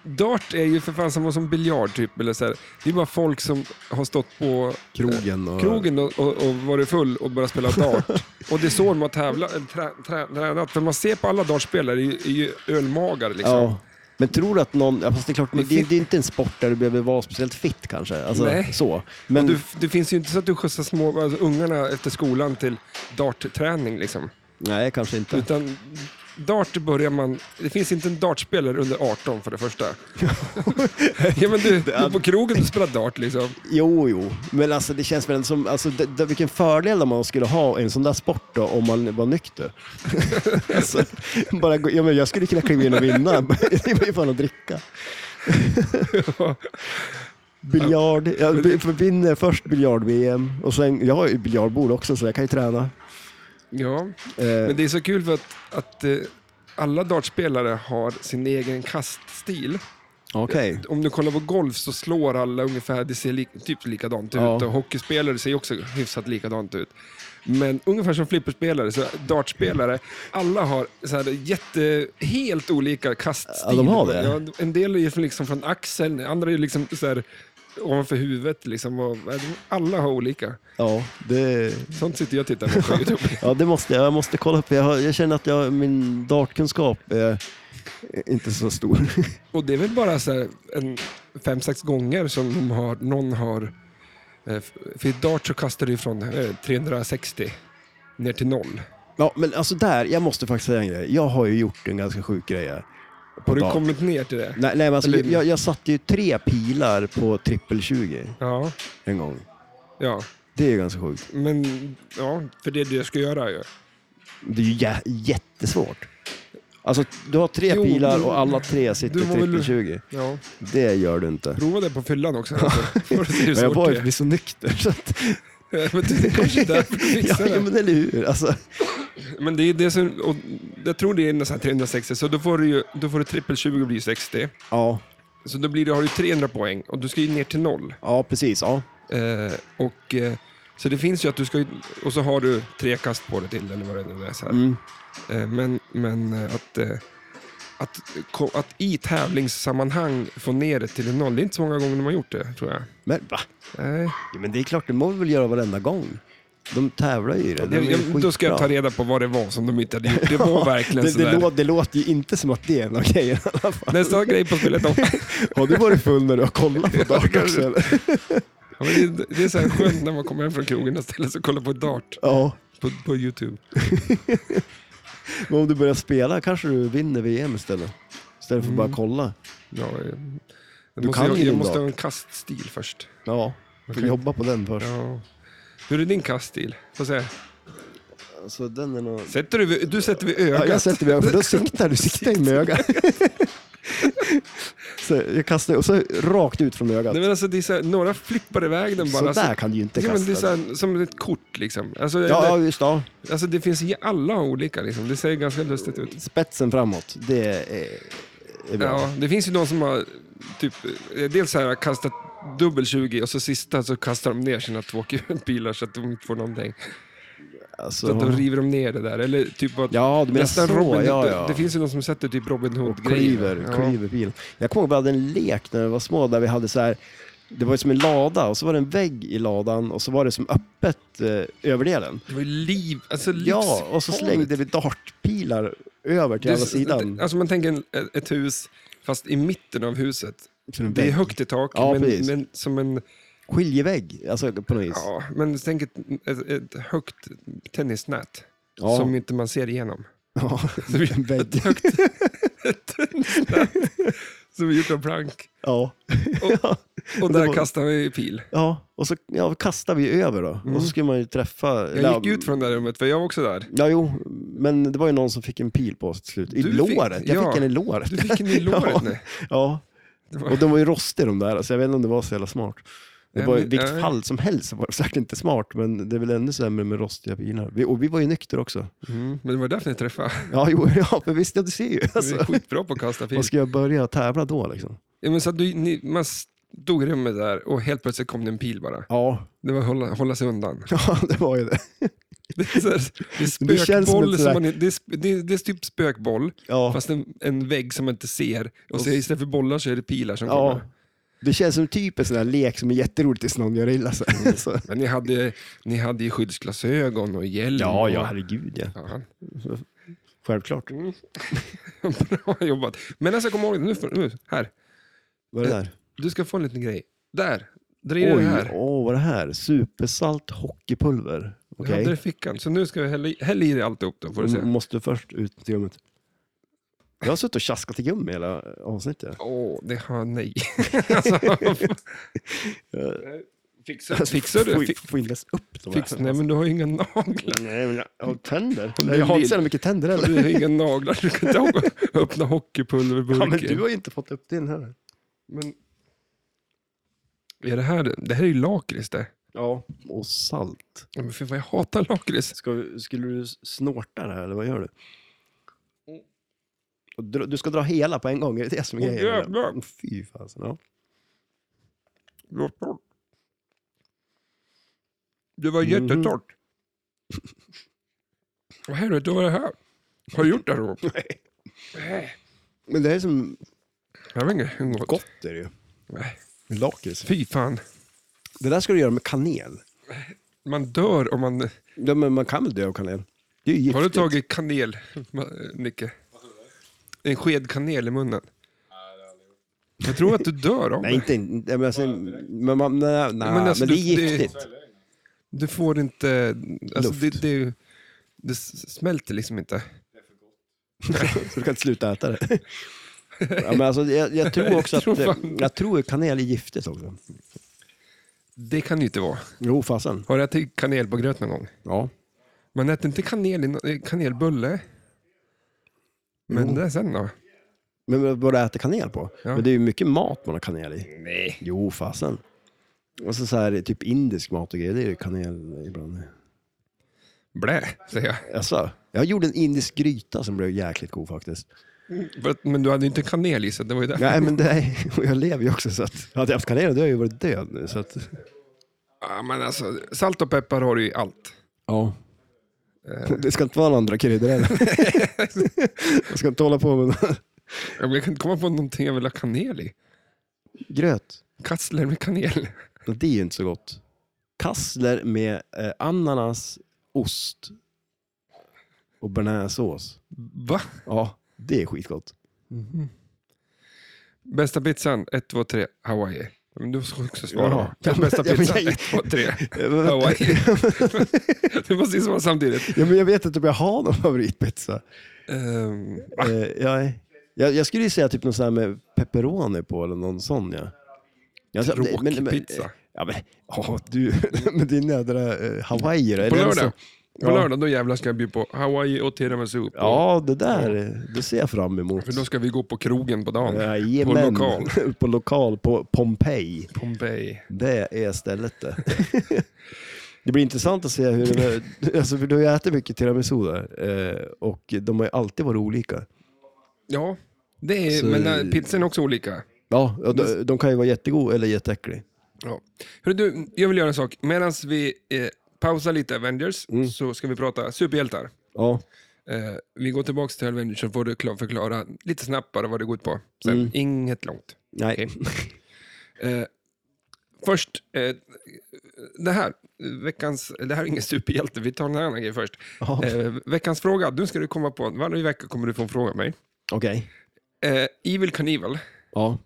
Speaker 1: Dart är ju för fan som, som biljard typ, eller så här. Det är bara folk som har stått på
Speaker 2: Krogen och...
Speaker 1: krogen och, och, och varit full och börjat spela dart. och det är så de har tävlat, eller trä, trä, tränat. För man ser på alla dartspelare, det är ju- är ju ölmagar liksom.
Speaker 2: Ja. Men tror du att någon... Ja, fast det är klart,
Speaker 1: Men
Speaker 2: men det,
Speaker 1: fit-
Speaker 2: det är inte en sport där du behöver vara speciellt fit kanske. Alltså,
Speaker 1: Nej.
Speaker 2: Så. Men
Speaker 1: Du, det finns ju inte så att du skjutsar små, alltså, ungarna efter skolan till dartträning. Liksom.
Speaker 2: nej, kanske inte.
Speaker 1: Utan dart börjar man... Det finns inte en dartspelare under 18 för det första. ja, men du, du är på krogen och spelar dart liksom.
Speaker 2: Jo, jo, men alltså det känns väl som, alltså, det, det, vilken fördel man skulle ha i en sån där sport då, om man var nykter. alltså, bara gå, ja, men jag skulle kunna kliva in och vinna, det var ju fan att dricka. Biljard, jag b- vinner först biljard-VM och sen, jag har ju biljardbord också så jag kan ju träna.
Speaker 1: Ja,
Speaker 2: Eh,
Speaker 1: men det är så kul för att, att eh, alla dartspelare har sin egen kaststil.
Speaker 2: Okej.
Speaker 1: Om du kollar på golf så slår alla ungefär, det ser li, typ likadant
Speaker 2: Ja.
Speaker 1: ut. Och hockeyspelare ser också hyfsat likadant ut. Men ungefär som flipperspelare, så dartspelare, alla har så här jätte, helt olika kaststil.
Speaker 2: Ja, de har det?
Speaker 1: Ja, en del är ju liksom från axeln, andra är liksom så här ovanför huvudet. Liksom, och, alla har olika.
Speaker 2: Ja, det,
Speaker 1: Sånt sitter jag och tittar på på YouTube.
Speaker 2: ja, det måste jag, jag måste kolla upp. Jag, har, jag känner att jag, min dartkunskap är inte så stor.
Speaker 1: Och det är väl bara så här en, fem, sex gånger som de har, någon har... eh, f- För i dart så kastar du från eh, 360 ner till noll.
Speaker 2: Ja, men alltså där, jag måste faktiskt säga en grej. Jag har ju gjort en ganska sjuk grej här.
Speaker 1: Har du
Speaker 2: dart.
Speaker 1: kommit ner till det?
Speaker 2: Nej, nej men alltså,
Speaker 1: Eller-
Speaker 2: jag, jag satte ju tre pilar på trippel 20
Speaker 1: Ja,
Speaker 2: en gång.
Speaker 1: ja.
Speaker 2: Det är ju ganska sjukt.
Speaker 1: Men ja, för det är det jag ska göra ju.
Speaker 2: Det är ju jä- jättesvårt. Alltså, du har tre
Speaker 1: Jo,
Speaker 2: pilar
Speaker 1: du-
Speaker 2: och alla tre sitter
Speaker 1: du var väl-
Speaker 2: trippel 20
Speaker 1: Ja.
Speaker 2: Det gör du inte.
Speaker 1: Prova det på fyllan också. Alltså. Får du se hur
Speaker 2: Men jag
Speaker 1: svårt
Speaker 2: var
Speaker 1: det
Speaker 2: ju
Speaker 1: är.
Speaker 2: inte så nykter. Så att,
Speaker 1: Men det är kanske därför du
Speaker 2: ja,
Speaker 1: fixar det.
Speaker 2: men eller hur? Alltså,
Speaker 1: Men det är det som, och jag tror det är en sån här 360, så då får du ju, då får du trippel 20 och blir 60.
Speaker 2: ja,
Speaker 1: Så då blir det, har du 300 poäng och du ska ju ner till noll.
Speaker 2: ja, precis. Ja.
Speaker 1: Eh, och, eh, så det finns ju att du ska, och så har du tre kast på det till eller vad det nu är. Så här.
Speaker 2: Mm.
Speaker 1: Eh, men men eh, att, eh, att, ko- att i tävlingssammanhang få ner det till en noll, det är inte så många gånger de har gjort det tror jag.
Speaker 2: Men va?
Speaker 1: Nej.
Speaker 2: Ja, men det är klart, det må vi väl göra varenda gång. De tävlar ju i det. De är
Speaker 1: jag,
Speaker 2: ju
Speaker 1: jag, då ska jag
Speaker 2: skitbra.
Speaker 1: ta reda på vad det var som de inte hade gjort. Det var verkligen
Speaker 2: det, det,
Speaker 1: sådär.
Speaker 2: låter, det låter ju inte som att det är en av grejerna i alla fall.
Speaker 1: Nästa grej på spelet. Om,
Speaker 2: Har du varit full när du har kollat på dart
Speaker 1: kanske.
Speaker 2: också? eller?
Speaker 1: Ja, men det, det är så här skönt när man kommer hem från krogen och ställer sig och kollar på dart
Speaker 2: Ja,
Speaker 1: på, på YouTube.
Speaker 2: men om du
Speaker 1: Mm.
Speaker 2: börjar spela kanske du vinner VM istället. Istället för att bara kolla.
Speaker 1: Ja, eh, Jag
Speaker 2: Du
Speaker 1: måste,
Speaker 2: kan
Speaker 1: jag,
Speaker 2: ju
Speaker 1: jag
Speaker 2: din
Speaker 1: måste
Speaker 2: dag.
Speaker 1: ha en kaststil först.
Speaker 2: Ja, du
Speaker 1: Okej.
Speaker 2: får jobba på den först.
Speaker 1: Ja. Hur är din kaststil? Får se.
Speaker 2: Alltså, den är nog...
Speaker 1: Sätter du, du sätter vid ögat.
Speaker 2: Ja, jag sätter mig för då siktar du, siktar in med ögat. så jag kastar och så rakt ut från ögat.
Speaker 1: Nej, men alltså, det är så här, några flippar iväg den bara.
Speaker 2: Så där
Speaker 1: alltså,
Speaker 2: kan du ju inte
Speaker 1: ja, men det är så
Speaker 2: kasta.
Speaker 1: här, som ett kort liksom. Alltså,
Speaker 2: Ja, ja,
Speaker 1: eller,
Speaker 2: just det.
Speaker 1: alltså det finns ju alla olika liksom. Det ser ganska lustigt ut.
Speaker 2: Spetsen framåt, det är, är bra.
Speaker 1: Ja, det finns ju de som har typ, eh, dels så här, kastat dubbel 20 och så sista så kastar de ner sina två bilar så att de inte får någonting.
Speaker 2: Alltså,
Speaker 1: Så, att de river de ner det där. Eller typ att
Speaker 2: ja, du menar så.
Speaker 1: nästan Robin,
Speaker 2: ja,
Speaker 1: det-
Speaker 2: ja.
Speaker 1: Det finns ju de som sätter typ Robin
Speaker 2: och
Speaker 1: Hood-grejer.
Speaker 2: klyver, klyver bil. Jag kommer ihåg vi hade en lek när vi var små där vi hade så här, det var ju som en lada och så var det en vägg i ladan och så var det som öppet eh, överdelen.
Speaker 1: Det var ju liv, alltså
Speaker 2: Ja, och så slängde vi dartpilar över till andra sidan.
Speaker 1: Alltså man tänker en, ett hus, fast i mitten av huset.
Speaker 2: För en
Speaker 1: Det är
Speaker 2: vägg.
Speaker 1: högt i tak,
Speaker 2: Ja,
Speaker 1: men,
Speaker 2: precis.
Speaker 1: men som en...
Speaker 2: Skiljevägg, alltså på något vis.
Speaker 1: Ja, men tänk ett, ett, ett högt tennisnät.
Speaker 2: Ja.
Speaker 1: Som inte man ser igenom.
Speaker 2: Ja, en vägg.
Speaker 1: Som är gjort av plank.
Speaker 2: Ja.
Speaker 1: Och, och
Speaker 2: det
Speaker 1: där
Speaker 2: var-
Speaker 1: kastar vi pil.
Speaker 2: ja, och så ja, kastade vi över då. Och så skulle man ju träffa...
Speaker 1: Mm. Jag gick ut från det där rummet, för jag var också där.
Speaker 2: Ja, jo, men det var ju någon som fick en pil på oss till slut. I
Speaker 1: Du fick-
Speaker 2: låret. Jag
Speaker 1: ja.
Speaker 2: fick en i låret.
Speaker 1: Du fick en i låret
Speaker 2: Ja.
Speaker 1: nu.
Speaker 2: Ja,
Speaker 1: Det var-
Speaker 2: och de var ju rostiga de där, så jag vet inte om det var så jävla smart. Det
Speaker 1: Nej,
Speaker 2: var i
Speaker 1: men-
Speaker 2: vilket
Speaker 1: nej.
Speaker 2: fall som helst så var det säkert inte smart, men det är väl ännu sämre med rostiga bilar. Vi, och vi var ju nykter också.
Speaker 1: Mm, men det var därför ni träffade.
Speaker 2: Ja, jo, ja men visst, ja, du ser ju.
Speaker 1: Vi är
Speaker 2: Alltså,
Speaker 1: skitbra på att kasta pil.
Speaker 2: vad ska jag börja tävla då liksom?
Speaker 1: Ja, men så att du, ni, man stod i rummet där och helt plötsligt kom det en pil bara.
Speaker 2: Ja,
Speaker 1: Det var att hålla, hålla sig undan.
Speaker 2: ja, det var ju det.
Speaker 1: Det är, så här, det är
Speaker 2: Det känns som
Speaker 1: spökboll,
Speaker 2: ett
Speaker 1: som
Speaker 2: sådär-
Speaker 1: man, det, är, sp- det, är, det är typ spökboll,
Speaker 2: Ja.
Speaker 1: fast en, en vägg som man inte ser. Och så istället för bollar så är det pilar som
Speaker 2: Ja.
Speaker 1: kommer.
Speaker 2: Det känns som typ en sån där lek som är jätterolig tills någon gör illa sig. Så.
Speaker 1: Men ni hade, ni hade ju skyddsglasögon och hjälm.
Speaker 2: Ja, ja,
Speaker 1: Och,
Speaker 2: herregud ja.
Speaker 1: ja.
Speaker 2: Självklart.
Speaker 1: Bra jobbat. Men alltså kom ihåg, nu, får- nu, här.
Speaker 2: Vad är det där?
Speaker 1: Du ska få en liten grej. Där, dra i den
Speaker 2: Oj,
Speaker 1: här.
Speaker 2: åh, vad är det här? Supersalt hockeypulver.
Speaker 1: Du
Speaker 2: Okej.
Speaker 1: hade det i fickan, så nu ska vi hälla, i- häll i dig alltihop då, får du se.
Speaker 2: M- Måste först ut till gummet. Jag har suttit och tjaskat i gummi hela avsnittet.
Speaker 1: Åh, det har nej. alltså, fixar, fixar
Speaker 2: Får-
Speaker 1: du? Fi-
Speaker 2: Får inte ens upp de här.
Speaker 1: Fixar, nej, men du har ju inga naglar.
Speaker 2: Nej, men jag har tänder.
Speaker 1: Men
Speaker 2: jag har
Speaker 1: Lill-
Speaker 2: inte så jävla mycket tänder
Speaker 1: Du
Speaker 2: heller.
Speaker 1: har inga naglar, du kan inte öppna
Speaker 2: Ja, men
Speaker 1: hockeypulverburken.
Speaker 2: du har ju inte fått upp din heller.
Speaker 1: Men- Är det här, det här är ju lakrits det.
Speaker 2: Ja. Och salt.
Speaker 1: Ja, Men för fan, jag hatar lakrits.
Speaker 2: Ska, vi- skulle du snorta det här eller vad gör du? Och dra- Du ska dra hela på en gång, är det det som är
Speaker 1: Åh,
Speaker 2: grejen? eller?
Speaker 1: jävlar.
Speaker 2: Åh, Fy fasen. Ja.
Speaker 1: Det var
Speaker 2: Mhm.
Speaker 1: jättetort. Vad helvete, vad är det här? Har du gjort det här Robert? Nej.
Speaker 2: Men det är som
Speaker 1: Jag vet inte hur gott.
Speaker 2: gott är det ju.
Speaker 1: Nej.
Speaker 2: Lakrits.
Speaker 1: Fy fan.
Speaker 2: Det där ska du göra med kanel.
Speaker 1: Man dör om man...
Speaker 2: Ja, men man kan väl dö av kanel? Det är ju giftigt.
Speaker 1: Har du tagit kanel, Ma- Nicke? En sked kanel i munnen? Jag tror att du dör av
Speaker 2: Nej,
Speaker 1: det.
Speaker 2: inte... inte- Men, alltså, men, man, nej, nej,
Speaker 1: Men
Speaker 2: men,
Speaker 1: alltså,
Speaker 2: det är
Speaker 1: du- det-
Speaker 2: giftigt.
Speaker 1: Du får inte... Alltså,
Speaker 2: Luft.
Speaker 1: det, det, är ju- det s- smälter liksom inte.
Speaker 2: Så du kan inte sluta äta det. Ja, men alltså, jag, jag tror också
Speaker 1: Jag tror
Speaker 2: att... eh,
Speaker 1: fan-
Speaker 2: Jag tror att kanel är giftigt också.
Speaker 1: Det kan det ju inte vara.
Speaker 2: Jo, fasen.
Speaker 1: Har du ätit kanel på gröt någon gång?
Speaker 2: Ja.
Speaker 1: Man äter inte kanel i nå- i kanelbulle. Men det sen då?
Speaker 2: Men vad du äter kanel på?
Speaker 1: Ja.
Speaker 2: Men det är ju mycket mat man har kanel i.
Speaker 1: Nej.
Speaker 2: Jo, fasen. Och så, så här, typ indisk mat och grejer, det är ju kanel ibland.
Speaker 1: Blä, säger jag.
Speaker 2: Alltså, jag gjorde en indisk gryta som blev jäkligt god faktiskt.
Speaker 1: För att- Men du hade ju inte kanel i så det var ju därför.
Speaker 2: Nej, men det är, och jag lever ju också så att, hade jag haft kanel då hade jag ju varit död nu. Så att,
Speaker 1: Ja, men alltså, salt och peppar har du ju i allt.
Speaker 2: ja. Eh, Det ska inte vara några andra kryddor heller. Jag ska inte hålla på med någon-
Speaker 1: Ja, men Jag kan inte komma på någonting jag vill ha kanel i.
Speaker 2: gröt.
Speaker 1: Kassler med kanel.
Speaker 2: Men Det är ju inte så gott. Kassler med eh, ananas, ost och bearnaisesås.
Speaker 1: Va?
Speaker 2: Ja, det är skitgott.
Speaker 1: Bästa pizzan? 1, 2, 3, Hawaii. Men du ska också svara.
Speaker 2: Jaha. Ja, men-
Speaker 1: Bästa
Speaker 2: ja, men
Speaker 1: pizzan?
Speaker 2: jag-
Speaker 1: 1, 2, 3,
Speaker 2: Ja, men-
Speaker 1: Hawaii. Du måste svara samtidigt.
Speaker 2: Ja, men jag vet inte om jag har någon favoritpizza.
Speaker 1: Ehm,
Speaker 2: Eh, jag, Jag, jag skulle ju säga typ något sånt här med pepperoni på eller någon sån ja. Jag sa-
Speaker 1: Tråkig
Speaker 2: men- men-
Speaker 1: pizza.
Speaker 2: Ja men, ja, du, med din jädra eh, Hawaii då. är
Speaker 1: På
Speaker 2: det
Speaker 1: lördag.
Speaker 2: så-
Speaker 1: På
Speaker 2: Ja.
Speaker 1: lördag då jävlar ska jag bjuda på hawaii och tiramisu. På.
Speaker 2: Ja, det där, eh, det ser jag fram emot.
Speaker 1: För då ska vi gå på krogen på dagen. på
Speaker 2: Jajamän.
Speaker 1: lokal.
Speaker 2: på lokal, på Pompeji.
Speaker 1: Pompeji.
Speaker 2: Det är stället det. det blir intressant att se hur det alltså, för du har ju ätit mycket tiramisu där eh, och de har ju alltid varit olika.
Speaker 1: Ja, det är,
Speaker 2: Så-
Speaker 1: men äh, pizzan är också olika.
Speaker 2: Ja, och de, de kan ju vara jättegoda eller jätteäckliga.
Speaker 1: Ja. Hörru, du, jag vill göra en sak. Medan vi eh, pausar lite Avengers
Speaker 2: Mm.
Speaker 1: så ska vi prata superhjältar.
Speaker 2: Ja,
Speaker 1: Eh, vi går tillbaka till Avengers så får du kla- förklara lite snabbt bara vad det går ut på. Sen,
Speaker 2: Mm.
Speaker 1: Inget långt.
Speaker 2: nej.
Speaker 1: Eh, först, eh, det här. Veckans, det här är ingen superhjälte, vi tar en annan grej först.
Speaker 2: Ja.
Speaker 1: Eh, veckans fråga, nu ska du komma på, varje vecka kommer du få en fråga av mig.
Speaker 2: Okej.
Speaker 1: Eh, Evil Knievel,
Speaker 2: Ja.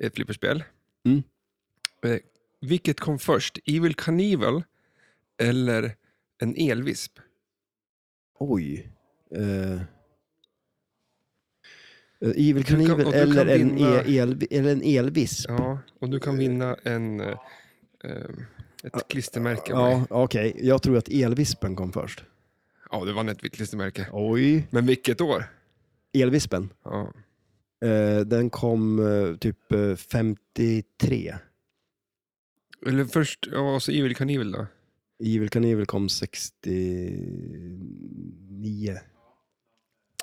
Speaker 1: ett flipperspel.
Speaker 2: Mm.
Speaker 1: Eh, vilket kom först, Evil Knievel eller en elvisp?
Speaker 2: Oj. Uh, Evil
Speaker 1: kan-
Speaker 2: Knievel
Speaker 1: och du
Speaker 2: eller,
Speaker 1: kan
Speaker 2: en
Speaker 1: vinna-
Speaker 2: e- el, eller en elvis.
Speaker 1: Ja, och du kan vinna en, eh, eh, ett klistermärke. av mig.
Speaker 2: Ja, okej. Jag tror att elvispen kom först.
Speaker 1: ja, du vann ett vitt klistermärke.
Speaker 2: Oj.
Speaker 1: Men vilket år?
Speaker 2: Elvispen.
Speaker 1: Ja.
Speaker 2: Eh, den kom eh, typ eh, 53.
Speaker 1: Eller först, ja, så Evil Knievel då?
Speaker 2: Evil Knievel kom 69.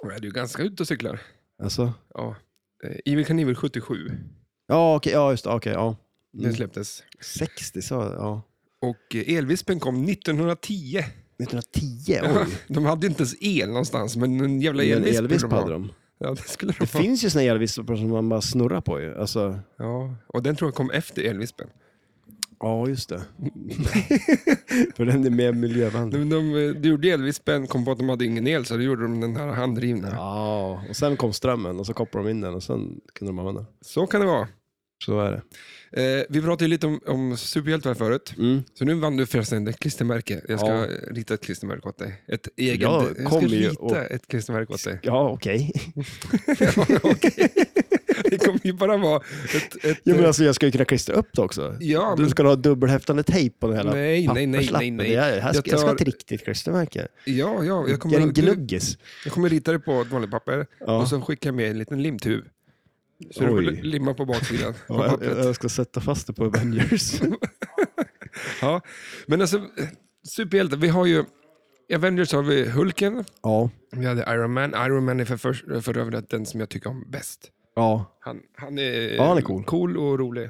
Speaker 1: Ja, du är ganska ute och cyklar.
Speaker 2: Alltså?
Speaker 1: Ja. Eh, Evil Knievel 77,
Speaker 2: Ja, okej. ja, just det. Okej, ja.
Speaker 1: den
Speaker 2: Mm.
Speaker 1: släpptes.
Speaker 2: 60 sa jag. Ja.
Speaker 1: Och eh, elvispen kom 1910.
Speaker 2: 1910? Oj.
Speaker 1: De hade ju inte ens el någonstans, men en jävla
Speaker 2: En
Speaker 1: elvisp.
Speaker 2: elvisp
Speaker 1: ha.
Speaker 2: hade de.
Speaker 1: Ja, det skulle de
Speaker 2: Det
Speaker 1: ha.
Speaker 2: finns ju såna elvispar som man bara snurrar på ju. Alltså,
Speaker 1: Ja, och den tror jag kom efter elvispen.
Speaker 2: ja, just det. För den är mer miljövänlig.
Speaker 1: De, de, eh, de gjorde elvispen, kom på att de hade ingen el, så då gjorde de den här handdrivna.
Speaker 2: Ja, och sen kom strömmen och så kopplade de in den och sen kunde de använda den.
Speaker 1: Så kan det vara.
Speaker 2: Så är det.
Speaker 1: Eh, vi pratade ju lite om, om superhjältar förut,
Speaker 2: Mm.
Speaker 1: så nu vann du förresten ett klistermärke. Jag ska
Speaker 2: Ja.
Speaker 1: rita ett klistermärke åt dig. Ett eget,
Speaker 2: Jag
Speaker 1: jag, ska
Speaker 2: kommer ju
Speaker 1: rita
Speaker 2: och-
Speaker 1: ett klistermärke åt dig.
Speaker 2: Ja, okej.
Speaker 1: Ja, okej. Det kommer ju bara vara ett... ett
Speaker 2: Ja, men alltså, jag ska ju kunna klistra upp det också.
Speaker 1: Ja,
Speaker 2: Du
Speaker 1: men-
Speaker 2: ska ha dubbelhäftande tejp på den hela
Speaker 1: Nej, nej, nej, nej, nej.
Speaker 2: Jag, här ska,
Speaker 1: Jag
Speaker 2: jag ska ha
Speaker 1: tar-
Speaker 2: ett riktigt klistermärke.
Speaker 1: ja, ja, jag,
Speaker 2: Jag är
Speaker 1: kommer,
Speaker 2: en
Speaker 1: du,
Speaker 2: gnuggis.
Speaker 1: jag kommer rita det på ett vanligt papper
Speaker 2: Ja.
Speaker 1: och så skickar jag med en liten limtub. Så du
Speaker 2: Oj.
Speaker 1: får limma på baksidan. på
Speaker 2: Ja, jag,
Speaker 1: pappret.
Speaker 2: jag ska sätta fast det på Avengers.
Speaker 1: Ja, men alltså, eh, superhjältar. Vi har ju, i Avengers har vi Hulken,
Speaker 2: ja,
Speaker 1: vi hade Iron Man. Iron Man är för, för, för övrigt den som jag tycker om bäst.
Speaker 2: ja.
Speaker 1: Han, han, är,
Speaker 2: Ja, han är cool.
Speaker 1: och rolig.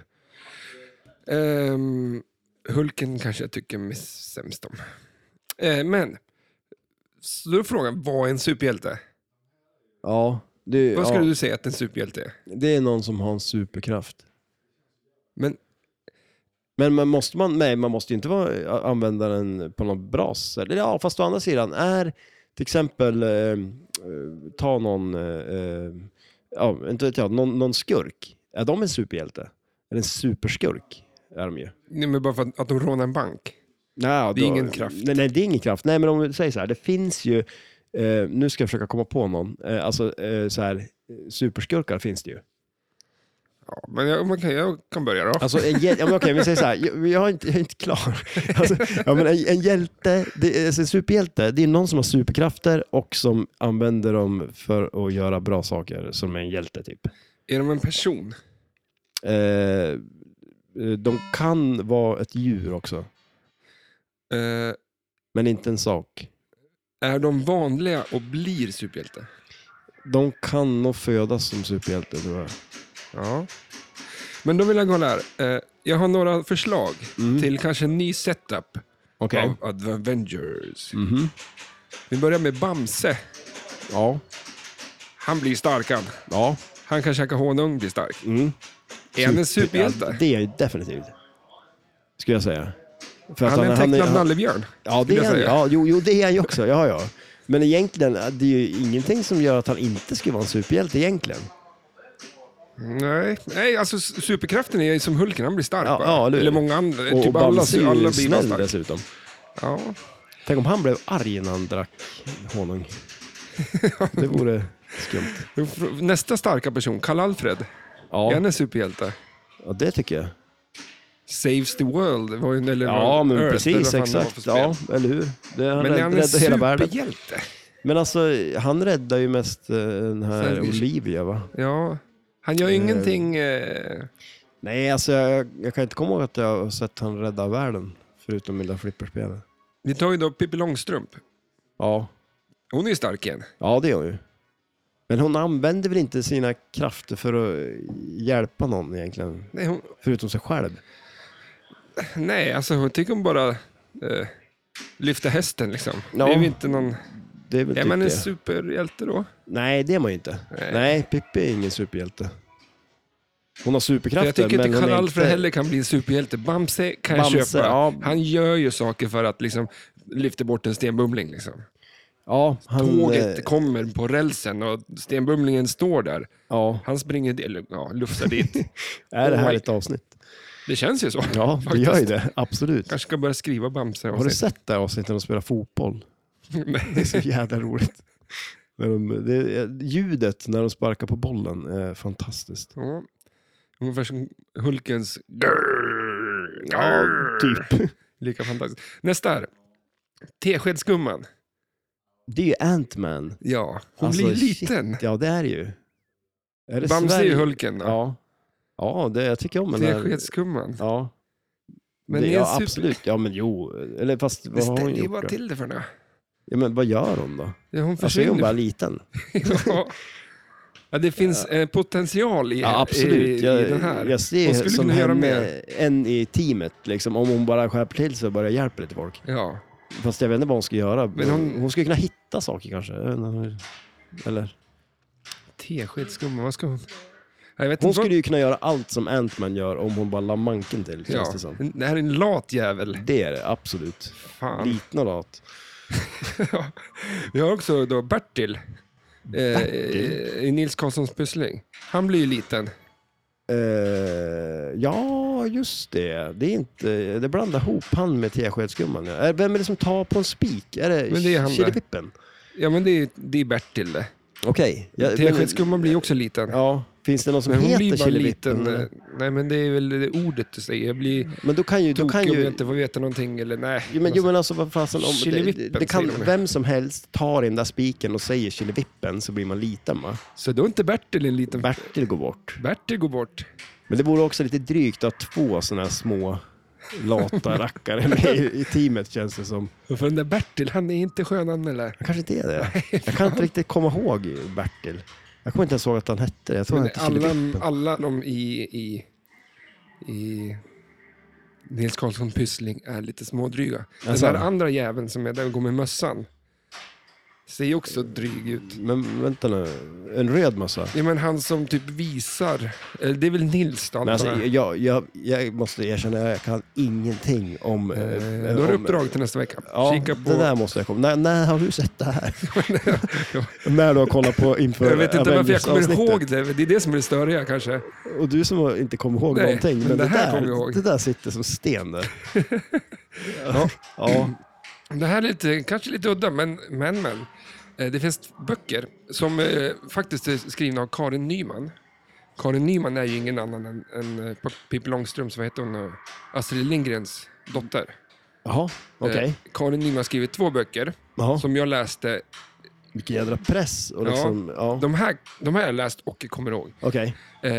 Speaker 1: Ehm, Hulken kanske jag tycker mest sämst om. Eh, men, så då är frågan, vad är en superhjälte?
Speaker 2: ja. Det,
Speaker 1: Vad skulle
Speaker 2: ja.
Speaker 1: du säga att en superhjälte är?
Speaker 2: det är någon som har en superkraft.
Speaker 1: Men,
Speaker 2: Men man måste, man, nej, man måste ju inte vara, eh, använda den på något bra sätt. Eller Ja, fast å andra sidan, är till exempel, eh, eh, ta någon, eh, eh, ja, inte vet jag, någon, någon skurk. Är de en superhjälte? Eller en superskurk är de ju.
Speaker 1: nej, men bara för att, att de rånar en bank.
Speaker 2: Nej,
Speaker 1: Det är ingen kraft.
Speaker 2: Nej, nej, det är ingen kraft. Nej, men om vi säger så här, det finns ju, eh, nu ska jag försöka komma på någon, eh, alltså eh, så här, eh, superskurkar finns det ju.
Speaker 1: Ja, men jag, man kan, jag kan börja då.
Speaker 2: Alltså en hjälte, ja, men okej, vi säger så här, jag, jag, är inte, jag är inte klar. Alltså, ja, men en, en hjälte, det, är- alltså, en superhjälte, det är någon som har superkrafter och som använder dem för att göra bra saker, som en hjälte typ.
Speaker 1: Är de en person?
Speaker 2: Eh, eh, de kan vara ett djur också,
Speaker 1: Eh,
Speaker 2: men inte en sak.
Speaker 1: är de vanliga och blir superhjälte?
Speaker 2: De kan nog födas som superhjälte, tror jag.
Speaker 1: Ja. Men då vill jag kolla här. Eh, Jag har några förslag till kanske en ny setup
Speaker 2: Mm. Okej. Mm-hmm.
Speaker 1: av Ad- Avengers. Vi börjar med Bamse.
Speaker 2: Ja.
Speaker 1: Han blir stark han.
Speaker 2: Ja.
Speaker 1: Han kan käka honung, blir stark.
Speaker 2: Mm.
Speaker 1: Är han en
Speaker 2: Ja,
Speaker 1: superhjälte?
Speaker 2: det är ju definitivt. Skulle jag säga. För att
Speaker 1: Han är en tecknad
Speaker 2: han-
Speaker 1: nallebjörn.
Speaker 2: Ja,
Speaker 1: skulle
Speaker 2: det
Speaker 1: jag
Speaker 2: är han,
Speaker 1: säga.
Speaker 2: ja jo, jo, det är han ju också. Ja, ja. Men egentligen, det är ju ingenting som gör att han inte skulle vara en superhjälte egentligen.
Speaker 1: Nej, Nej alltså s- superkraften är som Hulken, han blir stark
Speaker 2: Ja,
Speaker 1: bara.
Speaker 2: ja, eller hur?
Speaker 1: Eller många andra,
Speaker 2: Och,
Speaker 1: typ
Speaker 2: och
Speaker 1: alla,
Speaker 2: Bamse
Speaker 1: alla
Speaker 2: är ju
Speaker 1: blir bara
Speaker 2: snäll
Speaker 1: stark.
Speaker 2: dessutom.
Speaker 1: Ja.
Speaker 2: Tänk om han blev arg när han drack honung. Det vore... Skumt.
Speaker 1: Nästa starka person, Karl-Alfred. Är han
Speaker 2: Ja,
Speaker 1: en superhjälte?
Speaker 2: ja, det tycker jag.
Speaker 1: Saves the world. Var ju, eller
Speaker 2: Ja, men
Speaker 1: Earth, eller vad
Speaker 2: precis.
Speaker 1: fan det var för
Speaker 2: Exakt.
Speaker 1: spel.
Speaker 2: Ja, eller hur? Det, han
Speaker 1: Men är
Speaker 2: rädd,
Speaker 1: han en
Speaker 2: räddar hela världen.
Speaker 1: superhjälte?
Speaker 2: Men alltså, han räddar ju mest eh, den här
Speaker 1: Fergus.
Speaker 2: Olivia, va?
Speaker 1: Ja. Han gör ju ingenting... Eh,
Speaker 2: Nej, alltså jag, jag kan inte komma ihåg att jag har sett han rädda världen. Förutom i det där flipperspelet.
Speaker 1: vi tar ju då Pippi Långstrump.
Speaker 2: Ja.
Speaker 1: Hon är ju stark igen.
Speaker 2: ja, det gör hon ju. Men hon använder väl inte sina krafter för att hjälpa någon egentligen?
Speaker 1: Nej, hon,
Speaker 2: Förutom sig själv.
Speaker 1: nej alltså hon tycker hon bara eh, lyfter hästen liksom.
Speaker 2: Ja.
Speaker 1: Det är ju inte någon...
Speaker 2: Det är väl
Speaker 1: Är
Speaker 2: typ
Speaker 1: man en
Speaker 2: det.
Speaker 1: superhjälte då?
Speaker 2: Nej, det är man ju inte.
Speaker 1: Nej.
Speaker 2: Nej. Pippi är ingen superhjälte. Hon har
Speaker 1: För
Speaker 2: superkrafter,
Speaker 1: jag tycker
Speaker 2: men
Speaker 1: inte
Speaker 2: hon är
Speaker 1: Karl-Alfred heller kan bli en superhjälte. Bamse kan
Speaker 2: Bamse,
Speaker 1: jag köpa.
Speaker 2: ja.
Speaker 1: Han gör ju saker för att liksom lyfta bort en stenbumling. Liksom.
Speaker 2: Ja, han...
Speaker 1: Tåget
Speaker 2: eh,
Speaker 1: kommer på rälsen och stenbumlingen står där.
Speaker 2: Ja,
Speaker 1: Han springer, eller ja, lufsar dit.
Speaker 2: är det
Speaker 1: Oh
Speaker 2: här
Speaker 1: my-
Speaker 2: ett avsnitt?
Speaker 1: Det känns ju så.
Speaker 2: Ja, det
Speaker 1: faktiskt.
Speaker 2: gör ju det. Absolut.
Speaker 1: kanske ska börja skriva Bamse.
Speaker 2: Har du sett det här avsnittet när de spelar fotboll? Det är så jävla roligt. När de, det, ljudet när de sparkar på bollen är fantastiskt.
Speaker 1: ja. Ungefär som Hulkens grrr,
Speaker 2: Ja,
Speaker 1: grrr.
Speaker 2: typ.
Speaker 1: Lika fantastiskt. Nästa här. Teskedsgumman.
Speaker 2: Det är ju Ant-Man.
Speaker 1: Ja, hon
Speaker 2: Alltså,
Speaker 1: blir
Speaker 2: shit.
Speaker 1: liten.
Speaker 2: Ja, det är det ju. Är det
Speaker 1: Bamse är
Speaker 2: Sverige?
Speaker 1: ju Hulken. då.
Speaker 2: Ja, eh, ja det, jag tycker om den här.
Speaker 1: Teskedsgumman.
Speaker 2: Ja.
Speaker 1: Men
Speaker 2: Men det,
Speaker 1: ni är
Speaker 2: ja,
Speaker 1: super-
Speaker 2: absolut. Ja, men jo. Eller fast
Speaker 1: Det
Speaker 2: vad har hon
Speaker 1: ställer ju
Speaker 2: gjort
Speaker 1: bara
Speaker 2: då?
Speaker 1: till det för henne.
Speaker 2: Ja, men vad gör hon då?
Speaker 1: Ja, hon
Speaker 2: Alltså är hon bara
Speaker 1: försvinner.
Speaker 2: liten?
Speaker 1: ja. Ja, det finns eh, potential i,
Speaker 2: Ja, absolut.
Speaker 1: i, i den här.
Speaker 2: Jag, jag
Speaker 1: Hon
Speaker 2: ser
Speaker 1: skulle
Speaker 2: som
Speaker 1: kunna göra
Speaker 2: henne,
Speaker 1: mer.
Speaker 2: en i teamet. Liksom, om hon bara skärper till sig och börjar hjälpa lite folk.
Speaker 1: Ja.
Speaker 2: Fast jag vet inte vad hon ska göra.
Speaker 1: Men hon-
Speaker 2: hon... skulle kunna hitta saker kanske. Jag vet inte. Eller?
Speaker 1: Teskedsgumman, vad ska hon... Ja, Jag vet
Speaker 2: Hon
Speaker 1: inte
Speaker 2: skulle ju kunna göra allt som Ant-Man gör om hon bara la manken till,
Speaker 1: vad...
Speaker 2: känns det
Speaker 1: ja.
Speaker 2: som.
Speaker 1: Det här är en lat jävel.
Speaker 2: Det är det, absolut.
Speaker 1: Fan.
Speaker 2: Liten och lat.
Speaker 1: Ja. Vi har också då Bertil. Eh,
Speaker 2: Bertil?
Speaker 1: I Nils Karlssons Pyssling. Han blir ju liten.
Speaker 2: Eh, ja, just det. Det är inte... Det blandar ihop han med Teskedsgumman. ja. Eh, Vem är det som tar på en spik? Är
Speaker 1: Men det är han
Speaker 2: det
Speaker 1: där.
Speaker 2: Killepippen?
Speaker 1: Ja, men det är, det är Bertil det.
Speaker 2: Okej. Ja, men-
Speaker 1: Teskedsgumman blir ju också liten.
Speaker 2: Ja, finns det någon som
Speaker 1: Men hon blir
Speaker 2: heter Mm.
Speaker 1: bara
Speaker 2: Killepippen?
Speaker 1: liten. eh, Nej, men det är väl det ordet du säger. Jag blir
Speaker 2: Men då kan ju... Då
Speaker 1: tokig
Speaker 2: kan
Speaker 1: om jag
Speaker 2: ju
Speaker 1: inte får veta någonting. Eller nej.
Speaker 2: Jo men, jo, men alltså vad fasen, om, det,
Speaker 1: Killevippen,
Speaker 2: det, det
Speaker 1: säger de
Speaker 2: kan
Speaker 1: ju.
Speaker 2: vem som helst ta den där spiken och säger killevippen så blir man liten va?
Speaker 1: Så då är inte Bertil en liten...
Speaker 2: Bertil går bort.
Speaker 1: Bertil går bort.
Speaker 2: Men det vore också lite drygt att ha två sådana här små lata rackare med i, i teamet känns det som.
Speaker 1: För den där Bertil, han är inte skön han eller?
Speaker 2: Han kanske inte är det. Jag kan inte riktigt komma ihåg Bertil. Jag kommer inte ens ihåg att han hette det. Jag tror han
Speaker 1: Men
Speaker 2: hette
Speaker 1: alla,
Speaker 2: Killevippen.
Speaker 1: alla de i, i, i Nils Karlsson Pyssling är lite smådryga.
Speaker 2: Alltså.
Speaker 1: Den där andra jäveln som är där och går med mössan ser ju också dryg ut.
Speaker 2: Men vänta nu, en röd massa.
Speaker 1: Ja, men han som typ visar, eller det är väl Nils då?
Speaker 2: Men alltså,
Speaker 1: antar jag.
Speaker 2: jag, jag, jag måste erkänna, jag kan ingenting om... eh,
Speaker 1: Eh, Då har du
Speaker 2: om-
Speaker 1: uppdrag till nästa vecka.
Speaker 2: Ja,
Speaker 1: Kika på...
Speaker 2: det där måste jag komma. När, när har du sett det här? när du har kollat på inför
Speaker 1: jag vet inte varför jag kommer
Speaker 2: Avengers-avsnittet.
Speaker 1: ihåg det. Det är det som är det störiga kanske.
Speaker 2: Och du som har- inte kommer ihåg
Speaker 1: Nej,
Speaker 2: någonting.
Speaker 1: men
Speaker 2: Men,
Speaker 1: det
Speaker 2: det,
Speaker 1: här
Speaker 2: där,
Speaker 1: kommer jag ihåg.
Speaker 2: det där sitter som sten där.
Speaker 1: Ja.
Speaker 2: Ja,
Speaker 1: Det här är lite, kanske lite udda, men, men, men. Eh, Det finns böcker som eh, faktiskt är skrivna av Karin Nyman. Karin Nyman är ju ingen annan än, än eh, Pippi Långstrumps, vad heter hon nu? Astrid Lindgrens dotter.
Speaker 2: jaha, okej.
Speaker 1: Eh, Karin Nyman har skrivit två böcker
Speaker 2: Jaha.
Speaker 1: som jag läste.
Speaker 2: Vilken jädra press. Och liksom, ja.
Speaker 1: De här, de här har jag läst och kommer ihåg.
Speaker 2: Okej,
Speaker 1: Eh,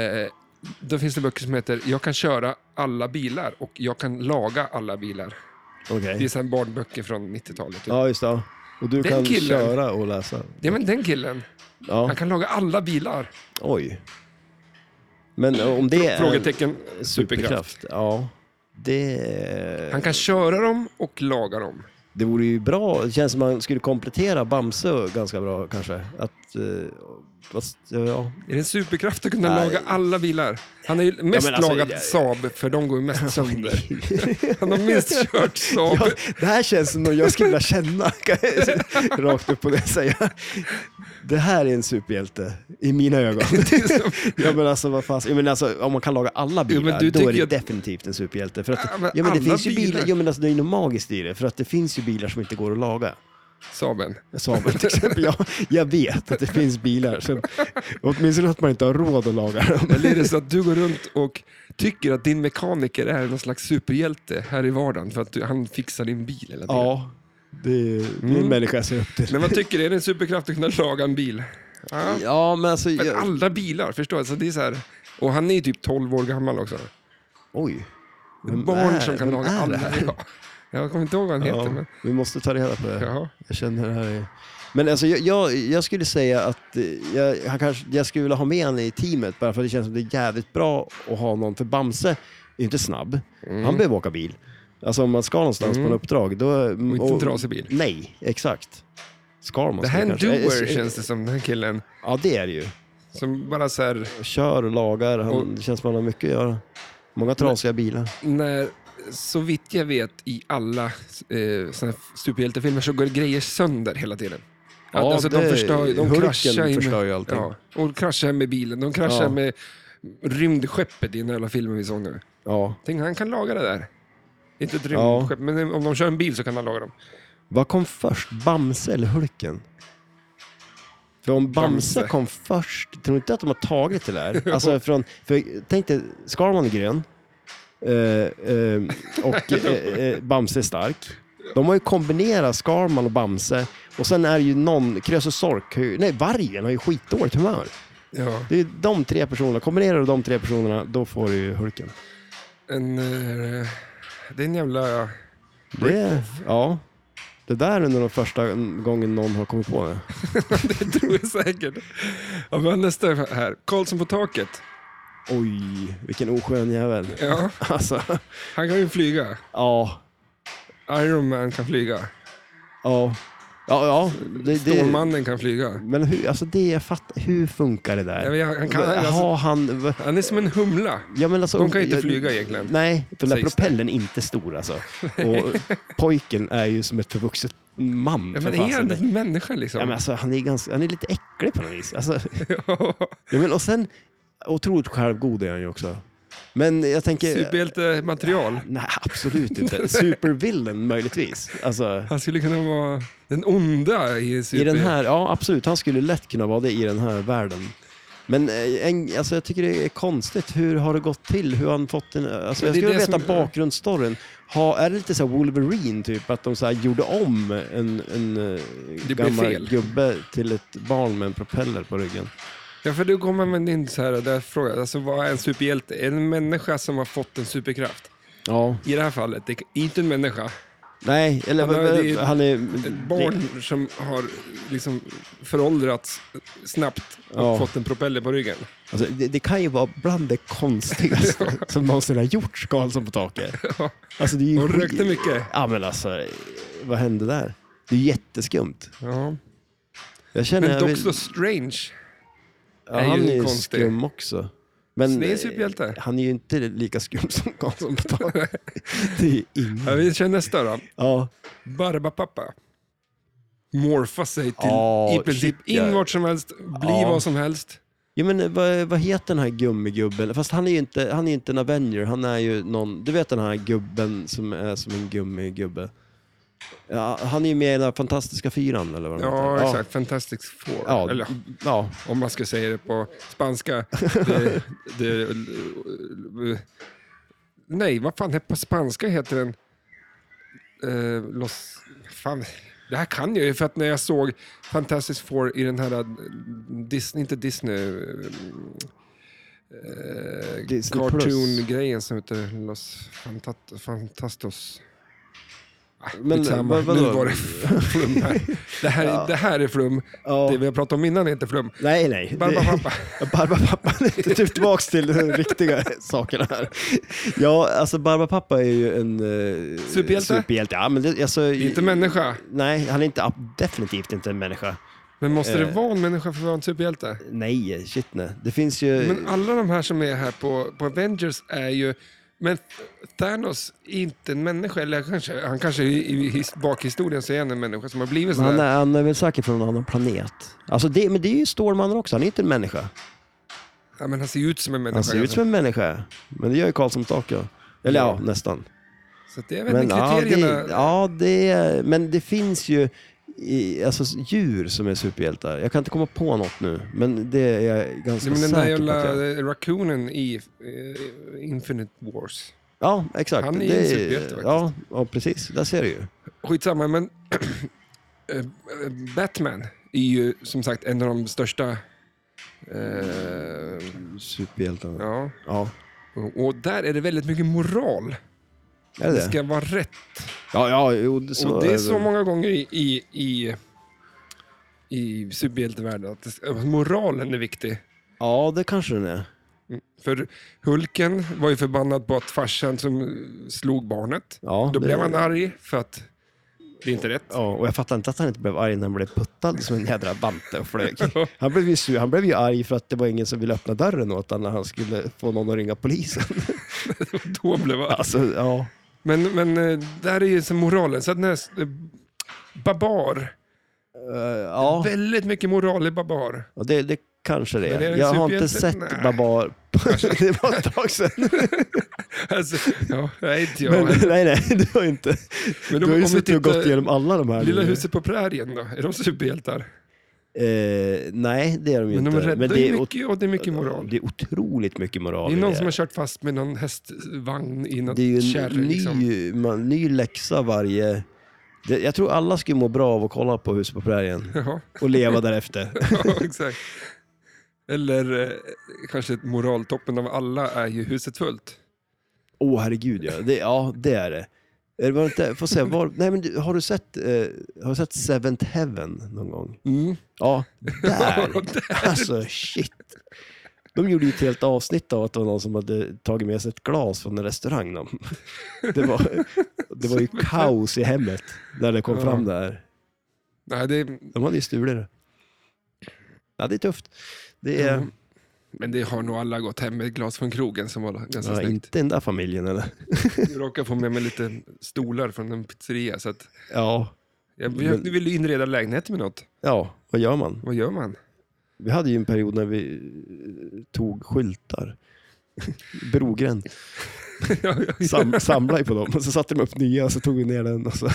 Speaker 1: då finns det böcker som heter Jag kan köra alla bilar och Jag kan laga alla bilar. Det är
Speaker 2: okej.
Speaker 1: så här barnböcker från 90-talet. Typ.
Speaker 2: Ja, just det. ja. Och du
Speaker 1: Den
Speaker 2: kan
Speaker 1: killen.
Speaker 2: köra och läsa.
Speaker 1: Ja, men den killen,
Speaker 2: Ja,
Speaker 1: han kan laga alla bilar.
Speaker 2: oj. Men eh, om det är en
Speaker 1: Frågetecken. Superkraft.
Speaker 2: superkraft, ja. Det,
Speaker 1: Han kan köra dem och laga dem.
Speaker 2: det vore ju bra. Det känns som man skulle komplettera Bamse ganska bra kanske. Att, eh, fast, ja,
Speaker 1: Är det en superkraft att kunna
Speaker 2: Nej.
Speaker 1: laga alla bilar? Han har ju mest
Speaker 2: men alltså,
Speaker 1: lagat
Speaker 2: jag-
Speaker 1: Saab, för de går ju mest sönder. Han har minst kört Saab.
Speaker 2: Ja, det här känns som något jag skulle vilja känna. Rakt upp på det säga. Det här är en superhjälte i mina ögon.
Speaker 1: Det är som-
Speaker 2: Ja, men alltså, vad fan, ja, men alltså, om man kan laga alla bilar,
Speaker 1: men du
Speaker 2: då är det
Speaker 1: tycker att-
Speaker 2: definitivt en superhjälte. För att,
Speaker 1: Ja,
Speaker 2: ja,
Speaker 1: men
Speaker 2: men
Speaker 1: alla
Speaker 2: det finns ju bilar,
Speaker 1: bilar.
Speaker 2: ja, men alltså, det är ju något magiskt i det, för att det finns ju bilar som inte går att laga.
Speaker 1: Saben.
Speaker 3: Saben till exempel. Jag, jag vet att det finns bilar. Som, åtminstone att man inte har råd att laga dem.
Speaker 1: Eller är det så att du går runt och tycker att din mekaniker är någon slags superhjälte här i vardagen för att du, han fixar din bil hela tiden?
Speaker 3: Ja, det är, det är en
Speaker 1: Mm.
Speaker 3: människa jag ser upp till.
Speaker 1: Men vad tycker du? Är det en superkraft att kunna laga en bil? Ja.
Speaker 2: Ja, men alltså...
Speaker 1: Men
Speaker 2: Jag,
Speaker 1: alla bilar, förstår du? Så det är så här, och han är ju typ 12 år gammal också.
Speaker 2: oj. Vem
Speaker 1: Barn
Speaker 2: är-
Speaker 1: som kan
Speaker 2: vem
Speaker 1: laga
Speaker 2: är det
Speaker 1: alla.
Speaker 2: här?
Speaker 1: Ja. Jag kommer inte ihåg vad han heter.
Speaker 2: Ja,
Speaker 1: Men,
Speaker 2: vi måste ta reda på det.
Speaker 1: jaha.
Speaker 2: Jag känner det här är... Men alltså, jag, jag, jag skulle säga att eh, jag, han kanske, jag skulle vilja ha med honom i teamet bara för att det känns som det är jävligt bra att ha någon. För Bamse är ju inte snabb.
Speaker 1: Mm.
Speaker 2: Han behöver åka bil. Alltså om man ska någonstans på en uppdrag. Då, Mm, och
Speaker 1: inte en trasig bil.
Speaker 2: Nej, exakt. Ska man
Speaker 1: Det här är en
Speaker 2: kanske. Eh,
Speaker 1: doer
Speaker 2: eh,
Speaker 1: känns det som, den här killen.
Speaker 2: Ja, det är det ju.
Speaker 1: Som bara så här,
Speaker 2: Kör och lagar. Han,
Speaker 1: Och-
Speaker 2: Det känns som han har mycket att göra. Många trasiga bilar.
Speaker 1: när, så vitt jag vet i alla eh, såna här superhjältefilmer så går grejer sönder hela tiden. Att,
Speaker 2: Ja,
Speaker 1: alltså,
Speaker 2: det-
Speaker 1: de förstör, de
Speaker 2: Hulken
Speaker 1: kraschar ju
Speaker 2: förstör
Speaker 1: med,
Speaker 2: ju allting.
Speaker 1: Ja, och kraschar med bilen, de kraschar
Speaker 2: Ja.
Speaker 1: med rymdskeppet i den här jävla filmen vi såg nu.
Speaker 2: Ja.
Speaker 1: Tänk, han kan laga det där. Inte ett
Speaker 2: Ja.
Speaker 1: rymdskepp, men om de kör en bil så kan han laga dem.
Speaker 2: Vad kom först, Bamse eller Hulken? För om Bamse,
Speaker 1: Bamse.
Speaker 2: kom först, tror du inte att de har tagit det där? Alltså från, för tänk dig, Skalman är grön eh, eh, och eh, eh, Bamse är stark. De har ju kombinerat Skalman och Bamse och sen är det ju någon, Krösus Sork, har ju- nej Vargen har ju skitdåligt humör.
Speaker 1: Ja,
Speaker 2: Det är ju de tre personerna, kombinerar du de tre personerna då får du ju Hulken.
Speaker 1: en, eh, det är en jävla...
Speaker 2: Det, ja, det där är nog den första gången någon har kommit på det.
Speaker 1: Det tror jag säkert. Ja, men nästa här. Karlsson på taket.
Speaker 2: Oj, vilken oskön jävel.
Speaker 1: Ja,
Speaker 2: Alltså,
Speaker 1: han kan ju flyga.
Speaker 2: ja,
Speaker 1: Iron Man kan flyga.
Speaker 2: ja, ja, ja. Det, det,
Speaker 1: Stålmannen kan flyga.
Speaker 2: men hur, alltså det, jag fattar, hur funkar det
Speaker 1: Ja,
Speaker 2: där?
Speaker 1: men han, kan, alltså,
Speaker 2: Har han... v-
Speaker 1: han är som en humla.
Speaker 2: Ja, men alltså,
Speaker 1: De kan ju inte
Speaker 2: jag-
Speaker 1: flyga egentligen.
Speaker 2: Nej, den där
Speaker 1: Sägs det.
Speaker 2: propellen är inte stor alltså. Och pojken är ju som ett förvuxet man.
Speaker 1: Ja,
Speaker 2: för
Speaker 1: men är
Speaker 2: fasen.
Speaker 1: han en människa liksom?
Speaker 2: ja, men alltså, han, är ganska, han är lite äcklig på något vis. Alltså, ja, men, och sen, otroligt självgod är han ju också. Men jag tänker...
Speaker 1: Superhjältematerial.
Speaker 2: Nej, absolut inte. Supervillain möjligtvis. Alltså,
Speaker 1: Han skulle kunna vara den onda i
Speaker 2: I
Speaker 1: super...
Speaker 2: den här, ja absolut, han skulle lätt kunna vara det i den här världen. Men eh, en, alltså jag tycker det är konstigt, hur har det gått till? Hur har han fått en, alltså
Speaker 1: Men
Speaker 2: jag
Speaker 1: det är
Speaker 2: skulle vilja
Speaker 1: det
Speaker 2: veta
Speaker 1: som-
Speaker 2: bakgrundsstoryn. Ha, är det lite så här Wolverine typ, att de så här gjorde om en, en eh,
Speaker 1: blev
Speaker 2: gammal
Speaker 1: fel.
Speaker 2: gubbe till ett barn med en propeller på ryggen?
Speaker 1: Ja, för du kommer med din så här, där fråga. Alltså, vad är en superhjälte? Är det en människa som har fått en superkraft?
Speaker 2: Ja.
Speaker 1: I det här fallet, det är inte en människa.
Speaker 2: Nej, eller
Speaker 1: Han
Speaker 2: han,
Speaker 1: har- det
Speaker 2: är,
Speaker 1: är
Speaker 2: han är...
Speaker 1: Ett barn som har liksom föråldrats snabbt och
Speaker 2: Ja.
Speaker 1: fått en propeller på ryggen.
Speaker 2: Alltså, det, det kan ju vara bland det konstigaste som någonsin har gjorts, Karlsson på taket. Alltså, det är ju
Speaker 1: Hon
Speaker 2: skit-
Speaker 1: rökte mycket.
Speaker 2: Ja men alltså, vad hände där? Det är jätteskumt.
Speaker 1: Ja.
Speaker 2: Jag känner
Speaker 1: Men
Speaker 2: jag
Speaker 1: Doctor
Speaker 2: vill...
Speaker 1: Strange,
Speaker 2: ja,
Speaker 1: är ju
Speaker 2: han är ju
Speaker 1: konstig.
Speaker 2: skum också. Men
Speaker 1: Så det är en
Speaker 2: eh,
Speaker 1: superhjälte.
Speaker 2: han är ju inte lika skum som Karlsson på taket. Det är
Speaker 1: ja,
Speaker 2: ingen.
Speaker 1: vi kör nästa då.
Speaker 2: Ja,
Speaker 1: Barbapapa. Morfa sig till
Speaker 2: Ja,
Speaker 1: i princip
Speaker 2: shit, ja.
Speaker 1: in vart som helst, bli
Speaker 2: Ja.
Speaker 1: vad som helst.
Speaker 2: ja men eh, vad, vad heter den här gummigubben? Fast han är ju inte, han är inte en Avenger, han är ju någon, du vet den här gubben som är som en gummigubbe? Ja, han är ju med i den här fantastiska fyran eller vad den
Speaker 1: Ja,
Speaker 2: heter.
Speaker 1: exakt. Fantastic Four.
Speaker 2: Ja,
Speaker 1: Eller,
Speaker 2: ja, ja,
Speaker 1: om man ska säga det på spanska. Det, det, nej, vad fan, på spanska heter den... Eh, los, fan, det här kan jag ju, för att när jag såg Fantastic Four i den här eh, Disney, inte Disney, eh,
Speaker 2: Disney Plus.
Speaker 1: cartoon-grejen som heter Los Fantat- Fantastos. Ah,
Speaker 2: Men,
Speaker 1: Skitsamma,
Speaker 2: vad- vadå?
Speaker 1: nu var det flum här. Det här, det här är flum.
Speaker 2: Ja.
Speaker 1: Det vi har pratat om innan är inte flum.
Speaker 2: Nej, nej.
Speaker 1: Barba
Speaker 2: Det-
Speaker 1: pappa.
Speaker 2: Barbapappa, typ tillbaks till de riktiga sakerna här. Ja, alltså Barbapappa är ju en... eh,
Speaker 1: Superhjälte?
Speaker 2: superhjälte. Ja, men det, alltså,
Speaker 1: Det är inte människa.
Speaker 2: Nej, han är inte, ab- definitivt inte en människa.
Speaker 1: Men måste det
Speaker 2: Eh.
Speaker 1: vara en människa för att vara en superhjälte?
Speaker 2: Nej, shit nej. Det finns ju...
Speaker 1: Men alla de här som är här på, på Avengers är ju... Men Thanos är inte en människa, eller kanske, han kanske i, i his, bakhistorien så är han en människa som har blivit
Speaker 2: Men han,
Speaker 1: sådär.
Speaker 2: är, han är väl säkert från en annan planet. Alltså det, men det är ju Stålmannen också, han är inte en människa.
Speaker 1: Ja, men han ser ju ut som en människa.
Speaker 2: Han ser ut som en människa, men det gör ju Karlsson tak, ja. Eller ja,
Speaker 1: Ja.
Speaker 2: nästan.
Speaker 1: Så att det är väl
Speaker 2: Men,
Speaker 1: men,
Speaker 2: ja,
Speaker 1: kriterierna.
Speaker 2: det, ja det, men det finns ju i, alltså, djur som är superhjältar. Jag kan inte komma på något nu, men det är jag ganska
Speaker 1: Ja, men den där
Speaker 2: säker på
Speaker 1: jävla
Speaker 2: att jag...
Speaker 1: eh, raccoonen i eh, Infinite Wars.
Speaker 2: Ja, exakt.
Speaker 1: Han är ju
Speaker 2: det
Speaker 1: en superhjälte faktiskt.
Speaker 2: Ja, ja, precis. Där ser du ju.
Speaker 1: Skitsamma, men eh, Batman är ju som sagt en av de största... Eh,
Speaker 2: Superhjältarna. Ja.
Speaker 1: ja. Och där är det väldigt mycket moral.
Speaker 2: Är
Speaker 1: Det
Speaker 2: det det?
Speaker 1: ska vara rätt.
Speaker 2: Ja, ja, jo, det- så
Speaker 1: och det är
Speaker 2: väl.
Speaker 1: så många gånger i, i, i, i superhjältevärlden att det- att moralen är viktig.
Speaker 2: Ja, det kanske den är.
Speaker 1: För Hulken var ju förbannad på att farsan som slog barnet.
Speaker 2: Ja,
Speaker 1: Då
Speaker 2: det-
Speaker 1: blev han arg för att det är inte rätt.
Speaker 2: Ja, och jag fattar inte att han inte blev arg när han blev puttad som en jädra bante och flög. Han blev ju sur. Han blev ju arg för att det var ingen som ville öppna dörren åt honom när han skulle få någon att ringa polisen.
Speaker 1: Då blev han.
Speaker 2: Alltså, ja.
Speaker 1: Men, men eh, där är ju så moralen. Så att när, eh, Babar.
Speaker 2: Eh, ja,
Speaker 1: Väldigt mycket moral i Babar.
Speaker 2: och det, det kanske det
Speaker 1: Men är
Speaker 2: är.
Speaker 1: det
Speaker 2: Jag har inte
Speaker 1: superhjälte? Nej.
Speaker 2: sett Babar. det var ett tag sedan.
Speaker 1: Alltså, ja, nej, inte jag.
Speaker 2: Men,
Speaker 1: Men,
Speaker 2: nej, nej, du har inte.
Speaker 1: Men
Speaker 2: du
Speaker 1: om-
Speaker 2: har
Speaker 1: om
Speaker 2: ju
Speaker 1: vi
Speaker 2: suttit och
Speaker 1: tittar-
Speaker 2: gått igenom alla de här.
Speaker 1: Lilla
Speaker 2: nu.
Speaker 1: huset på prärien då? Är de superhjältar?
Speaker 2: Eh, nej, det är de ju
Speaker 1: Men de
Speaker 2: inte.
Speaker 1: räddar
Speaker 2: Men
Speaker 1: ju
Speaker 2: ot-
Speaker 1: mycket och det är mycket moral.
Speaker 2: Det är otroligt mycket moral.
Speaker 1: Det är
Speaker 2: i
Speaker 1: någon som har kört fast med någon hästvagn i något
Speaker 2: Det är ju en
Speaker 1: kärr.
Speaker 2: ny,
Speaker 1: Liksom.
Speaker 2: man, ny läxa varje... Det, jag tror alla skulle må bra av att kolla på Huset på prärien
Speaker 1: Ja,
Speaker 2: och leva därefter.
Speaker 1: ja, exakt. Eller eh, kanske moraltoppen av alla är ju huset fullt.
Speaker 2: Åh herregud ja, det, ja det är det. Är det var inte, får se, var, nej, men du- har, du sett, eh, har du sett Seventh Heaven någon gång?
Speaker 1: Mm.
Speaker 2: Ja, där!
Speaker 1: Ja, där.
Speaker 2: Alltså shit. De gjorde ju ett helt avsnitt av att det var någon som hade tagit med sig ett glas från en restaurang. De- Det var, det var ju kaos i hemmet när det kom
Speaker 1: Ja.
Speaker 2: fram där.
Speaker 1: Nej, det,
Speaker 2: De hade ju stulit det. Ja, det är tufft. Det är
Speaker 1: Mm. men det har nog alla gått hem med ett glas från krogen som var ganska
Speaker 2: ja,
Speaker 1: snyggt.
Speaker 2: inte den där familjen eller?
Speaker 1: Jag råkade få med mig lite stolar från en pizzeria. Så att
Speaker 2: Ja.
Speaker 1: jag, jag
Speaker 2: Men-
Speaker 1: ville inreda lägenheten med något.
Speaker 2: Ja, vad gör man?
Speaker 1: Vad gör man?
Speaker 2: Vi hade ju en period när vi eh, tog skyltar. Brogränd.
Speaker 1: ja, ja,
Speaker 2: Sam, samlade på dem och så satte de upp nya och så tog vi ner den. Och så.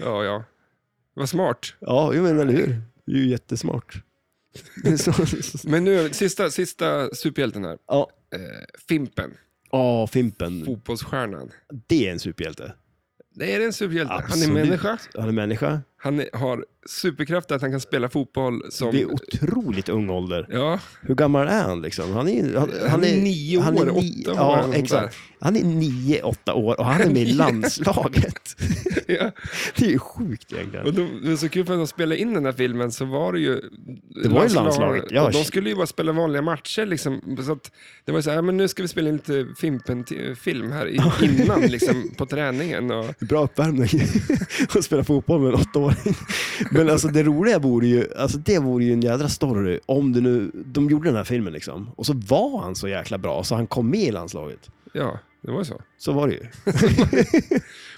Speaker 1: ja, ja. Vad smart.
Speaker 2: Ja, jag menar eller hur? Det är ju jättesmart. Det är så-
Speaker 1: Men nu, sista, sista superhjälten här.
Speaker 2: Ja,
Speaker 1: Eh, Fimpen,
Speaker 2: oh, Fimpen.
Speaker 1: fotbollsstjärnan.
Speaker 2: Det är en superhjälte.
Speaker 1: Nej, är det en superhjälte?
Speaker 2: Absolut.
Speaker 1: Han är människa.
Speaker 2: Han är människa.
Speaker 1: Han är, har superkraft att han kan spela fotboll som...
Speaker 2: Det är otroligt ung ålder.
Speaker 1: Ja,
Speaker 2: Hur gammal är han liksom? Han är, han,
Speaker 1: Han är nio år, åtta år, eller
Speaker 2: Ja,
Speaker 1: något
Speaker 2: exakt. Han är nio, åtta år och han är med i landslaget.
Speaker 1: ja.
Speaker 2: Det är ju sjukt egentligen.
Speaker 1: Och de, det var så kul för att de spelade in den här filmen så var det ju... Det
Speaker 2: var ju landslaget, ja.
Speaker 1: De skulle ju bara spela vanliga matcher liksom. Så att det var ju så här, ja, men nu ska vi spela in lite Fimpen-film här i- innan liksom på träningen. Och,
Speaker 2: Bra uppvärmning att spela fotboll med en åttaåring. Men alltså det roliga vore ju, alltså det vore ju en jädra story om det nu, de gjorde den här filmen liksom. Och så var han så jäkla bra så han kom med i landslaget.
Speaker 1: ja, det var ju så.
Speaker 2: Så var det ju.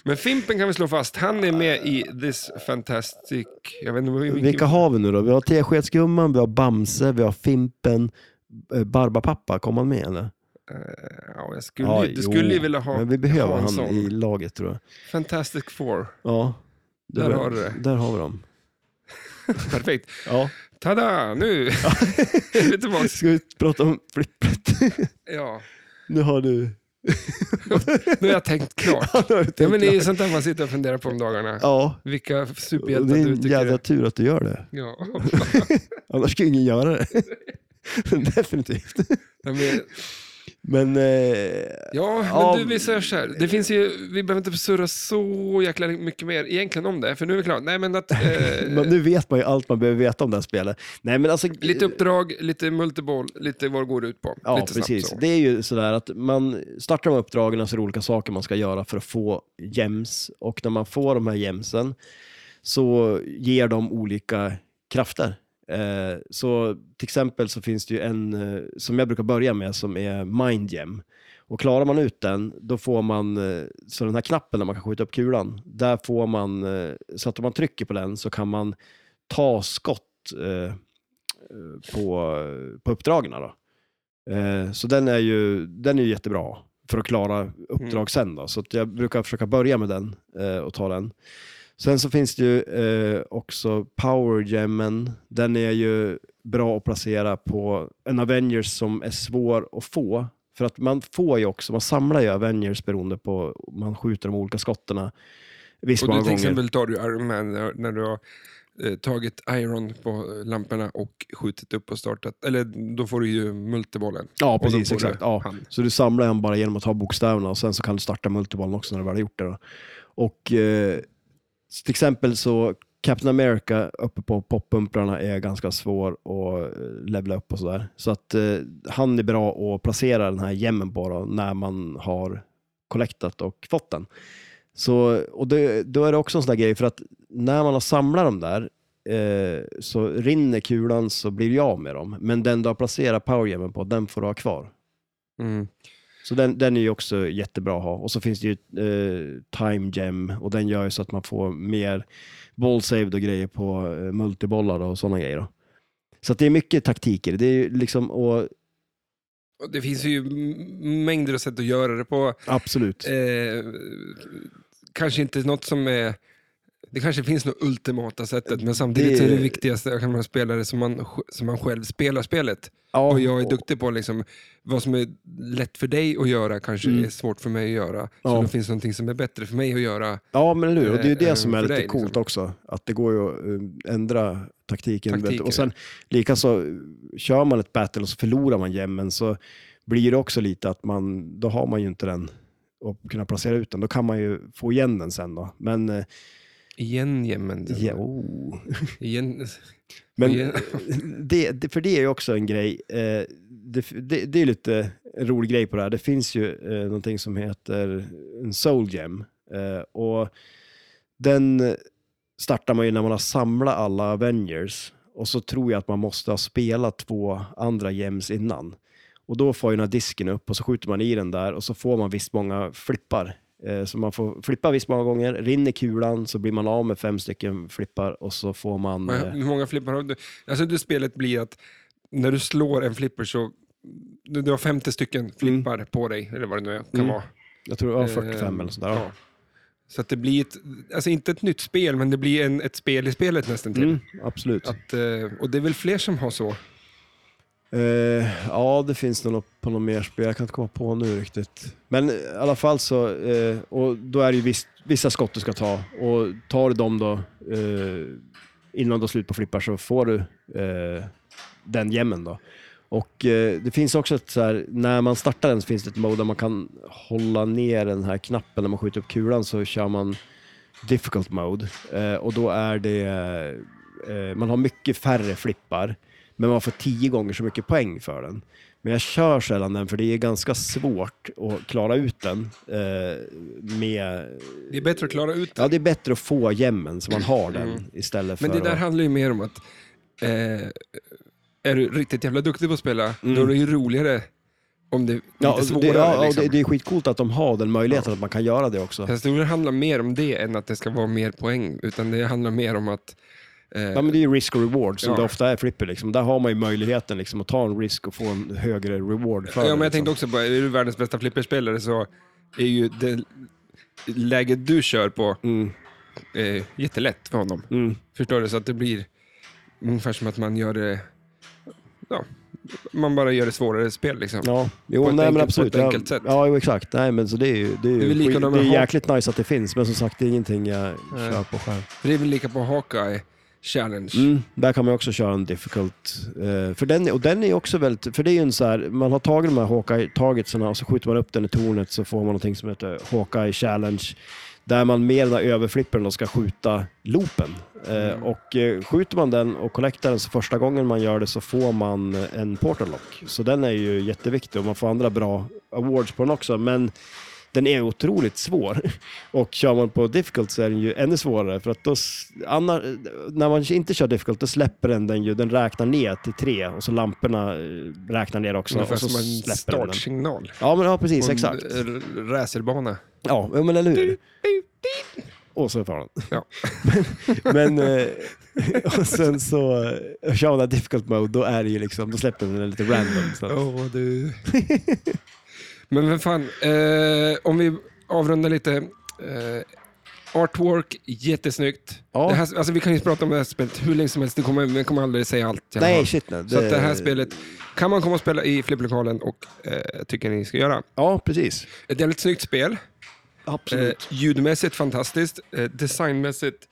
Speaker 1: Men Fimpen kan vi slå fast, han är med i This Fantastic... Jag vet inte vilken...
Speaker 2: Vilka har vi nu då? Vi har Teskedsgumman, vi har Bamse, vi har Fimpen. Eh, Barbapapa, kom han med eller?
Speaker 1: Ja, jag skulle, ju- du skulle ju vilja ha
Speaker 2: Men vi behöver
Speaker 1: ha en
Speaker 2: han
Speaker 1: sån.
Speaker 2: i laget tror jag.
Speaker 1: Fantastic Four.
Speaker 2: Ja.
Speaker 1: Där
Speaker 2: Det-
Speaker 1: har du det.
Speaker 2: Där har vi dem.
Speaker 1: Perfekt.
Speaker 2: Ja.
Speaker 1: Tada, nu är vi tillbaka.
Speaker 2: Ska vi prata om flippret?
Speaker 1: Ja,
Speaker 2: nu har du...
Speaker 1: nu har jag tänkt klart.
Speaker 2: Nu har du tänkt
Speaker 1: Ja, men det är ju
Speaker 2: klart.
Speaker 1: sånt där man sitter och funderar på om dagarna.
Speaker 2: ja.
Speaker 1: Vilka
Speaker 2: Och
Speaker 1: superhjältar
Speaker 2: det är
Speaker 1: du
Speaker 2: en
Speaker 1: tycker
Speaker 2: jävla
Speaker 1: är...
Speaker 2: tur att du gör det.
Speaker 1: Ja.
Speaker 2: Annars skulle ingen göra det. Definitivt.
Speaker 1: Ja, men,
Speaker 2: Men... Eh,
Speaker 1: ja,
Speaker 2: Ja.
Speaker 1: men du, vi säger så här. Det finns ju, vi behöver inte surra så jäkla mycket mer egentligen om det, för nu är vi klara. Nej, men att... Eh,
Speaker 2: men nu vet man ju allt man behöver veta om det här spelet. Nej, men alltså,
Speaker 1: lite uppdrag, lite multiboll, lite vad det går ut på.
Speaker 2: Ja,
Speaker 1: lite snabbt
Speaker 2: precis.
Speaker 1: så.
Speaker 2: Det är ju sådär att man startar de här uppdragen, alltså olika saker man ska göra för att få gems. Och när man får de här gemsen så ger de olika krafter. Eh, så till exempel så finns det ju en eh, som jag brukar börja med som är mind gem. Och klarar man ut den, då får man, eh, så den här knappen där man kan skjuta upp kulan, där får man, eh, så att om man trycker på den så kan man ta skott eh, på, på uppdragen. Då. Eh, så den är, ju, den är ju jättebra
Speaker 1: Mm.
Speaker 2: för att klara uppdrag sen. Då. Så att jag brukar försöka börja med den eh, och ta den. Sen så finns det ju eh, också Power Gemmen. Den är ju bra att placera på en Avengers som är svår att få. För att man får ju också, man samlar ju Avengers beroende på, man skjuter de olika skottarna. Visst
Speaker 1: Och
Speaker 2: många
Speaker 1: du till
Speaker 2: gånger.
Speaker 1: exempel tar du Iron Man när- när du har eh, tagit Iron på lamporna och skjutit upp och startat. Eller då får du ju multibollen.
Speaker 2: Ja,
Speaker 1: Och då
Speaker 2: precis.
Speaker 1: får du
Speaker 2: Exakt. Ja.
Speaker 1: hand.
Speaker 2: Så du samlar en bara genom att ta bokstäverna och sen så kan du starta multibollen också när du väl har gjort det. Då. Och eh, så till exempel så Captain America uppe på poppumprarna är ganska svår att eh, levla upp och sådär. Så att eh, han är bra att placera den här gemmen på då, när man har collectat och fått den. Så, och det, då är det också en sån där grej för att när man har samlat dem där eh, så rinner kulan så blir jag av med dem. Men den du har placerat powergemmen på, den får du ha kvar.
Speaker 1: Mm.
Speaker 2: Så den, den är ju också jättebra att ha. Och så finns det ju eh, time gem och den gör ju så att man får mer ball saved och grejer på eh, multibollar och sådana grejer. Då. Så att det är mycket taktiker. Det är ju liksom, och
Speaker 1: Och det finns ju m- mängder av sätt att göra det på.
Speaker 2: absolut.
Speaker 1: Eh, kanske inte något som är... Det kanske finns något ultimata sättet, men samtidigt
Speaker 2: Det-
Speaker 1: så är det viktigaste att man ha spelare som man, sj- som man själv spelar spelet.
Speaker 2: Ja,
Speaker 1: Och jag är duktig på liksom, vad som är lätt för dig att göra kanske
Speaker 2: Mm.
Speaker 1: är svårt för mig att göra. Så
Speaker 2: Ja.
Speaker 1: då finns det någonting som är bättre för mig att göra.
Speaker 2: Ja, men eller hur. Och det är ju
Speaker 1: Eh,
Speaker 2: det som är
Speaker 1: för
Speaker 2: lite
Speaker 1: dig,
Speaker 2: coolt
Speaker 1: liksom.
Speaker 2: också. Att det går ju att eh, ändra taktiken. vet du.
Speaker 1: Taktiken,
Speaker 2: Och sen likaså, eh, kör man ett battle och så förlorar man jämmen så blir det också lite att man, då har man ju inte den och kunna placera ut den. Då kan man ju få igen den sen då. Men, eh,
Speaker 1: Igen jämmen. du.
Speaker 2: ja, oh.
Speaker 1: Igen.
Speaker 2: Men
Speaker 1: Igen.
Speaker 2: det, det, för det är ju också en grej. Eh, det, det, det är lite en rolig grej på det här. Det finns ju eh, någonting som heter en soul gem. Eh, och den startar man ju när man har samlat alla Avengers. Och så tror jag att man måste ha spelat två andra gems innan. Och då får ju den här disken upp och så skjuter man i den där och så får man visst många flippar. Eh, Så man får flippa visst många gånger, rinner kulan så blir man av med fem stycken flippar och så får man...
Speaker 1: Men
Speaker 2: eh,
Speaker 1: Hur många flippar har du? Alltså det spelet blir att när du slår en flipper så du, du har 50 stycken flippar på dig, eller vad det nu är, kan
Speaker 2: Mm.
Speaker 1: vara.
Speaker 2: Jag tror det var
Speaker 1: Eh,
Speaker 2: 45 eller sådär. Ja.
Speaker 1: ja. Så att det blir ett, alltså inte ett nytt spel, men det blir en, ett spel i spelet nästan till.
Speaker 2: Mm, absolut.
Speaker 1: Att, eh, och det är väl fler som har så?
Speaker 2: Eh, ja, det finns nog något på något mer spel. Jag kan inte komma på nu riktigt. Men eh, i alla fall så, eh, och då är det ju viss, vissa skott du ska ta. Och tar du dem då eh, innan du har slut på flippar så får du eh, den jämmen då. Och eh, det finns också ett så här, när man startar den så finns det ett mode där man kan hålla ner den här knappen när man skjuter upp kulan så kör man difficult mode. Eh, och då är det, eh, man har mycket färre flippar, men man får tio gånger så mycket poäng för den. Men jag kör sällan den för det är ganska svårt att klara ut den. Eh, med,
Speaker 1: Det är bättre att klara ut det.
Speaker 2: ja, det är bättre att få jämmen så man har den istället för
Speaker 1: Mm. Men det där
Speaker 2: att...
Speaker 1: handlar ju mer om att eh, är du riktigt jävla duktig på att spela, då är det ju roligare om det är lite
Speaker 2: Mm. Ja, och det,
Speaker 1: svårare.
Speaker 2: ja, och
Speaker 1: liksom.
Speaker 2: det, det är skitcoolt att de har den möjligheten att man kan göra det också.
Speaker 1: Fast det handlar mer om det än att det ska vara mer poäng, utan det handlar mer om att... Eh,
Speaker 2: Ja, men det är ju risk och reward som
Speaker 1: Ja.
Speaker 2: det ofta är i flipper. Liksom. Där har man ju möjligheten liksom, att ta en risk och få en högre reward för
Speaker 1: ja, men
Speaker 2: det,
Speaker 1: jag tänkte
Speaker 2: liksom.
Speaker 1: också på, är du världens bästa flipperspelare så är ju det läget du kör på
Speaker 2: Mm,
Speaker 1: eh, jättelätt för honom.
Speaker 2: mm.
Speaker 1: Förstår du? Så att det blir ungefär som att man gör det... Ja, man bara gör det svårare spel liksom.
Speaker 2: Ja, jo,
Speaker 1: På ett
Speaker 2: nej, men
Speaker 1: enkelt-
Speaker 2: absolut.
Speaker 1: på ett enkelt sätt.
Speaker 2: Ja, ja jo, exakt. Nej, men så det är ju, det är
Speaker 1: Det är
Speaker 2: ju
Speaker 1: väl lika
Speaker 2: skit-
Speaker 1: de
Speaker 2: det är
Speaker 1: har-
Speaker 2: jäkligt nice att det finns, men som sagt, det är ingenting jag
Speaker 1: Nej.
Speaker 2: kör på själv.
Speaker 1: För det är väl lika på Hawkeye Challenge.
Speaker 2: Mm, där kan man också köra en difficult. eh, för, den, och den är också väldigt, för det är ju en så här, man har tagit de här Hawkeye-targetsarna och så skjuter man upp den i tornet så får man någonting som heter Hawkeye Challenge. Där man med den här överflippen då ska skjuta loopen. Eh, Och eh, skjuter man den och collectar den så första gången man gör det så får man en portal lock. Så den är ju jätteviktig och man får andra bra awards på den också. Men den är otroligt svår. Och kör man på difficult så är den ju ännu svårare. För att då, s- annar, när man inte kör difficult då släpper den den ju, den räknar ner till tre och så lamporna eh, räknar ner också.
Speaker 1: Ungefär
Speaker 2: och så
Speaker 1: som en eh,
Speaker 2: släpper den den.
Speaker 1: startsignal.
Speaker 2: Ja, men ja,
Speaker 1: på
Speaker 2: precis,
Speaker 1: en
Speaker 2: exakt.
Speaker 1: r- Racerbana.
Speaker 2: Ja, ja, men eller hur? Och så tar den.
Speaker 1: Ja.
Speaker 2: Men, eh, och sen så eh, kör man den här difficult mode, då är det ju liksom, då släpper den lite random. Så. att-
Speaker 1: Åh, du. Men vem fan, eh, om vi avrundar lite. Eh, Artwork, jättesnyggt.
Speaker 2: Ja.
Speaker 1: Det här, alltså, vi kan ju prata om det här spelet hur länge som helst. Det kommer, vi kommer aldrig säga allt. jag har.
Speaker 2: Nej, shit nej.
Speaker 1: Så att det här spelet kan man komma och spela i flipplokalen och eh, tycker ni ska göra.
Speaker 2: Ja, precis.
Speaker 1: Ett jävligt snyggt spel. Eh,
Speaker 2: Absolut.
Speaker 1: ljudmässigt fantastiskt. Eh, designmässigt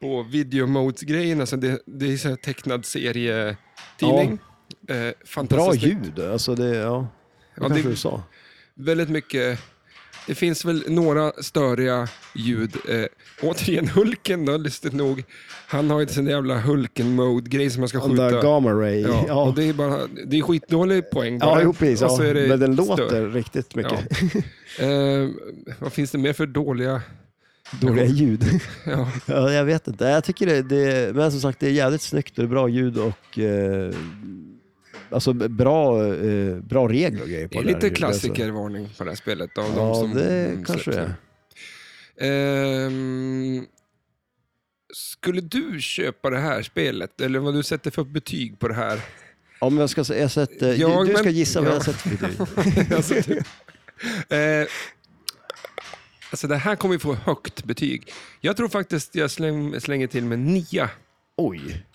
Speaker 1: på video modes-grejen. Alltså det, det är så här tecknad serietidning. Eh,
Speaker 2: Bra
Speaker 1: fantastiskt.
Speaker 2: ljud, alltså det, ja. Det
Speaker 1: Ja,
Speaker 2: kanske
Speaker 1: det-
Speaker 2: du sa.
Speaker 1: Väldigt mycket. Det finns väl några störiga ljud. Eh, återigen Hulken då, lustigt nog. Han har ju sin jävla Hulken-mode-grej som man ska
Speaker 2: Den där
Speaker 1: skjuta.
Speaker 2: Gamma Ray.
Speaker 1: Ja,
Speaker 2: Ja, ja.
Speaker 1: Och det, är bara, det är skitdålig poäng bara.
Speaker 2: jo, precis.
Speaker 1: Och så
Speaker 2: Ja.
Speaker 1: är det
Speaker 2: Men den
Speaker 1: stör.
Speaker 2: låter riktigt mycket.
Speaker 1: Ja. Eh, vad finns det mer för dåliga...
Speaker 2: Dåliga ljud.
Speaker 1: Ja.
Speaker 2: ja, jag vet inte. Jag tycker det, det, men som sagt, det är jävligt snyggt och det är bra ljud och eh, alltså b- bra, eh, bra regler och grejer på
Speaker 1: Det är
Speaker 2: det där
Speaker 1: lite
Speaker 2: ljudet, alltså.
Speaker 1: klassikervarning på det här spelet. Av de
Speaker 2: Ja,
Speaker 1: som
Speaker 2: det
Speaker 1: mm,
Speaker 2: kanske det
Speaker 1: släpps
Speaker 2: är.
Speaker 1: nu. Ehm, skulle du köpa det här spelet? Eller vad du sätter för betyg på det här?
Speaker 2: Ja, men jag ska, jag sett, eh,
Speaker 1: Jag,
Speaker 2: du, du ska
Speaker 1: men-
Speaker 2: gissa vad
Speaker 1: ja.
Speaker 2: jag har sett för betyg.
Speaker 1: alltså, typ. eh, alltså det här kommer ju få högt betyg. Jag tror faktiskt jag släng, slänger till med nia.
Speaker 2: Oj.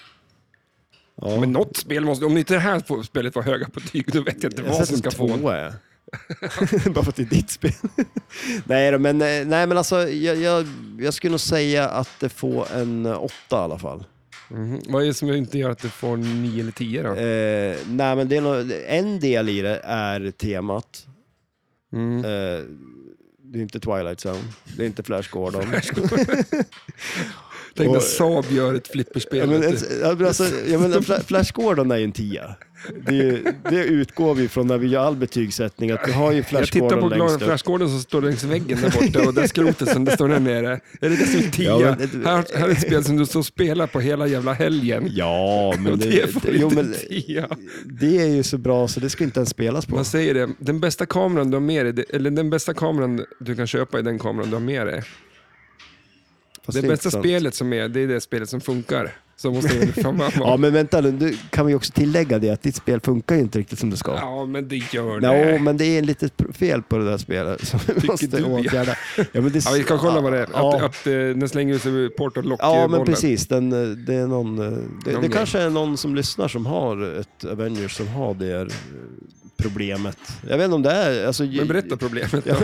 Speaker 2: Ja.
Speaker 1: Men något spel måste, om inte det här på- spelet får höga betyg, då vet jag inte
Speaker 2: Jag har
Speaker 1: vad
Speaker 2: sett
Speaker 1: som ska
Speaker 2: en
Speaker 1: få.
Speaker 2: tvåa, jag. Bara för att det är ditt spel. nej, då, men, eh, nej, men alltså jag, jag, jag skulle nog säga att det får en eh, åtta i alla fall.
Speaker 1: Mhm. Vad är det som inte gör att det får nio eller tio då?
Speaker 2: Eh, nej, men det är nog, en del i det är temat.
Speaker 1: Mm.
Speaker 2: Eh, det är inte Twilight Zone, det är inte Flash Gordon.
Speaker 1: Tänk när
Speaker 2: Och-
Speaker 1: Saab gör ett flipperspel.
Speaker 2: Ja, men,
Speaker 1: vet du.
Speaker 2: ens- ja, men alltså, jag menar, Fla- Flash Gordon är ju en tia. Det, är ju- det utgår vi från när vi gör all betygssättning, att vi har ju
Speaker 1: Jag
Speaker 2: Flash
Speaker 1: tittar på
Speaker 2: Gordon längst
Speaker 1: glada
Speaker 2: upp.
Speaker 1: flashgården som står längs väggen där borta och där skrotet som det står där nere. Är det det som är tia?
Speaker 2: Ja, men-
Speaker 1: här, här är ett spel som du står och spelar på hela jävla helgen.
Speaker 2: Ja,
Speaker 1: och
Speaker 2: men
Speaker 1: det,
Speaker 2: det,
Speaker 1: får
Speaker 2: det, jo,
Speaker 1: inte
Speaker 2: men
Speaker 1: tia.
Speaker 2: det är ju så bra så det ska inte ens spelas på.
Speaker 1: Man säger det, den bästa kameran du har med dig, det- eller den bästa kameran du kan köpa är den kameran du har med dig.
Speaker 2: Fast
Speaker 1: Det,
Speaker 2: är
Speaker 1: bästa
Speaker 2: inte sant.
Speaker 1: spelet som är, det är det spelet som funkar. Så måste det fan vara.
Speaker 2: Ja, men vänta nu, du kan vi också tillägga det att ditt spel funkar ju inte riktigt som det ska.
Speaker 1: Ja, men det gör
Speaker 2: Ja,
Speaker 1: det.
Speaker 2: men det är en litet pr- fel på det där spelet som vi måste
Speaker 1: du, ja.
Speaker 2: åtgärda. Ja, men det,
Speaker 1: Ja, vi kan kolla vad det är. Att,
Speaker 2: Ja,
Speaker 1: att, eh, den slänger ut sig portal lock
Speaker 2: ja men
Speaker 1: bollen.
Speaker 2: precis. Den, eh, det är någon, eh, det,
Speaker 1: Någon
Speaker 2: det
Speaker 1: grej.
Speaker 2: kanske är någon som lyssnar som har ett Avengers som har det eh, problemet. Jag vet inte om det är... Alltså,
Speaker 1: Men berätta problemet då.
Speaker 2: Ja.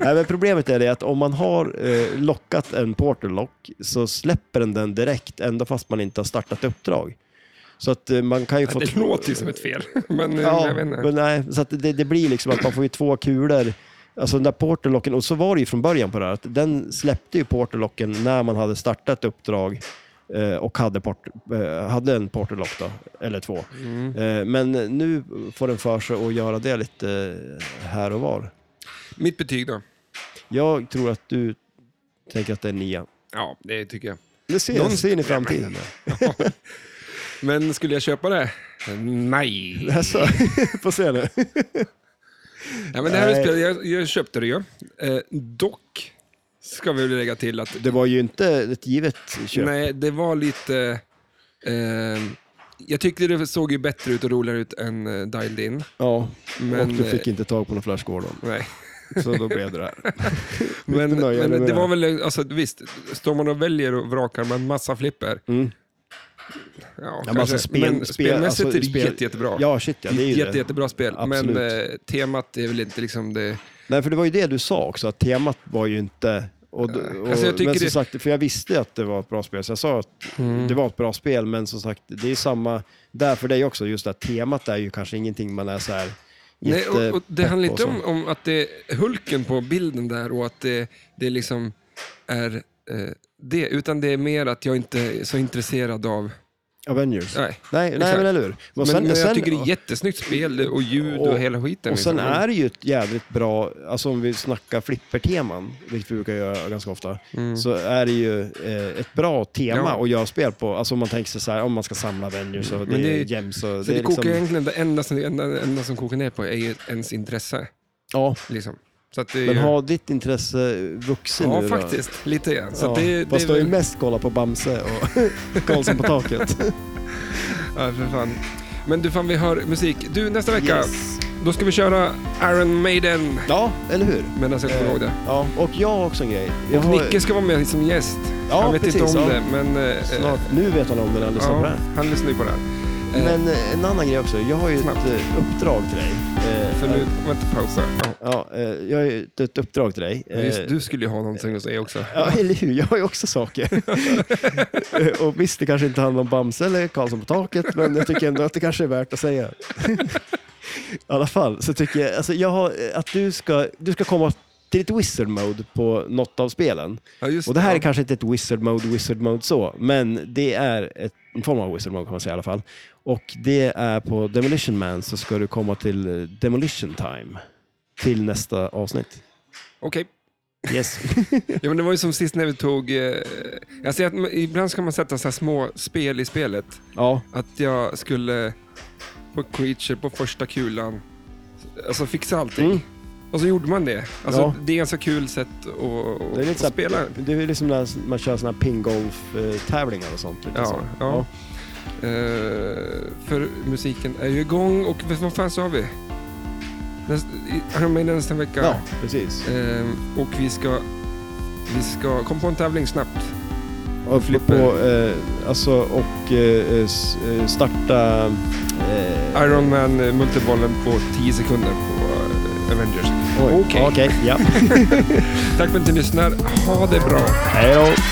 Speaker 2: Nej, men problemet är det att om man har eh, lockat en portal lock så släpper den den direkt ända fast man inte har startat uppdrag. Så att eh, man kan ju få...
Speaker 1: Det
Speaker 2: två-
Speaker 1: låter ju som ett fel. Men eh,
Speaker 2: Ja,
Speaker 1: jag vet inte.
Speaker 2: men nej, så att det, det blir liksom att man får ju två kulor. Alltså den där portal locken, och så var det ju från början på det här, att den släppte ju portal locken när man hade startat uppdrag eh, och hade, port, eh, hade en portal lock då, eller två.
Speaker 1: Mm.
Speaker 2: Eh, Men nu får den för sig att göra det lite eh, här och var.
Speaker 1: Mitt betyg då?
Speaker 2: Jag tror att du tänker att det är nia.
Speaker 1: Ja, det tycker jag.
Speaker 2: Det ser,
Speaker 1: Någon-
Speaker 2: Någon... ser in i framtiden.
Speaker 1: Men skulle jag köpa det? Nej.
Speaker 2: Alltså, får se nu.
Speaker 1: Ja, men det här är
Speaker 2: Nej.
Speaker 1: spel, jag, jag köpte det ju. Eh, dock ska vi väl lägga till att
Speaker 2: Det var ju inte ett givet köp.
Speaker 1: nej, det var lite... Eh, jag tyckte det såg ju bättre ut och roligare ut än eh, Dialed In.
Speaker 2: Ja,
Speaker 1: Men, eh,
Speaker 2: och du fick inte tag på någon Flash Gordon.
Speaker 1: Nej.
Speaker 2: Så då blev det det här.
Speaker 1: Men,
Speaker 2: Lite nöjare
Speaker 1: men det
Speaker 2: med
Speaker 1: var väl, alltså, visst, står man och väljer och vrakar med en massa flipper,
Speaker 2: Mm.
Speaker 1: ja,
Speaker 2: Ja, men
Speaker 1: kanske.
Speaker 2: alltså, spel,
Speaker 1: men
Speaker 2: spel-
Speaker 1: spelmässigt
Speaker 2: alltså,
Speaker 1: är det
Speaker 2: spel-
Speaker 1: jätte, jättebra.
Speaker 2: Ja, shit ja. Det är ju
Speaker 1: Jätte,
Speaker 2: det.
Speaker 1: jättebra spel, men
Speaker 2: Absolut.
Speaker 1: eh, temat är väl inte liksom det...
Speaker 2: Nej, för det var ju det du sa också, att temat var ju inte... Och, och,
Speaker 1: Alltså, jag tycker
Speaker 2: men som
Speaker 1: det- Mm.
Speaker 2: sagt, för jag visste att det var ett bra spel, så jag sa att det var ett bra spel, men som sagt, det är samma där för dig också, just det här temat är ju kanske ingenting man är så här
Speaker 1: Nej, och, och det
Speaker 2: jättepepp
Speaker 1: handlar inte
Speaker 2: och så.
Speaker 1: om, om att det är Hulken på bilden där och att det, det liksom är eh, det, utan det är mer att jag inte är så intresserad av...
Speaker 2: Avengers.
Speaker 1: Nej.
Speaker 2: Nej, nej
Speaker 1: Exakt.
Speaker 2: men eller hur?
Speaker 1: Men,
Speaker 2: Och sen-
Speaker 1: men jag
Speaker 2: sen-
Speaker 1: tycker det är jättesnyggt spel och ljud och,
Speaker 2: och-
Speaker 1: hela skiten.
Speaker 2: Och sen
Speaker 1: liksom.
Speaker 2: är det ju ett jävligt bra, alltså om vi snackar flipperteman, vilket vi brukar göra ganska ofta, så är det ju eh, ett bra tema
Speaker 1: Mm. Ja. Mm.
Speaker 2: att göra spel på. Alltså om man tänker sig så här, om man ska samla Avengers och det,
Speaker 1: Men det-
Speaker 2: är gems och
Speaker 1: Så det,
Speaker 2: det är
Speaker 1: kokar
Speaker 2: liksom...
Speaker 1: egentligen, det enda som, det enda, det enda som kokar ner på är ju ens intresse.
Speaker 2: Ja,
Speaker 1: Liksom. Så att det är
Speaker 2: men
Speaker 1: ju-
Speaker 2: har ditt intresse vuxit
Speaker 1: Ja,
Speaker 2: nu då?
Speaker 1: faktiskt. Lite grann. Så
Speaker 2: ja,
Speaker 1: att det, det
Speaker 2: fast du har
Speaker 1: väl-
Speaker 2: ju mest kollat på Bamse och Karlsson på taket.
Speaker 1: Ja, för fan. Men du, fan vi hör musik. Du, nästa vecka.
Speaker 2: Yes.
Speaker 1: Då ska vi köra Iron Maiden
Speaker 2: Ja, eller hur?
Speaker 1: medan jag
Speaker 2: Eh,
Speaker 1: kommer ihåg det.
Speaker 2: Ja, och jag har också en grej. Jag
Speaker 1: Och
Speaker 2: har,
Speaker 1: Nicke ska vara med som gäst.
Speaker 2: Ja,
Speaker 1: han vet
Speaker 2: precis,
Speaker 1: inte om
Speaker 2: ja.
Speaker 1: det, men... eh,
Speaker 2: snart, nu vet han om den alldeles
Speaker 1: ja,
Speaker 2: ja.
Speaker 1: han lyssnar ju på det här. eh,
Speaker 2: Men eh, en annan grej också. Jag har ju ett
Speaker 1: Snabbt.
Speaker 2: eh, uppdrag till dig. Eh,
Speaker 1: För nu, vänta, pausa. Ja.
Speaker 2: Ja, eh, jag har ju ett- ett uppdrag till dig. Eh,
Speaker 1: Just, du skulle ju ha någonting att säga också.
Speaker 2: Ja, eller hur? Jag har ju också saker. Eh, och visst, det kanske inte handlar om Bamse eller Karlsson på taket, men jag tycker ändå att det kanske är värt att säga. I alla fall, så tycker jag, alltså, jag har, eh, att du ska, du ska komma till ett wizard mode på något av spelen.
Speaker 1: Ja, just
Speaker 2: Och det här är
Speaker 1: ja.
Speaker 2: kanske inte ett wizard mode, wizard mode så, men det är ett, en form av wizard mode kan man säga i alla fall. Och det är på Demolition Man så ska du komma till eh, Demolition Time till nästa avsnitt.
Speaker 1: Okej.
Speaker 2: Yes.
Speaker 1: Ja, men det var ju som sist när vi tog... Eh, jag ser att m- ibland ska man sätta så här små spel i spelet.
Speaker 2: ja,
Speaker 1: Att jag skulle på Creature på första kulan, alltså fixa allting.
Speaker 2: Mm.
Speaker 1: Och så gjorde man det. Alltså,
Speaker 2: Ja.
Speaker 1: Det är ganska kul sätt att, att,
Speaker 2: Det är lite
Speaker 1: att spela.
Speaker 2: såhär, det är liksom när man kör såna här pinggolf-tävlingar och sånt. Lite
Speaker 1: Ja,
Speaker 2: så.
Speaker 1: Alltså, ja. Eh, för musiken är ju igång och vet- vad fan sa vi? Näst, i- Iron Maiden nästa vecka.
Speaker 2: ja, precis.
Speaker 1: Eh, och vi ska, vi ska komma på en tävling snabbt.
Speaker 2: Och flippa på, eh, alltså, och eh, s- eh, starta... Eh,
Speaker 1: Iron Man eh, multibollen på 10 sekunder på eh, Avengers.
Speaker 2: oj,
Speaker 1: okej.
Speaker 2: Okej, ja.
Speaker 1: Tack för att ni lyssnar. Ha det bra.
Speaker 2: Hej då.